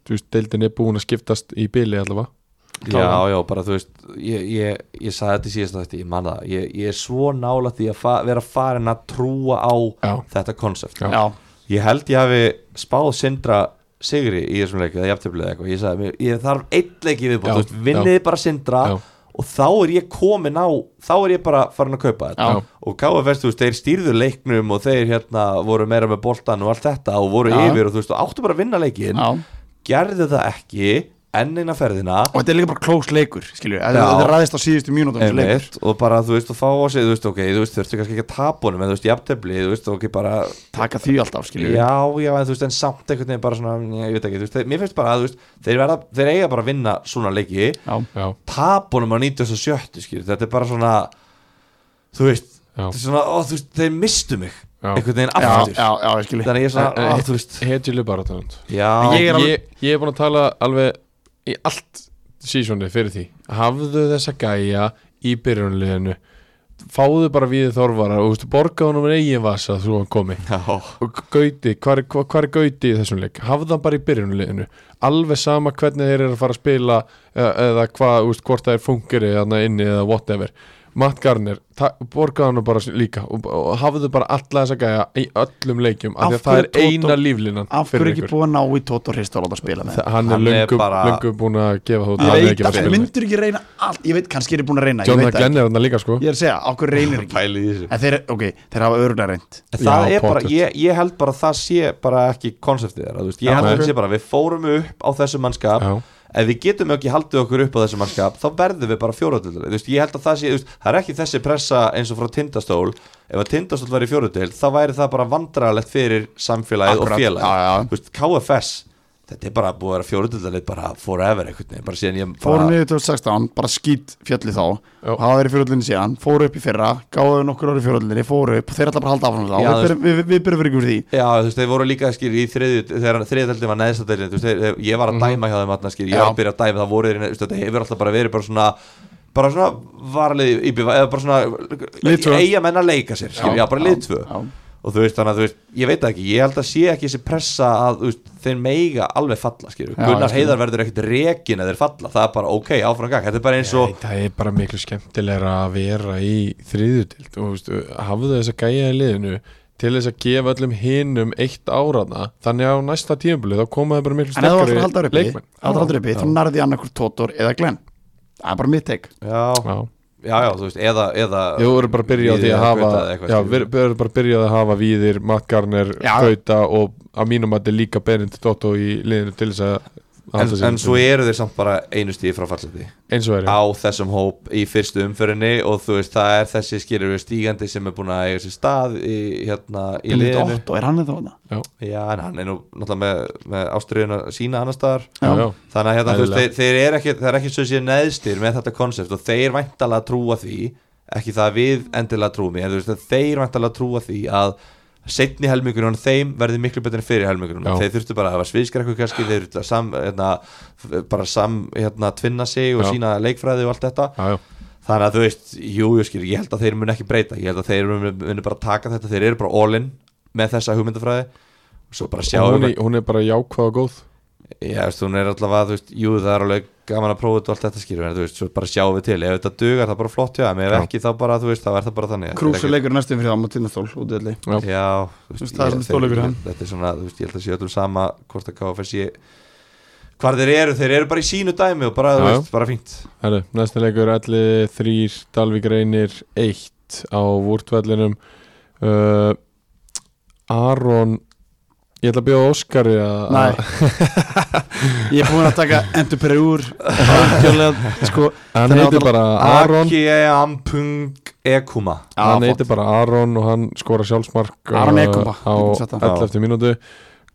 þú veist, deildin er búin að skiptast í bili allavega
Já, já, bara þú veist ég, ég, ég sagði þetta í síðast þetta, ég man það ég, ég er svo nála því að fa vera farin að trúa á
Já.
þetta konsept
Já.
já,
Ég held ég hafi spáð sindra sigri í þessum leiku eða jafntöflið eða eitthvað, ég sagði, mér- ég þarf einn leik í
Já,
viðbútt, þú veist,
já.
vinniði bara sindra
Já.
og þá er ég komin á þá er ég bara farin að kaupa þetta
Já.
og KFS, þú veist, þeir stýrðu leiknum og þeir hérna voru meira með boltan og allt þetta og voru
Já.
yfir og þú veist, og áttu bara að vinna leikin
já
gerðu það ekki, enn eina ferðina
og þetta er líka bara klós leikur skilju,
Já.
þetta ræðist á síðustu
um
mínútum þessu leikur
Einmitt, og bara þú veist og fá á sig þú veist ok, þú veist þurftu kannski ekki að tapa honum en þú veist jafntefli, þú veist ok bara
taka því alltaf skilju
já, já, en þú veist en samt einhvern veginn bara svona, njá, ég veit ekki, þú veist þeir- mér finnst bara að þú veist, þeir, verða, þeir eiga bara að vinna svona leiki,
já,
Já,
tapa honum á 97 skýr, þetta er bara svona þú veist,
já,
þetta er svona ó, þú veist, þeir mistu mig,
já
einhvern veginn
já,
aftur
já, já, ég skilju
þannig að ég er svona,
En-
ó,
en-
þú veist
Hedgilu bara þannig
já,
ég,
Ég er alveg-
ég, ég er búin að tala alveg í allt sísónu fyrir því Hafðu þessa gæja í byrjunliðinu fáðu bara við þorvara og veist, borga honum en eigin vasa þú hann komi
Já,
og Gauti, hvar, er- hvar, hvar er Gauti í þessum leik? Hafða hann bara í byrjunliðinu alveg sama hvernig þeir eru að fara að spila eða, eða hvað, úst, hvort það er fungeri þarna inni eða whatever Matt Garner, ta- borgaðu hann bara líka og, og hafðu bara alla þessa gæja í öllum leikjum, af því að
Af
það er
hverju Tóto-
eina líflinan
af
fyrir
hverju ekki
ykkur.
búið að ná í Tóto Hrist og láta spila með
Þa- hann er
Hann er
löngu,
bara-
löngu búin að gefa þú
ég
hann er
veit
ekki að
að
fara að spila
myndur ekki reyna allt ég veit kannski er ég búin að reyna ég,
Jonathan
veit það
Glenn er hann líka sko
ekki. ég er að segja, okkur reynir ekki
pæli í þessu
en þeir, ok, þeir hafa öruglega reynd
Það
Já,
er bara,
pottet.
ég, ég held bara að það sé bara ekki konseptið þeirra, þú veist,
Já,
ég held að
ok.
það sé bara við fórum upp á þessu mannskap,
Já.
ef við getum ekki haldið okkur upp á þessu mannskap, þá verðum við bara fjóruðil, þú veist, ég held að það sé, þú veist, það er ekki þessi pressa eins og frá tindastól, ef að tindastól væri fjóruðil, þá væri það bara vandrarlegt fyrir samfélagið
Akkurat,
og félagið,
já, já.
þú veist, KFS, þetta er bara búið að vera fjóruðil bara forever einhvern veginn, bara síðan ég
fóru
bara,
niður 2016, bara skýt fjalli þá
Já.
hafa verið fjóruðlinni síðan, fóru upp í fyrra gáðu nokkur orði fjóruðlinni, fóru upp þeir ætla bara að halda áfram þá,
Já,
við
þú
berum- við- við- við byrjum fyrir ykkur því
Já, þú veist, þeir voru líka skýr í þriðju, þegar þriðjöldi var neðstættelin, þú veist, þeir- þeir- ég var að dæma hjá þeim aðna skýr, ég var
Mhm. Já.
að byrja að dæma, það voru þeir, í neð- þú veist, þetta hefur alltaf bara verið bara svona, bara svona varlið í bífa, eða bara
Lið tvö.
svona, eiga menn að leika sér, skýr, já, bara lið tvö,
já.
og þú veist, þannig að þú veist, ég veit það ekki, ég held að sé ekki þessi pressa að, þú veist, þeir meiga alveg falla, skýr,
Já,
Gunnar
ég skil.
Heiðar verður ekkert rekin að þeir falla, það er bara ok, áfram gang, þetta er bara eins og,
Nei, það er bara miklu skemmtilegra að vera í þriðutild og veist, hafðu þess að gæja í liðinu til þess að gefa öllum hinum eitt áraðna þannig að á næsta tímabili þá koma það bara miklu
en ef þú ætlar að halda
sterkari
þér uppi,
leikmenn
ef þú ætlar að halda þér uppi
Já.
þá nærði annarkur Tótor eða Glenn það er bara mitt teik
já,
Já,
já, já, þú veist, eða, eða,
ég voru bara að byrja á því að
Víðir eða
hafa
Gauta eða eitthvað,
Já,
skilur.
við voru bara að byrja á því að hafa Víðir, Matt Garner,
Já.
Gauta og að mínum að þetta er líka Berend Dotto í liðinu til þess að
En,
halda sig-
en svo eru þeir samt bara einu stíð frá fallseti
eins og er
á þessum hóp í fyrstu umförinni og þú veist það er þessi skilur við stígandi sem er búin að eiga sér stað í, hérna, í
Benedikt
liðinu
Otto, er hann eða þarna?
Já, en hann er nú náttúrulega með, með ástriðuna sína annar staðar
Já,
Já.
já,
þannig að hérna, þú veist,
Eðlilega.
þeir, þeir er ekki það er ekki svo sér neðstir með þetta konsept og þeir væntalega trúa því ekki það að við endilega trúum í en þú veist að þeir væntalega trúa því að setni helmingunum þeim verði miklu betur en fyrir helmingunum
Já.
þeir þurftu bara að hafa sviðskrekku kannski þeir þurftu að sam, hérna, f- bara sam hérna, tvinna sig og
Já.
sína leikfræði og allt þetta
já, já
þannig að þú veist, jú, jú skil, ég held að þeir mun ekki breyta ég held að þeir mun, munu bara taka þetta þeir eru bara all in með þessa hugmyndafræði og svo bara
Og
sjáum
hún,
við
er- hún er bara jákvæð og góð
já, þú veist, hún er allavega, þú veist, jú, það er alveg gaman að prófa þetta og allt þetta skilur, en þú veist, svo bara sjáum við til ef þetta dugar, það er bara flott, já, en ef
Já.
ekki þá bara, þú veist, þá er það bara þannig
Krús
Þetta
er
er
leikur næstum fyrir það á Martinastól út í allir
Já.
ekki- já, þú
Þú veist, það er
ég-
svona stórleikur
þeir-
hann.
þetta er svona, þú veist, ég held að sé öllum sama hvort að KFS sé hvar þeir eru, þeir eru bara í sínu dæmi og bara, þú
Já.
veist, bara fínt
Herru, næsta leikur allir þrýr Dalvík reynir eitt á vúrtvellinum uh, Aron ég ætla að bjóða Óskari að
Nei Ég er búin að taka endur per úr algjörlega, sko,
hann
Þannig að
heiti
það-
bara Aron
Aki Ampung Ekuma
hann
Já,
heiti
flott.
bara Aron og hann skora sjálfsmark
Aron
uh,
Ekuma,
á
getum sagt það.
11. mínútu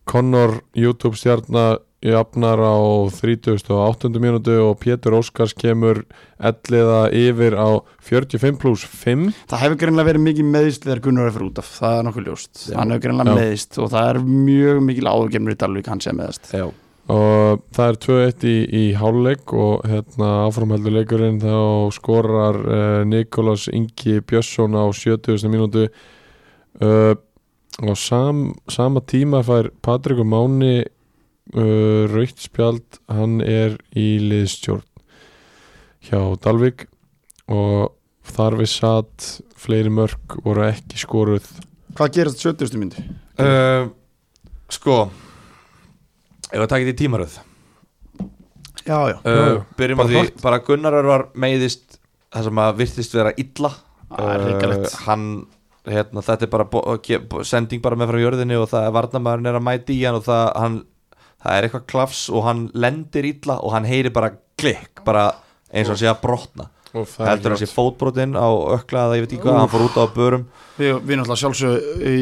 Connor YouTube stjarnar jafnar á 38. mínútu og Pétur Óskars kemur elliða yfir á 45 plus 5
það hefur greinlega verið mikið meðist þegar Gunnar er fyrir út af, það er nokkuð ljóst
Já.
hann hefur greinlega
Já.
meðist og það er mjög mikil áðurgemur í Dalvík hann sé meðist
já
og það er 2-1 í, í háluleik og hérna áframheldur leikurinn þá skorar uh, Nikolas Ingi Björnsson á 70. mínútu uh, og sam, sama tíma fær Patrik og Máni uh, Rautspjald hann er í liðstjórn hjá Dalvik og þar við satt fleiri mörk voru ekki skoruð
Hvað gerast 70. myndu?
uh, Sko Ef að taka þetta í tímaröð
Já, já,
já.
uh, Byrjum á
Bara
því
hratt.
Bara Gunnar Örvar meiðist Það sem að virtist vera illa Ehm,
það er hrikalegt
Hann hérna, Þetta er bara bo- ge- bo- sending bara með frá jörðinni og það er varnamaðurinn er að mæta í hann og það, hann, það er eitthvað klafs og hann lendir illa og hann heyri bara klikk bara eins og hann sé að brotna
og það er
heldur hann
ekki
sé fótbrotinn á ökla eða ég veit ekki hvað, hann fór út á börum
Við, við náttúrulega sjálfsögðu í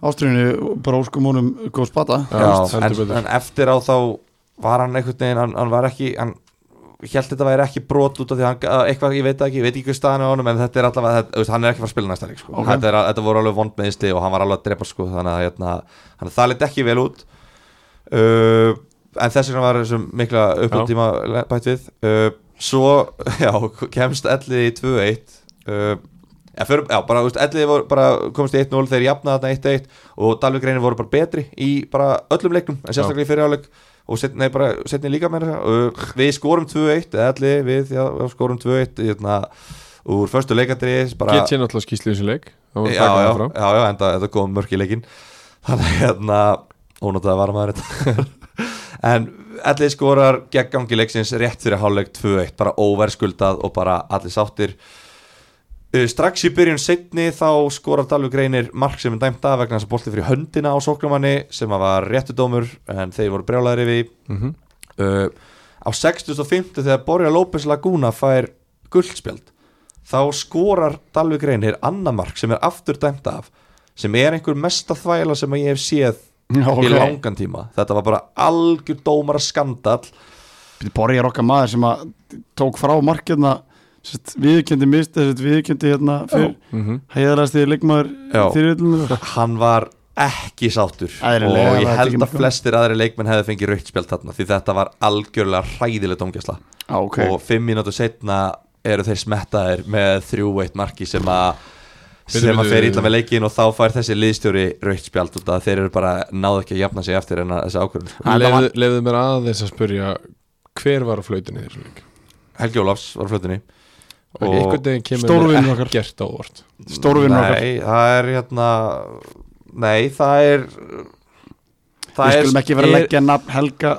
ástriðinu bara óskum honum góð spata
Já, heldur
en,
betur.
en eftir á þá var hann einhvern veginn, hann, hann var ekki hann held þetta væri ekki brot út af því að hann, að eitthvað, ég veit það ekki, ég veit ekki hvað staðan á honum en þetta er allavega, þetta, þú veist, hann er ekki fara að spila næsta leik sko.
Ok.
þetta, er, al- þetta voru alveg vond meðisli og hann var alveg að drepa sko, þannig að hérna, hann, það leit ekki vel út uh, en þess vegna var þessum mikla
Já.
upplutíma bætt við uh, svo já, kemst ellið í 2-1 uh, já, fyrir, já, bara, þú veist, ellið var, bara komst í 1-0 þeir jafnaði þarna 1-1 og Dalvik reynir voru bara betri í bara öllum leiknum en sérstaklega í fyrirháleik og setni, nei, bara, setni líka meira uh, við skorum 2-1, ellið við já, við skorum 2-1 hérna, úr förstu leikandri bara,
Get ég náttúrulega skýslu í þessu leik Það var að
já,
taka
já,
það fram.
já, já, enda þetta kom mörk í leikin þannig að, hérna ónáttaði var maður þetta en allir skorar gegn gangi leiksins rétt fyrir hálfleik 2-1 bara óverskuldað og bara allir sáttir Uh, strax í byrjun setni þá skorar Dalvik reynir mark sem er dæmt af vegna þess að bolti fyrir höndina á sóklamanni sem að var réttu dómur en þeir voru brjálæðir yfir því.
Mhm.
uh, á 65. þegar Borja López Laguna fær guldspjald þá skorar Dalvik Reynir annamark sem er aftur dæmt af sem er einhver mesta þvæla sem að ég hef séð í langan tíma þetta var bara algjör dómara skandal
Býtti borgar okkar maður sem að tók frá hérna, markirna viðkendi mist, þessi viðkendi hérna fyrr
Mhm.
heiðarast í leikmaður
Já.
þýrjöldunum
hann var ekki sáttur
Eðlilega,
og ég
það er ekki
held að
markmann.
flestir aðri leikmenn hefði fengið rautspjald þarna því þetta var algjörlega hræðileg dómgæsla
Já, ok
og fimm mínútur setna eru þeir smettaðir með 3-1 marki sem að sem
Bíddu,
að
bíddu,
fer ítla
bíddu.
með leikin og þá fær þessi liðstjóri raukt spjald út að þeir eru bara náðu ekki að jafna sig eftir en að þessi ákvörðun sko.
Hann
Leyfðu
var-
leyfðu mér aðeins að spurja Hver var á flautinni í þessu leik?
Helgi Ólafs var á flutinni
Og einhvern veginn kemur
Stórvinur
mér
okkar.
ekkert á óvart
Stórvinur okkar
Nei, það er hérna Nei, það er
Við skulum ekki vera að
er-
leggja nafn Helga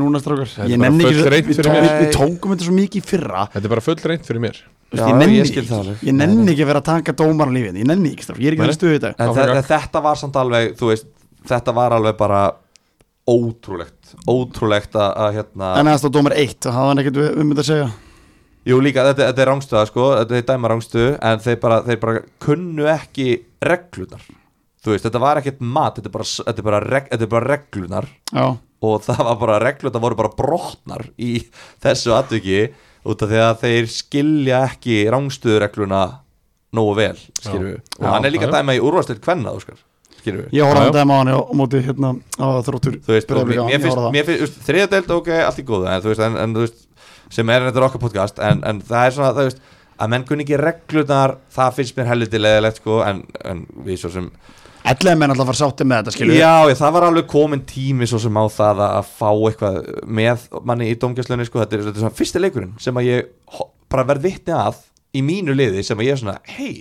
núna strákar
Þetta er
Ég
bara
nenni ekki
fullreynt
við,
fyrir
tók,
mér.
við tókum þetta svo mikið í fyrra
Þetta er bara full reynd fyrir mér
Já,
Já,
Ég nenni
ég
ekki
skil það alveg.
Ég nenni ekki að vera að taka dómar á lífin Ég nenni ekki strákar, ég er ekki
Nei.
að stuðu í dag
En
Áfram
þe-
gakk.
þetta var samt alveg, þú veist Þetta var alveg bara ótrúlegt Ótrúlegt að, að hérna
En aðeins þá dómar eitt, þá hafði hann ekkert um þetta að segja
Jú líka, þetta, þetta er rángstöða sko, þetta er dæma rángstöðu en þeir bara, þeir bara kunnu ekki reglunar þú veist, þetta var ekkert mat, þetta er bara, þetta er bara, reg, þetta er bara reglunar
Já,
og það var bara reglunar voru bara brotnar í þessu atviki út af því að þeir skilja ekki rángstöðu regluna nógu vel, skilur við og
Já,
hann er líka
já, já.
dæma í úrvastil kvenna, þú skar skilur við
ég
Já,
horfði
já.
að dæma á hann á á móti hérna á þróttur
þú veist, og
Breiðablik
mér
á, ég
mér finnst,
horfði á það.
mér finnst þú veist, þriðadelt, ok, allt í góðu en þú veist, en, en þú veist, sem er þetta er okkar podcast en, en það er svona, það veist að menn kunni ekki reglunar, það finnst mér helviti leðilegt sko, en, en við svo sem
Ellega menn alltaf að fara sátti með þetta skilur við.
já, ég, það var alveg komin tími svo sem á það að að fá eitthvað með manni í domgjastlunni, sko, þetta er, þetta er svona fyrsti leikurinn sem að ég ho- bara verð vitni að í mínu liði sem að ég er svona hei,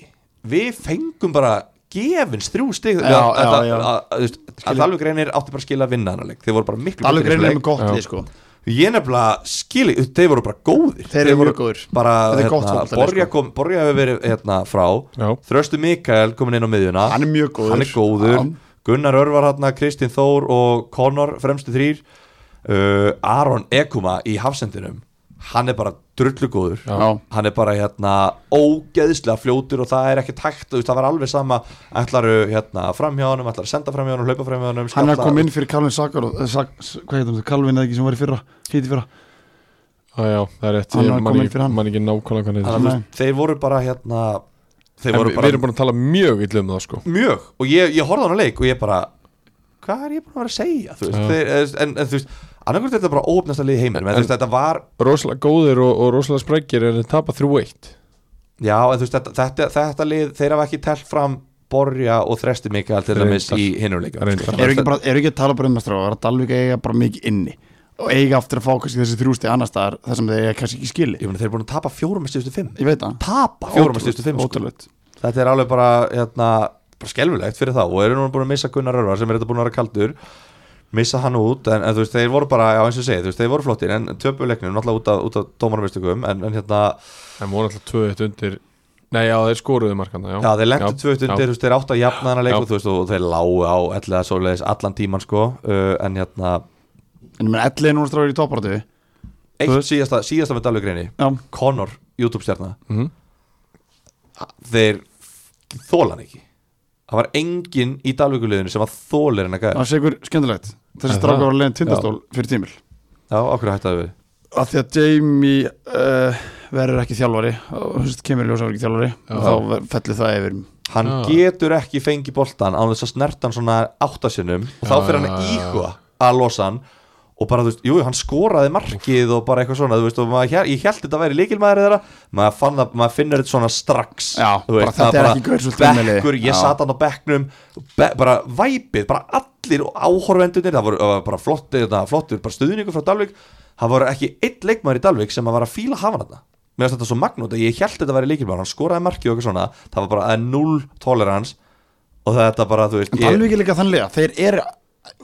við fengum bara gefins þrjú stig
Já,
Að- að-
já,
að-
já.
að- að- þú veist, að Dalvik reynir átti bara að skila að vinna hana leik, þeir voru bara miklu
Alveg
betri í þessum leik.
greinlega með gott
Já.
lið sko
Ég nefnilega skil ekki, þeir voru bara góðir
Þeir eru
voru
mjög góðir.
bara,
Þetta er gott
hérna,
fótboltalið,
Borja,
sko.
kom, Borja hefur verið hérna frá
Já.
Þröstu Mikael komin inn á miðjuna
Hann er mjög góður
Hann er góður.
Já.
Gunnar Örvar hérna, Kristín Þór og Connor fremstu þrýr uh, Aron Ekuma í hafsendinum Hann er bara drullu góður
Já.
Já.
Hann er bara hérna ógeðslega fljótur og það er ekki takt þú veist, Það var alveg sama ætlaru hérna, framhjónum, ætlaru senda framhjónum, hlaupa framhjónum
Hann er að koma inn fyrir Calvin Sakar Sak, Hvað heitum þetta, Calvin eða ekki sem var í fyrra Híti fyrra
Já, já, það er rétt
Hann
Ég
var
man
kominn
ekki-
fyrir hann.
Man ekki nákvæmlega hvað
Þannig að
hann
þú
Nei.
veist, þeir voru bara hérna
heitir
þeir
En
voru
við-
bara,
Við erum búin að tala mjög illa um það sko
mjög og ég, ég horfði á hann að leik og ég bara hvað er ég búin að vera að segja þú veist,
Já.
þeir, en, en þú veist annarkvæmt þetta er bara óöfnasta lið í heiminum en, þú veist, þetta var
Rosalega góðir og, og rosalega sprækir en þeir tapa 3-1
já en þú veist þetta, þetta, þetta lið þeir hafa ekki telt fram Borja og Þresti Mikael til
Reyndar.
dæmis í hinnum leik
Reyndar.
Eru ekki, bara, eru ekki að tala bara um það stráð Það er að Dalvik eiga bara mikið inni Og eiga aftur að fá kannski þessi þrjústi annar staðar Þar sem þeir eiga kannski ekki skili
ég meina þeir eru búin að tapa fjórum að stjústu fimm
Ég veit það
tapa fjórum að stjústu fimm sko.
Ótrúlegt
þetta er alveg bara hérna, bara skelfilegt fyrir þá og eru núna búin að missa Gunnar Örvar sem er þetta búin að vera kaldur missa hann út en, en þú veist þeir voru bara, já eins og ég segi, þú veist þeir voru flottir en töpuleiknum, náttúrulega út af, út af tómaramistökum en, en hérna,
En voru alltaf 2-1 undir Nei, já, þeir skoruðu markana Já,
já þeir lendu
Já,
tvöt undir,
já.
þú veist þeir áttu að jafna hann
Já.
að leiku, þú veist og þeir lágu á ellega svoleiðis allan tíman sko uh, en hérna,
En ég menn ellið núna stráður í topparatu Já
eitt síðasta, síðasta með Dalvigreini, Connor, YouTube-stjarna
Mhm.
þeir þóla hann ekki það var enginn í Dalvíkuleginu sem að þóla hann að gæða,
Það sé ykkur skemmtilegt Þessi
Aha.
strákar var leiðin tindastól fyrir tímil
já okkur hættaði við
að því að Jamie uh, verður ekki þjálfari og þú veist, kemur í ljós að verður ekki þjálfari og þá ver- fellur það yfir
hann
Já.
getur ekki fengið boltan á þess að snerta hann svona áttasinnum og þá
Já, já,
fyrir hann að
já.
íhuga að losa hann og bara þú veist, jú, jú, hann skoraði markið og bara eitthvað svona, þú veist, og maður, hér- ég held þetta væri líkilmaður þeirra, maður, fann það, maður finnur þetta svona strax,
Já,
þú
bara þetta
það
er ekki gaur svolítið með liði.
bekkur, ég
Já.
sat hann á bekknum be, bara væpið, bara allir áhorfendunir, það voru uh, bara flott, þetta, flottur, bara stuðningur frá Dalvik það voru ekki einn leikmaður í Dalvik sem að var að fíla hafa hann mér finnst þetta svo magnúti, ég held þetta væri líkilmaður hann skoraði markið og eitthvað svona, það var bara að null tolerance og þetta bara, þú veist,
En
ég,
Dalvík er líka þannlega, þeir eru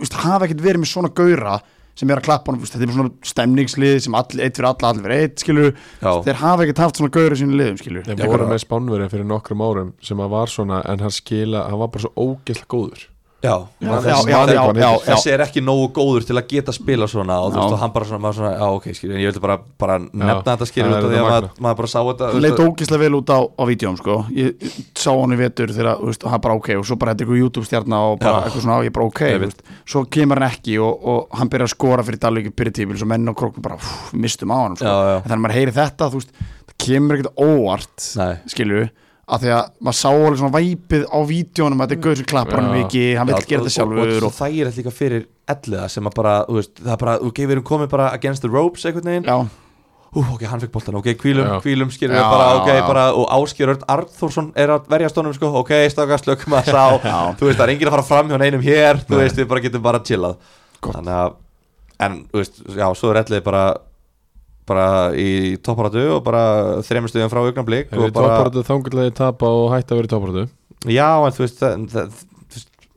veist, hafa ekkert verið með svona gaura sem er að klappa honum, veist, þetta er bara svona stemningslið sem all, eitt fyrir alla, all fyrir eitt, skilur
Já.
þeir hafa ekkert haft svona gaura sínu liðum, skilur
Þeir
Já,
voru
bara-
með Spánverja fyrir nokkrum árum sem að var svona en hann skila, hann var bara svo ógæslega góður
já,
Já,
maður-
já,
þessi-
já,
maður-
já, já, já.
þessi er ekki nógu góður til að geta spila svona og þú
Já.
veist og hann bara svona, maður svona, já ok skilur, en ég vildi bara, bara nefna þetta skilur
það
út af
er
því að
þetta
maður, maður bara sá þetta
hann leit ógislega vel út á, á vídjóm, sko ég ég sá hann í vetur þegar, þú veist, og hann bara ok og svo bara þetta ykkur YouTube-stjarna og bara
Já.
eitthvað svona og ég bara ok,
Ég
þú
veit.
veist, svo kemur hann ekki og, og hann byrjar að skora fyrir Dalvík í byrjutífil, svo menn og krókum bara pff, mistum á hann, sko,
Já, já.
en þannig að maður heyri þetta þú veist, það kemur ekkert óvart
Nei.
skilju að því að maður sá alveg svona væpið á vídjónum að þetta er gauð sem klappar hann
Já.
mikið, hann vil
Já,
gera
og-
þetta sjálfur
og, og
og,
það er líka fyrir elliða sem að bara, þú veist, það er bara, ok, við erum komið bara against the ropes einhvern veginn
já,
Ú, ok, hann fekk boltan, ok, kvílum,
Já.
kvílum skilur
Já,
við bara,
já,
ok,
já.
bara, og Áskjör Örn Arþórsson er að verja stónum, sko, ok, stakka slökum að sá,
Já.
þú veist, það er enginn að fara fram hjá neinum hér, þú veist, við bara getum bara chillað
Gott.
þannig að, en, þú veist, já, svo er ellið bara bara í topparatu og bara þremur stöðum frá augnablik
Þeir eru
og
í
bara,
topparötu þangulegi tapa og hætta að vera í topparötu
já, en þú veist það, það, þú veist,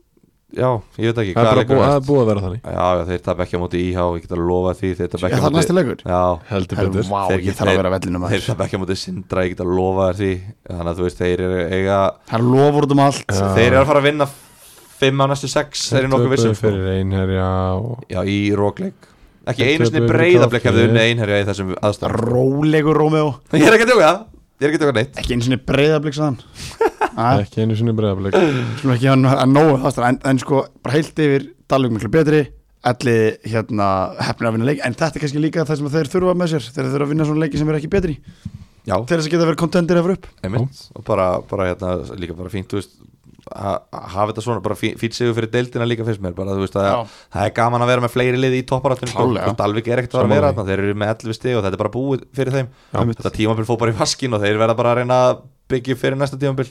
já, ég veit ekki
Það er bara
leikur
búið,
næst?
það er búið að vera þannig
Já, já, þeir tap ekki á móti íhá, ég get að lofa því Þeir tap ekki
er
á
það
móti
næsti leikur?
Já,
Heldur
Herru,
betur
vá,
Þeir-
ég þarf að
þeir-
vera á vellinum
þeir
maður.
tap ekki á móti sindra, ég get að lofa þér því Þannig að þú veist, þeir eru eiga
það er lofur út um allt
Já.
Þeir eru að fara að vinna Fimm á næstu sex, þeir eru nokkuð vissum
Töpuðu
sko.
fyrir einherja og
Já, í rókleik Ekki
Þeir
einu sinni
töpuðu fyrir
breyðablik ef þau
KFG.
unni einherja í þessum aðstæðum
rólegur Rómeó,
Ég er ekki að tjóka, ég er ekki að tjóka neitt
ekki einu sinni breyðabliks að hann
ekki einu sinni breyðablik
slúna ekki hann að nógu það en, en sko, bara heilt yfir Dalvík miklu betri elli hérna hefnir að vinna leik en þetta er kannski líka það sem þeir þurfa með sér þeir þurfa að vinna svona leiki sem er ekki betri
Já,
til þess að geta verið kontendir efur upp
einmitt Og bara, bara hérna, líka bara fínt, þú veist að að hafa þetta svona, bara fí- fínn sigur fyrir deildina líka finnst mér, bara þú veist að
Já.
það er gaman að vera með fleiri liði í topparatun
Klárlega.
og Dalvik er ekkert að vera að vera
Sammála
þarna, þeir eru með 11 stig og þetta er bara búið fyrir þeim
Já.
þetta tímabil fór bara í vaskin og þeir verða bara að reyna að byggja upp fyrir næsta tímabil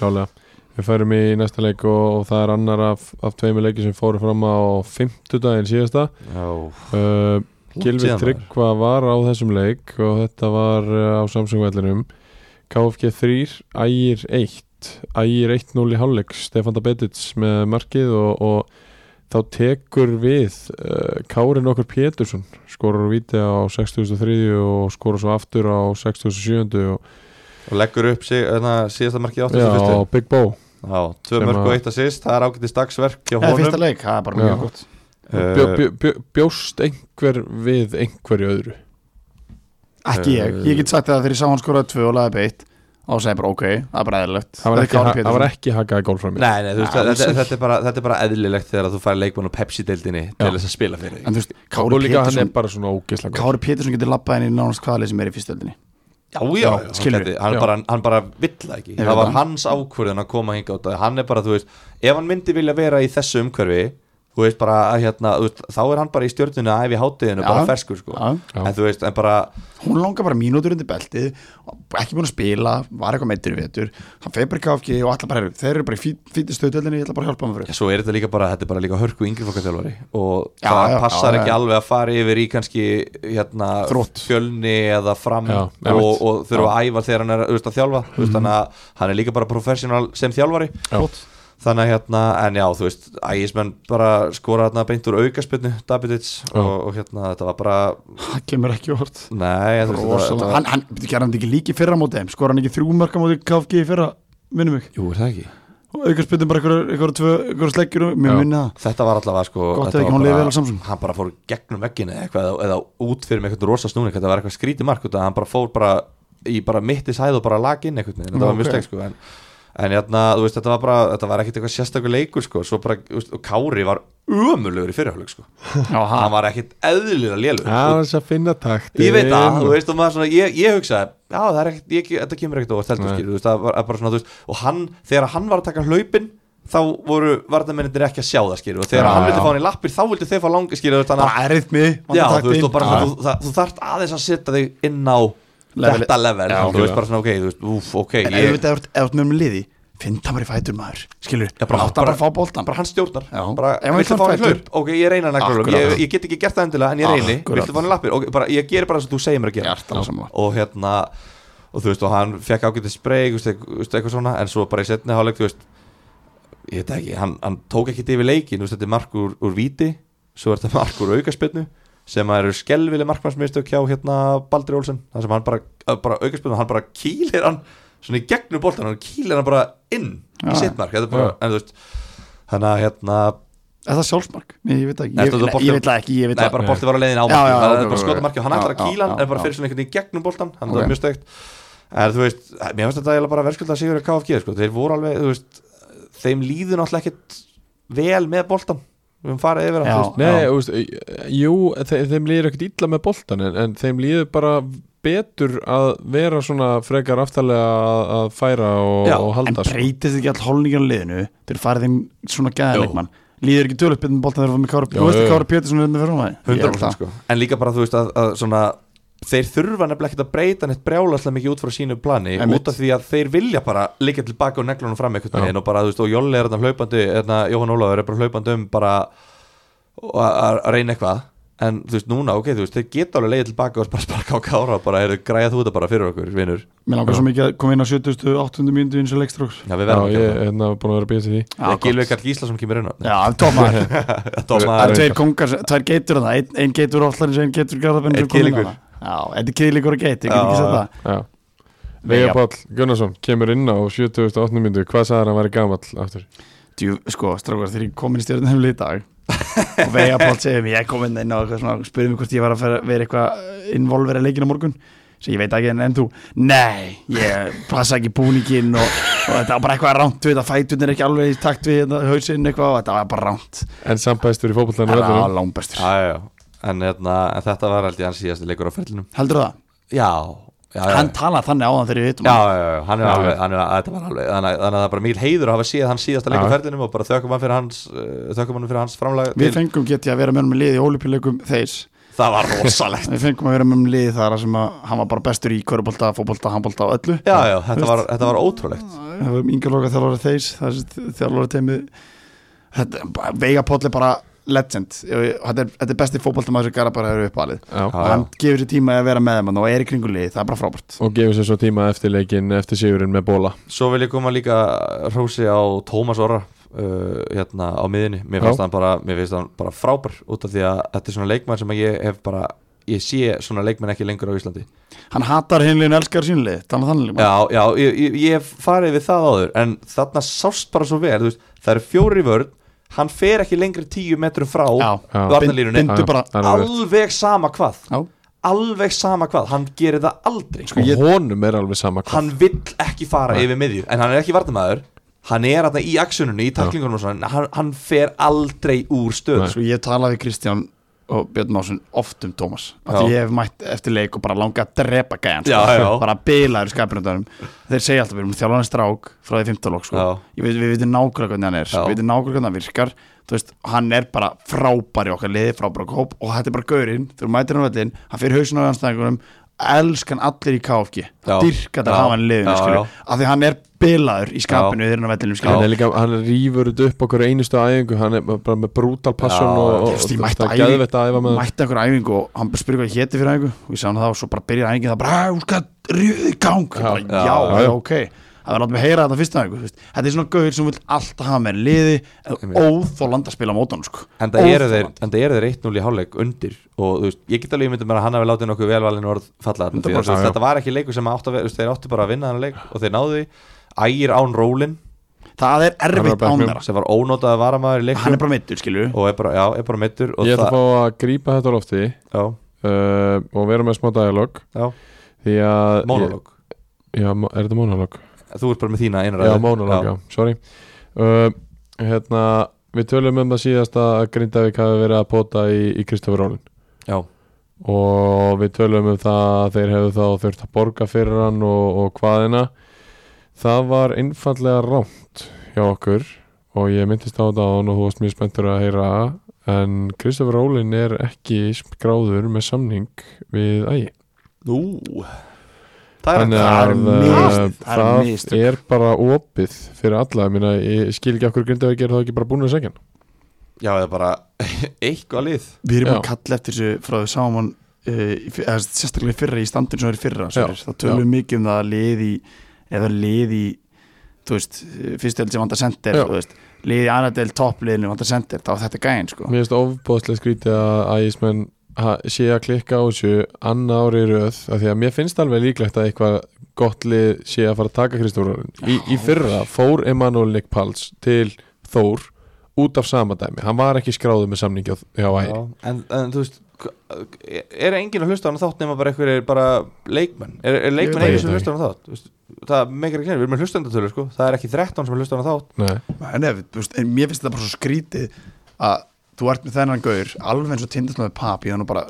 Klálega Við færum í næsta leik og, og það er annar af, af tveimur leiki sem fóru fram á fimmtudaginn síðasta
Já,
uh, Gilvi
síðan
Tryggva var á þessum leik og þetta var uh, á Samsung-vellinum KFG 3, Ægir 1 Ægir 1-0 í hálfleik Stefanda Betits með markið og, og þá tekur við uh, Kárin okkur Pétursson skorur víti á 6003 og skorur svo aftur á 6007 og,
og leggur upp sig, öðna, síðasta
já,
markið
og
81.
Big Bo
Já, tvö
Sem
mörg
að-
og eitt assist, það er ágætið stagsverk hjá
eða fyrsta
honum
leik, það er bara
Já.
mjög gott
bjó,
Eh,
bjó, bjó, Bjóst einhver við einhverju öðru
Ekki ég, ég get sagt það að þegar ég sá hann skoraði tvö og laði beitt og segja bara ok, það er bara eðlilegt
Það var ekki, ha- það var ekki hakaði gól frá mér
Nei, nei, þú veist,
Nei,
þetta,
alls
þetta, er bara, þetta er bara eðlilegt þegar þú færi leikmann og Pepsi-deildinni til
Já.
þess að spila fyrir þig.
En þú veist,
Og
Kári
líka hann er
Pétursson
bara svona ógeðslega góð
Kári Pétursson getur labbað henni í nánast hvaða leið sem er í fyrstöldinni
Já, já,
Já,
já
skilur.
skilur hann,
Já.
Bara, hann bara vill það ekki
Ég veit
Það var
það.
hans ákvörðin að koma hinga út Hann er bara, þú veist, ef hann myndi vilja vera í þessu umhverfi Þú veist bara, að hérna, þú veist, þá er hann bara í stjórninu að æfi hátíðinu,
Já.
bara ferskur sko
Já.
Já.
En þú veist, en bara,
Hún langar bara mínútur undir beltið og ekki búin að spila, var eitthvað meittur í vetur hann feir bara í KFG og allar bara þeir eru bara í fýtið stöðdeldinni, ég ætla bara að hjálpa hann fyrir
já, svo er þetta líka bara, þetta er bara líka hörku yngri fokkatjálfari Og
Já,
það
já,
passar
já,
ekki
já.
alveg að fara yfir í kannski, hérna
Þrótt.
Fjölni eða fram
Já,
og,
einmitt.
og þurfa að æfa þegar hann er, þú veist, að þjálfa Þú veist, þannig að hann er líka bara professional sem þjálfari
Flott.
þannig að hérna, en já, þú veist ægismenn bara skora hérna beint úr aukaspilnu Davidits
Já.
og, og hérna þetta var bara,
Það kemur ekki hort
nei þú veist, þetta, þetta var,
Hann, hann, gerði hann þetta ekki líki fyrra móti þeim skora hann ekki þrjú mörka móti KFG í fyrra minnum mig,
jú, er það ekki
og aukar spytum bara eitthvað, eitthvað, eitthvað, eitthvað sleggjur og
Já.
mér minna það
þetta var allavega sko
Gott
þetta
ef ekki
var
hún
bara-
lifi vel á Samsung.
hann bara fór gegnum veggin eða eitthvað eða, eða út fyrir með eitthvað rosa snúning þetta var eitthvað skrítið mark þetta, hann bara fór bara í bara mittis hæð og bara lag inn eitthvað þetta
Já,
var mjög
ok.
steg sko en, en hérna, þú veist, þetta var bara þetta var ekkit eitthvað sérstakur leikur sko svo bara, þú veist, og Kári var ömulugur í fyrirhálleg sko
Já,
hann var ekkit eðlilega lélug
Það er þess að finna takt
Ég veit það, þú veist, og maður svona, ég, ég hugsaði, já, það er ekkert, ég, þetta kemur ekkert óvart, heldur
Nei.
skilur, þú veist, það var bara svona, þú veist, og hann, þegar hann var að taka hlaupin, þá voru varnamennir ekki að sjá það skilur og þegar
Já,
hann vildi
já.
fá hann í lappir þá vildi þeir fá langi skilur þannig að
bara erðmi
Já, þú veist, og bara svona, þú, það, þú þarft aðeins að setja þig inn á
Level-
þetta level,
Já,
þú veist
algjörlega.
bara svona, ok, þú veist, úf, ok
En ef
ég,
þetta er ef þú ert með um liði Finn það bara í fætur maður Skilur
Já, bara-
Láta bara
bara-
fá boltan
bara hann stjórnar,
Já.
bara,
Ef hann
viltu
klárar
fá hann í
fætur.
hlaup, ok, ég reyna hann að glöfum,
Akkurat.
ég, ég get ekki gert það endilega, en ég reyni,
Akkurat.
viltu fá hann í lappir, ok, bara, ég geri bara þess að þú segir mér að gera
Hjartanlega sammála.
og hérna, og þú veist, og hann fekk ágætið sprey, þú veist, eitthvað- þú veist, eitthvað svona, en svo bara í setni hálfleik, þú veist, ég veit ekki, hann, hann tók ekki yfir leikin, þú veist, þetta er mark úr, úr víti, svo er þetta mark úr aukaspinnu, sem að eru skelvileg markmannsmistök hjá hérna Baldri Olsen, þar sem hann bara, að bara aukaspinnu, hann bara kýlir hann svona í gegnum boltan, hann kýlir hann bara inn í
Já.
sitt mark, þetta er bara, en þú veist, þannig að hérna,
Er það sjálfsmark? Nei, ég veit það
Nei, þetta
ekki Ég-
var
Nei,
bolti-
Ég veit það ekki Ég veit
nei,
það
bara bolti var að leiðin á
Já, já,
markið, það
já,
er bara
ok,
skota
ok.
markið og hann ætlar
Já,
að kýla hann,
já,
en bara
já.
fyrir svona einhvern veginn í gegnum boltan, þannig að
Ok.
það var mjög steikt, en þú veist, mér finnst þetta eiginlega bara verðskuldað sigur að KFG, sko, þeir voru alveg, þú veist, þeim líður náttúrulega ekkit vel með boltan, við höfum farið yfir hann,
Já.
þú veist.
Nei, þú veist, eh, jú, þe þeim líður ekkert illa með boltan en, en þeim líður bara betur að vera svona frekar aftalega að, að færa og,
Já,
og
En
halda sko.
breytist ekki all holningar á liðinu Þeir farið þeim svona gæðanleikmann Líður ekki tölvöld betur með boltan þegar það var með Kára
Já,
Þú
já,
veist
já.
að Kára Pétursson er hérna fyrir hún
100% sko En líka bara þú veist að, að svona Þeir þurfa nefnilega ekkert að breyta neitt brjálaslega mikið út frá sínu plani
Einmitt.
Út af því að þeir vilja bara liggja tilbaka og neglunum fram einhvern
Já.
veginn Og bara þú veist og Jolli er þarna hlaupandi Þarna Jóhann Ólafur er bara hlaupandi um bara og að að reyna eitthvað En þú veist núna ok, þú veist þeir geta alveg leiðið tilbaka og bara sparka á kára og bara heyrðu græja þú þetta bara fyrir okkur vinnur
Mér langar svo mikið að koma inn á 70 80 mínútu eins og leikstrók
Já við
Já,
verðum
ég
ekki
er
að það
hérna búin að vera að býja til því
Það er Gilvi Karl Gísla sem kemur inn á
Já, tómar Það
Dómar
er tveir kongar, tveir geitur það Einn ein geitur Ótlarins, einn geitur Garðabenn
Einn kýlingur.
Já, þetta er kýðlíkur og geit, ég get ekki
Já.
sagt það
Já Vegard
Já.
Páll Gunnarsson kemur inn á 78. myndu Hvað sagði hann væri gamall aftur?
Djú, sko, strákar, þegar ég kom inn í stjórnum heimli í dag og Veiga Páll segir mér, ég kom inn inn á eitthvað svona, spurði mig hvort ég var að fara, vera eitthvað involvera leikinn á morgun sem ég veit ekki en, en þú, nei ég passa ekki búninginn og, og þetta var bara eitthvað rámt við þetta fætun er ekki alveg í takt við þetta, hausinn eitthvað og þetta var bara rámt,
En sambæstur í fótbollanu
það var
vellinum
langbestur
En, hérna, en þetta var held ég hans síðasti leikur á ferlinum
heldur það?
Já, já, já.
Hann talaði þannig á hann þegar ég veitum
já, já, já, hann er
Já,
alveg,
já.
hann er, þetta var alveg þannig, að- þannig að það er bara mikil heiður að hafa séð hann síðasta leik á
Já.
ferðinum og bara þökkum hann fyrir hans uh, þökkum hann fyrir hans framlag
Við fengum getið að vera með honum í liði í ólipjuleikum þeir
það var rosalegt
Við fengum að vera með honum í liði þar sem að hann var bara bestur í körubolta, fótbolta, handbolta og öllu
já, já, þetta var, þetta var ótrúlegt
Það var yngjörloka þjálfara þeir þjálfara teimið þetta, bara- Veiga Póll er bara legend Ég- þetta er, þetta er besti fótboltamaður sem Garðar bara hefur uppalið
Já
Já.
og hann gefur sér tíma í að vera með þeim þarna og er í kringu liði, það er bara frábært
Og gefur sér svo tíma eftir leikinn eftir sigurinn með bóla
svo vil ég koma líka hrósi á Tómas Orra uh, hérna á miðinni, mér
Já.
finnst hann bara mér finnst hann bara frábær út af því að þetta er svona leikmenn sem ég hef bara ég sé svona leikmenn ekki lengur á Íslandi
hann hatar hinlegin elskar sínlið, þannig þannig líka
Já, já, ég, ég, ég hef farið við það áður En þarna sást bara svo vel þú veist, Það eru fjóri vörn Hann fer ekki lengri tíu metrum frá
Já.
Varnalínunni
Bind- Bindu bara
Já, það er alveg rétt.
Alveg sama hvað
Já.
Alveg sama hvað, hann gerir það aldrei
Og honum er alveg sama hvað
Hann vill ekki fara yfir miðju En hann er ekki vartamæður Hann er þarna í aksununni, í taklingunum og svona en hann, hann fer aldrei úr stöð
Sko ég tala við Kristján og Björn Másson oft um Tómas að
Já.
ég hef mætt eftir leik og bara langa að drepa gæjan sko.
Já, já.
bara bilaður skapinundunum þeir segja alltaf, við erum þjálfarnir strák frá því 15 lók sko.
Já.
Ég veit, við veitum nákvæmlega hvernig hann er
Já.
við veitum nákvæmlega hvernig hann virkar þú veist, hann er bara frábær í okkar liði frábær okkar hóp og þetta er bara gaurinn þú mætir hann á vellin, hann fyrir hausin á anstæðingunum elskan allir í KFG
Já.
dyrkat að
Já.
hafa hann í liðinu
Já,
skilju
já.
af því hann er bilaður í skapinu þegar hann á vellinum skilju
Hann er líka, hann rýfur þetta upp okkur einustu æfingu Hann er bara með brútal passion
Já,
og, og
Ég veist, ég mætti
það er
æfi-
geðvett að æfa með hann.
mætti einhver æfingu og hann spurði hvað ég héti fyrir æfingu og ég sagði hann það og svo bara byrjaði æfingin það bara, "Æ, þú skal rífið í gang já, bara,
já,
já, já,
já.
ok það var náttúrulega að heyra þetta fyrsta æfingu þú veist. þetta er svona gauður sem vil alltaf hafa með liði óþólanda að spila á mótan sko.
En það eru þeir,
Óþolandi.
en það eru þeir 1-0 í hálfleik undir og þú veist, ég get alveg myndið mér að hann hafi látið nokkuð velvalin orð falla þarna, því að, þú
100%,
veist,
já.
þetta var ekki leikur sem átt að vera, þú veist, þeir áttu bara að vinna þannig leik og þeir náðu því, ægir án rólin
það er
Hann
erfitt
var bara
án
mjög-
þeirra
sem var ónótað að vara maður í
hann
leikum
er bara meittur skilju
og er bara, já, er bara meittur og
Ég ætla að
það,
fá að grípa þetta á lofti
já,
uh, Og vera með smá dialog
já,
Því að
monolog
Já, mo- er þetta monolog?
þú ert bara með þína einræði
Já, monolog, já, sorry uh, Hérna, við tölum um það síðast að Grindavík hafi verið að pota í, í Kristofur Rólin
já,
og við tölum um það að þeir hefðu þá þurft að borga fyrir hann og, og hvaðina það var einfallega rámt hjá okkur og ég myndist á þetta án og þú varst mjög spenntur að heyra en Kristoffer Rólin er ekki skráður með samning við ægi
Nú Það er
Þannig
það
að
það er
uh,
mistök, það er mistök.
það er bara opið fyrir alla, ég, meina, ég skil ekki okkur grindavík er það ekki bara búin að segja hann
Já, það er bara eitthvað lið
Við erum
Já.
að kalla eftir þessu frá því sáum hann uh, í fyr- eða sérstaklega í fyrra í standinu sem er í fyrra
Já.
Sverrir. þá tölum við mikið um það að lið í eða lið í þú veist, fyrstu held sem vantar sendir
Já.
þú veist, lið í annar del toppliðinu vantar sendir þá er þetta gæinn sko
Mér finnst ofbóðslega skrítið að ægismenn ha- sé að klikka á þessu annað ári í röð af því að mér finnst alveg líklegt að eitthvað gott lið sé að fara að taka Kristofur í, í fyrra fór Emanuel Nick Pals til Þór út af sama dæmi, hann var ekki skráður með samningi á- hjá ægi
Já, en, en þú veist er enginn að hlusta á hann þátt nema bara einhverjir bara leikmenn er, er
Ég
leikmenn
veit
einu
það
sem
ekki.
hlusta á hann þátt Þú veist, það meikar ekki neina, við erum með hlustandatölu sko. það er ekki 13 sem er hlusta á hann þátt
Nei,
en, ef, þú veist, en mér finnst þetta bara svo skrítið að þú ert með þennan gaur alveg eins og tindast með papi þannig bara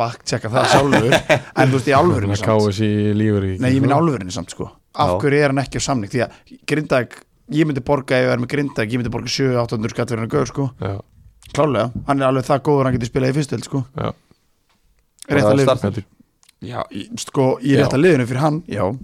baktseka það sjálfur en þú veist í alvörinu
hann káði sér lífur í
Nei, ég minn álverðinni samt sko Af
Já.
hverju er hann ekki á samning Því að Grindag, ég myndi borga ef ég er með Grindag Ég myndi borga 7-800 skatt fyrir hann gaur sko
Já,
Klálega, hann er alveg það góður að hann getur spilað í fyrstild sko
Já.
Rétt
Það
að
er
liðinu
startið.
þetta er
Já, í- sko, í rétt að liðinu fyrir hann Já, hann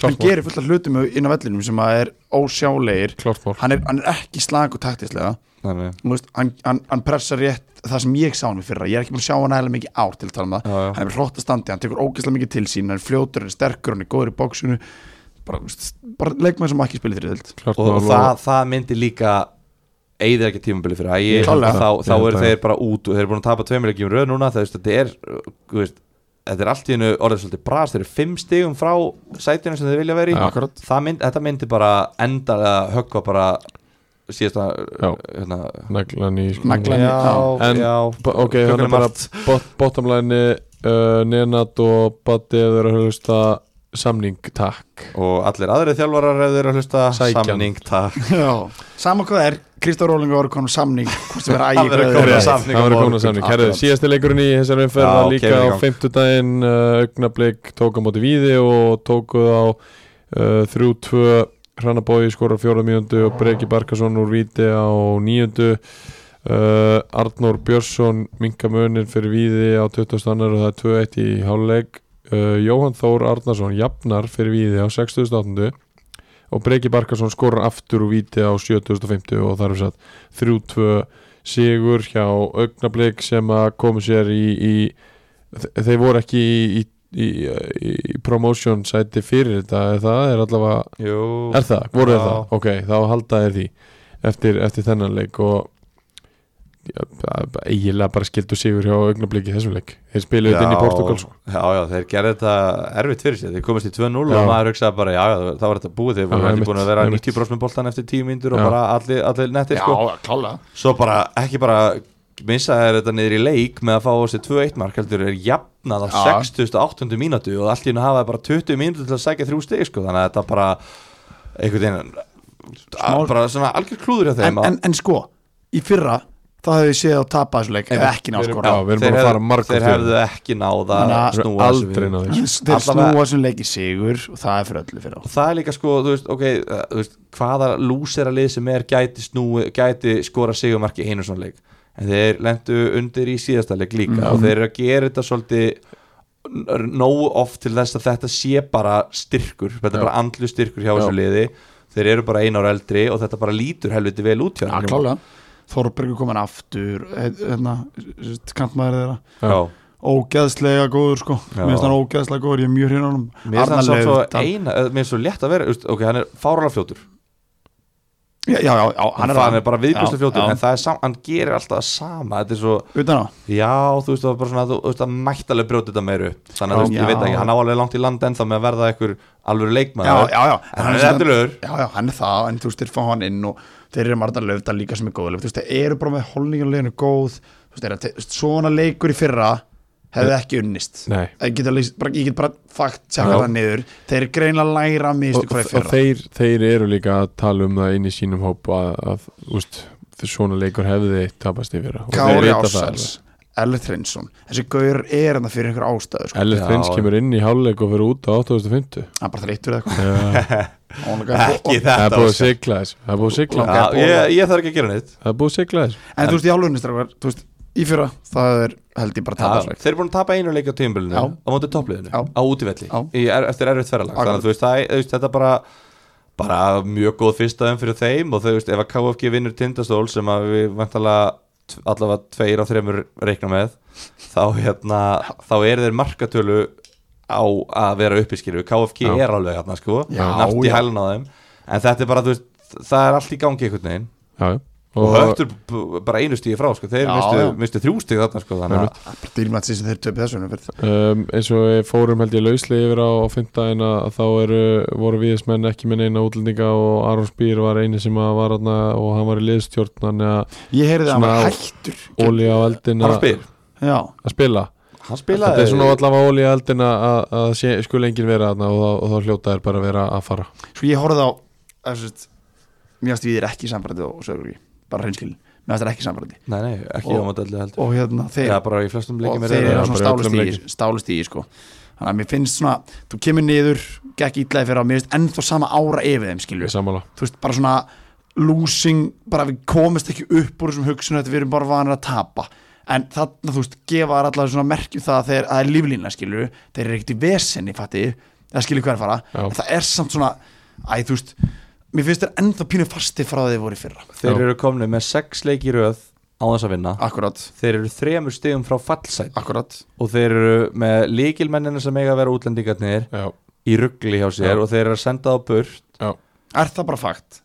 klárt mál,
gerir fullt af hlutum inn á vellinum sem að er ósjálegir
klárt mál
Hann er, hann er ekki slag og taktislega
Þannig,
Þú veist, hann, hann, hann pressar rétt það sem ég sá hann við fyrra Ég er ekki búin að sjá hann heila mikið ár til að tala um það
já, já.
hann er hlótt að standi, hann tekur ógeðslega mikið til sín hann er fljótur, hann er sterkur, hann er góður í bóksinu bara, bara leikmaður sem ekki spilið þér þild
Klárt
og,
mál
og það, það myndi líka eigðir ekki tímabili fyrir ægi
Ég
þá,
held
það.
þá, þá
Ég held
eru
það.
þeir bara út og þeir eru búin að tapa tveimilegjum röð núna það, veist, þetta, er, þú veist, þetta er allt í hennu orðið svolítið brast, þeir eru fimm stigum frá sætinu sem þeir vilja vera í
Já.
Akkurat.
Það mynd, þetta myndi bara enda að höggva bara síðasta
Já.
hérna,
Naglan í sko.
Naglan í- Já.
en,
En-
já,
Ba- Ok, þannig bara bot, bottomlæni uh, Nenad og Batti eða þeir eru að hlusta samning, takk
og allir aðrið þjálfarar ef þeir eru að hlusta
Sækjan.
samning takk
sama hvað er, Kristóf Rólinga voru konum samning hvort sem er ægi
Hann verður
hvað
kominn
er
á
ægi.
samning.
Það var
á
komin
morgun.
að samning Herðu,
Akkurat.
síðasti leikurinn í þessari umferð
Já,
var
kemur
líka
í
á
gang.
fimmtudaginn uh, Augnablik tók á móti víði og tókuð á uh, 3-2 Hrannabói skora á fjóra mínundu og Breki Barkason úr víti á níundu uh, Arnór Björnsson minka munin fyrir víði á 22 annar og það er 2-1 í hálfleik uh, Jóhann Þór Arnarsson jafnar fyrir víði á 68 og Breki Barkason skorar aftur úr víti á 7050 og það er satt 3-2 sigur hjá augnablik sem að komu sér í, í þe- þeir voru ekki í, í, í, í promotion sæti fyrir þetta er það er allavega
Jú,
Er það? Voru þeir
Já.
það? Ok, þá halda þeir því eftir, eftir þennan leik og ja, ba- ba- eiginlega bara skildu sigur hjá augnabliki þessum leik Þeir spiluðu þetta inn í Portugal sko.
já, já, þeir gerðu þetta erfitt fyrir sér þeir komist í 2-0 og
Já.
maður hugsaði bara já, já, það var þetta búið þeir voru
Já,
ekki
einmitt,
búin að vera
einmitt.
90 bros með boltan eftir 10 myndur
Já.
og bara allir, allir nettir sko.
já, klála
svo bara, ekki bara missa þeir þetta niður í leik með að fá þessi 2-1 mark heldur er jafnað á
Já.
60.8. mínútu og allt í hennu hafa þeir bara 20 mínútu til að sækja þrjú stig sko. þannig að þetta bara einhvern veginn
Smá-
bara svona algjör klúður hjá þeim
en,
að-
en, en sko, í fyrra þá hefði ég séð á tapa þessu leik ef ekki
við erum-
náskora
já, við erum
þeir
bara að fara
hefðu-
margoft
þeir
yfir
hefðu ekki náða
Þannig
að
að-
snúa þessu
Aldrei
við.
náður
þeir
Allavega-
snúa þessum leik í sigur og það er fyrir öllu fyrir á
og það er líka sko, þú veist, ok uh, þú veist, hvaða lúsera lið sem er gæti, snúi, gæti skora sigumarki einu svona leik en þeir lendu undir í síðasta leik líka og þeir eru að gera þetta svolítið n- nógu oft til þess að þetta sé bara styrkur, þetta er
Já.
bara andlu styrkur hjá
Já.
þessu liði, þeir eru bara einu ára eldri og þetta bara lítur helviti vel út hjá
já,
þeim.
klála Þorbergur komin aftur eh, hérna, kantmaður þeirra
Já.
ógeðslega góður sko
Já.
mér finnst hann ógeðslega góður, ég er mjög hérna honum
Mér finnst hann samt svo
Laufdal.
eina, eh, mér finnst svo létt að vera, þú veist, ok, hann er fárálega fljótur
já, já, já, já,
hann er, hann er bara viðbjörnslega
Já,
fljótur
já.
en það er sam, hann gerir alltaf það sama þetta er svo,
utan á
já þú veist það var bara svona þú þú veist að mættalega brjóti þetta meiru þannig að þú veist,
Já.
ég veit ekki, hann á alveg langt í land ennþá með að verða einhver alvöru
já,
leikmaður
já, já,
en hann er eftirlegur
já, já, hann er það, en þú veist, þeir fá hann inn og þeir eru marðan löfda líka sem er góð þú veist, þeir eru bara með holningarleginu góð þú veist, þeir eru að te- þú veist, svona leikur í fyrra hefði ekki unnist
Nei
ég get, lýst, bara, ég get bara fakt tjaka
Já.
það niður þeir eru greinlega að læra
og,
mistið hvað er
og
fyrra
þeir, þeir eru líka að tala um það inn í sínum hóp að, að úst, svona leikur hefði tapast yfir og þeir
Kári
vita það
Ásels Ellert Hreinsson þessi gaur er hann fyrir einhver ástæðu sko.
Ellert
Já,
Prins
já.
kemur inn í hálfleik og fyrir út á 8050
hann er bara þreyttur eða
Já,
eitthvað Ólega-
Ekki
Það er
þetta
búið að
Óskar.
sigla þess Það er búið að sigla
Langar.
þess
Já, ég, ég þarf ekki að gera neitt
Það er búið að sigla þess
en þú veist í álunni strafgar þú veist í fyrra það er held ég bara
Já,
tapasleik
Þeir eru búin að tapa einu leik á tímabilinu
Já.
á móti toppliðinu,
Já.
á útivelli
Já.
í, er, eftir erfitt ferralag,
Akkurat.
þannig að þú veist, það, þú veist þetta er bara bara mjög góð fyrsta um fyrir þeim og þau veist, ef að KFG vinnur tindastól sem að við vantalega allavega tveir á þremur reikna með þá hérna, þá eru þeir markatölu á að vera uppi skilju, KFG
Já.
er alveg hérna sko,
Já,
nátt í
já.
hælun á þeim en þetta er bara, þú veist, það er allt í gangi einhvern veginn
Já, já
og, og höftur b- bara einu stíði frá sko, þeir
Já,
mistu,
já.
mistu þrjú stíð þarna sko, þannig að
það er bara dýrmætt sem þeir töpið þessu umferð.
um, eins og við fórum held ég lauslega yfir á, á fymtdæðina að þá eru, voru viðismenn ekki með neina útlendinga og Aron Spýr var eini sem að var aðna og hann var í liðstjórn þannig að
ég heyrði að hann
Svona-
var hættur
ólíja á eldin
Hann
að
spyr
já
að spila
Hann
þetta
spilaði
er svona allavega ólíja á eldin að, að- að sé, skuli enginn vera aðna og, þá- og þá hljóta er bara að vera að fara
svo Sko, ég horfði á þessust mér fannst við er ekki samfærandi og sögur bara hreinskilin mér fannst það ekki samfærandi
Nei, nei, ekki
Og-
á mótellu heldur
og hérna þeir
Já, bara í flestum
og
leikjum
þeir
Já,
eru
bara
svona
í öllum
stálust í,
leikjum.
stálust í sko. þannig að mér finnst svona þú kemur niður, gekk ítlaði fyrir á mér finnst ennþá sama ára yfir þeim skilju
við sammála
þú veist bara svona losing, bara við komist ekki upp úr þessum hugsunum þetta við erum bara vanir að tapa en þarna þú veist gefa þær allar svona merkjum það að þeir að það er líflínlega skilju þeir eru ekkert í vesenni fatti það skilju hver fara,
Já.
en það er samt svona æ þú veist, mér finnst þeir ennþá pínu fasti frá þeir voru í fyrra
Þeir
Já.
eru komni með sex leik í röð á þess að vinna
akkurat,
Þeir eru þremur stigum frá fallsæt
akkurat
og þeir eru með líkilmennina sem eiga að vera útlendingarnir
já,
í ruggli hjá sér
Já.
og þeir eru að senda það á burt
er það bara fakt?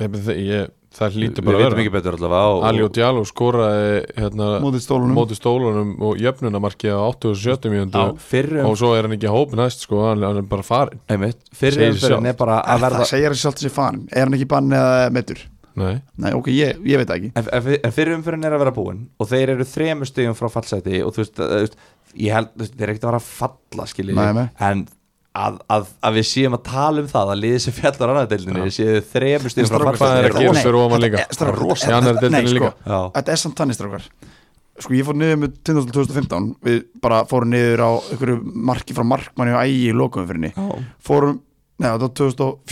ég, ég, það hlýtur
Við
bara að
veitum ekki
vera
betur allavega og,
Ali og Djalo skoraði hérna,
mótið stólunum
móti stólunum og jöfnunamarki á 87 mjöndu
og fyrri
og
um,
svo er hann ekki í hóp næst sko, hann, hann er bara farin
einmitt, fyrri
Segir sig sjálft.
umferðin er bara
Er
að
það
verða
segir þessi sjálft þessi fan Er hann ekki bann eða metur?
nei
Nei, ok, ég, ég veit það ekki
En, en en fyrri umfyrin er að vera búin og þeir eru þremur stigum frá fallseti og þú veist, að- þú veist ég held, þú veist, þeir eru ekkert að vera að falla skiljið,
Nei, nei.
en að, að, að við séum að tala um það að liðið sem fjallar annaðdeildinni ja. séu þremur
En
stigum frá
strákar, hvað er að
fallseti
gera?
Nei,
fyrir ofan
þetta
líka.
er- strákar,
Það er
þetta-
rosa. Í annarri
þetta-
deildinni
nei,
líka.
sko,
Já.
Þetta er samt þannig strákar Sko, ég fór niður með Tindastóll 2015 Við bara fórum niður á einhverju marki frá markmanni og ægi í lokum fyrir henni Fórum, neða, það var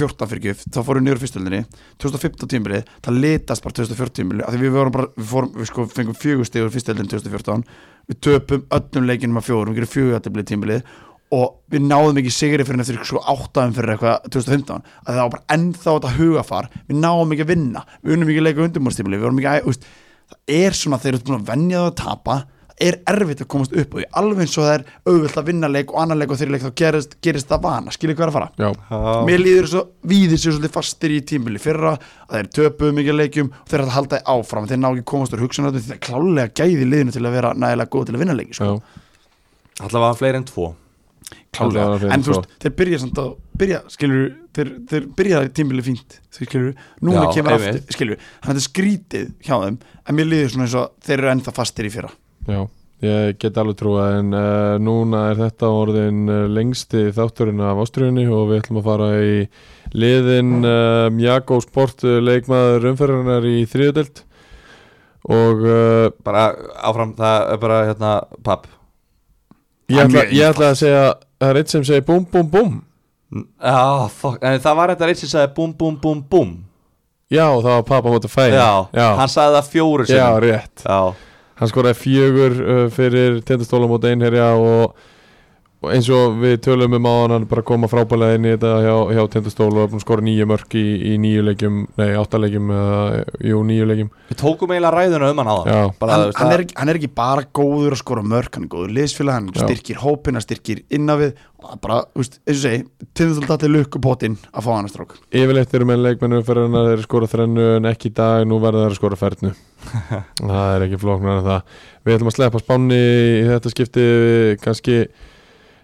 2014 fyrir gjöf Þá fórum við niður á fyrstöldinni 2015 tímbilið, það litast bara 2014 tímbilið Því við vorum bara, við fórum, við sko fengum fjögustegur fyrstöldin 2014 Við töpum öllum leikinum að fjórum, við gerum fjögutablið tímbilið og við náðum ekki sigri fyrir eftir sko áttaðum fyrir eitthvað 2015 að það var bara ennþá þetta hugafar við náðum ekki að vinna, við unnum ekki að leika undirmúrstímli við vorum ekki að, þú veist, það er svona þegar þú ert búin að venja það að tapa það er erfitt að komast upp og því alveg eins og það er auðvöld að vinna leik og annan leik og þeirri leik þá gerist, gerist það vana, skilir hvað er að fara
já,
Já,
mér líður svo, víðir sér svolítið fastir í tímbili fyrra, að þeir töpuðu mikið leikjum og þeir eru að halda því áfram, þeir ná ekki komast úr hugsanaröndum því það er klálega gæði liðinu til að vera nægilega góð til að vinna
já,
leiki sko.
allavega fleiri en tvo
Klálega
Klálega,
fyrir
en þú
svo.
veist, þeir byrja samt að byrja, skilur, þeir, þeir byrja tímbili fínt, þeir skilur, núna
Já,
kemur
einmitt.
aftur, skilur, þannig að þetta er skrítið hjá þeim, en mér líður svona eins og þeir eru ennþá fastir í fyrra.
já ég get alveg trúa en uh, núna er þetta orðin uh, lengsti þátturinn af ástriðinni og við ætlum að fara í liðin um, Jakó Sport uh, leikmaður umferðarnar í þriðudelt og uh,
bara áfram, það er bara hérna, papp
ég, ætla, ég ætla að segja það er eitt sem segir búm búm búm
Já, fuck, en það var þetta reynd sem sagði búm, búm, búm, búm
já það var pappa móti að fæða
Já,
já,
hann sagði það fjóru
já
sinni
rétt
Já,
hann skoraði fjögur uh, fyrir tindastóla móti einherja og, og eins og við tölum um á hann hann bara koma frábælega inn í þetta hjá, hjá tindastóla og er búinn að skora nýju mörk í, í nýju leikjum nei, átta leikjum uh, jú, nýju leikjum
við tókum eiginlega ræðuna um hann áðan
já,
Bara, þú
Hann,
veist,
hann,
það-
er, ekki- hann er ekki bara góður að skora mörk, hann er góður liðsfélag, hann
Já.
styrkir hópin, hann styrkir innavið og það bara, þú veist, eins og segi, tindastöldatli lukkupotinn að fá hann að strók.
yfirleitt eru menn leikmennum fyrir hann að þeir skora þrennu en ekki í dag, nú verða þeir að skora fernu það er ekki flóknar en það við ætlum að sleppa spánni í þetta skipti kannski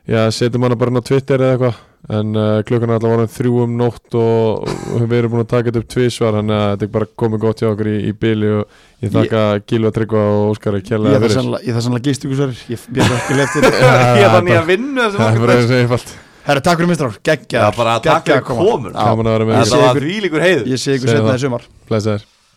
já, setjum hana bara inn á Twitter eða eitthvað en uh, klukkan er allavega orðin þrjú um nótt og við erum búin að taka þetta upp tvísvar þannig að þetta er bara komið gott hjá okkur í, í byli og ég þakka Gilva Tryggva og Óskari
Ég
kjærlega
þarf
fyrir
sannlega- ég þarf sannlega gist ykkur sver, ég byrði ekki lefti þetta.
Já,
Ég
það er
þannig að vinna þessu
það er bara
markaðs
þessi einfalt
Herra, takk fyrir mistrar,
Já,
geggja,
bara takk fyrir komun
gaman að vera með
Ég
ykkur
Þetta
sé
var
ykkur-
því líkur heiður
Ég sé ykkur
Segðu
setna
það.
í sumar.
blessaður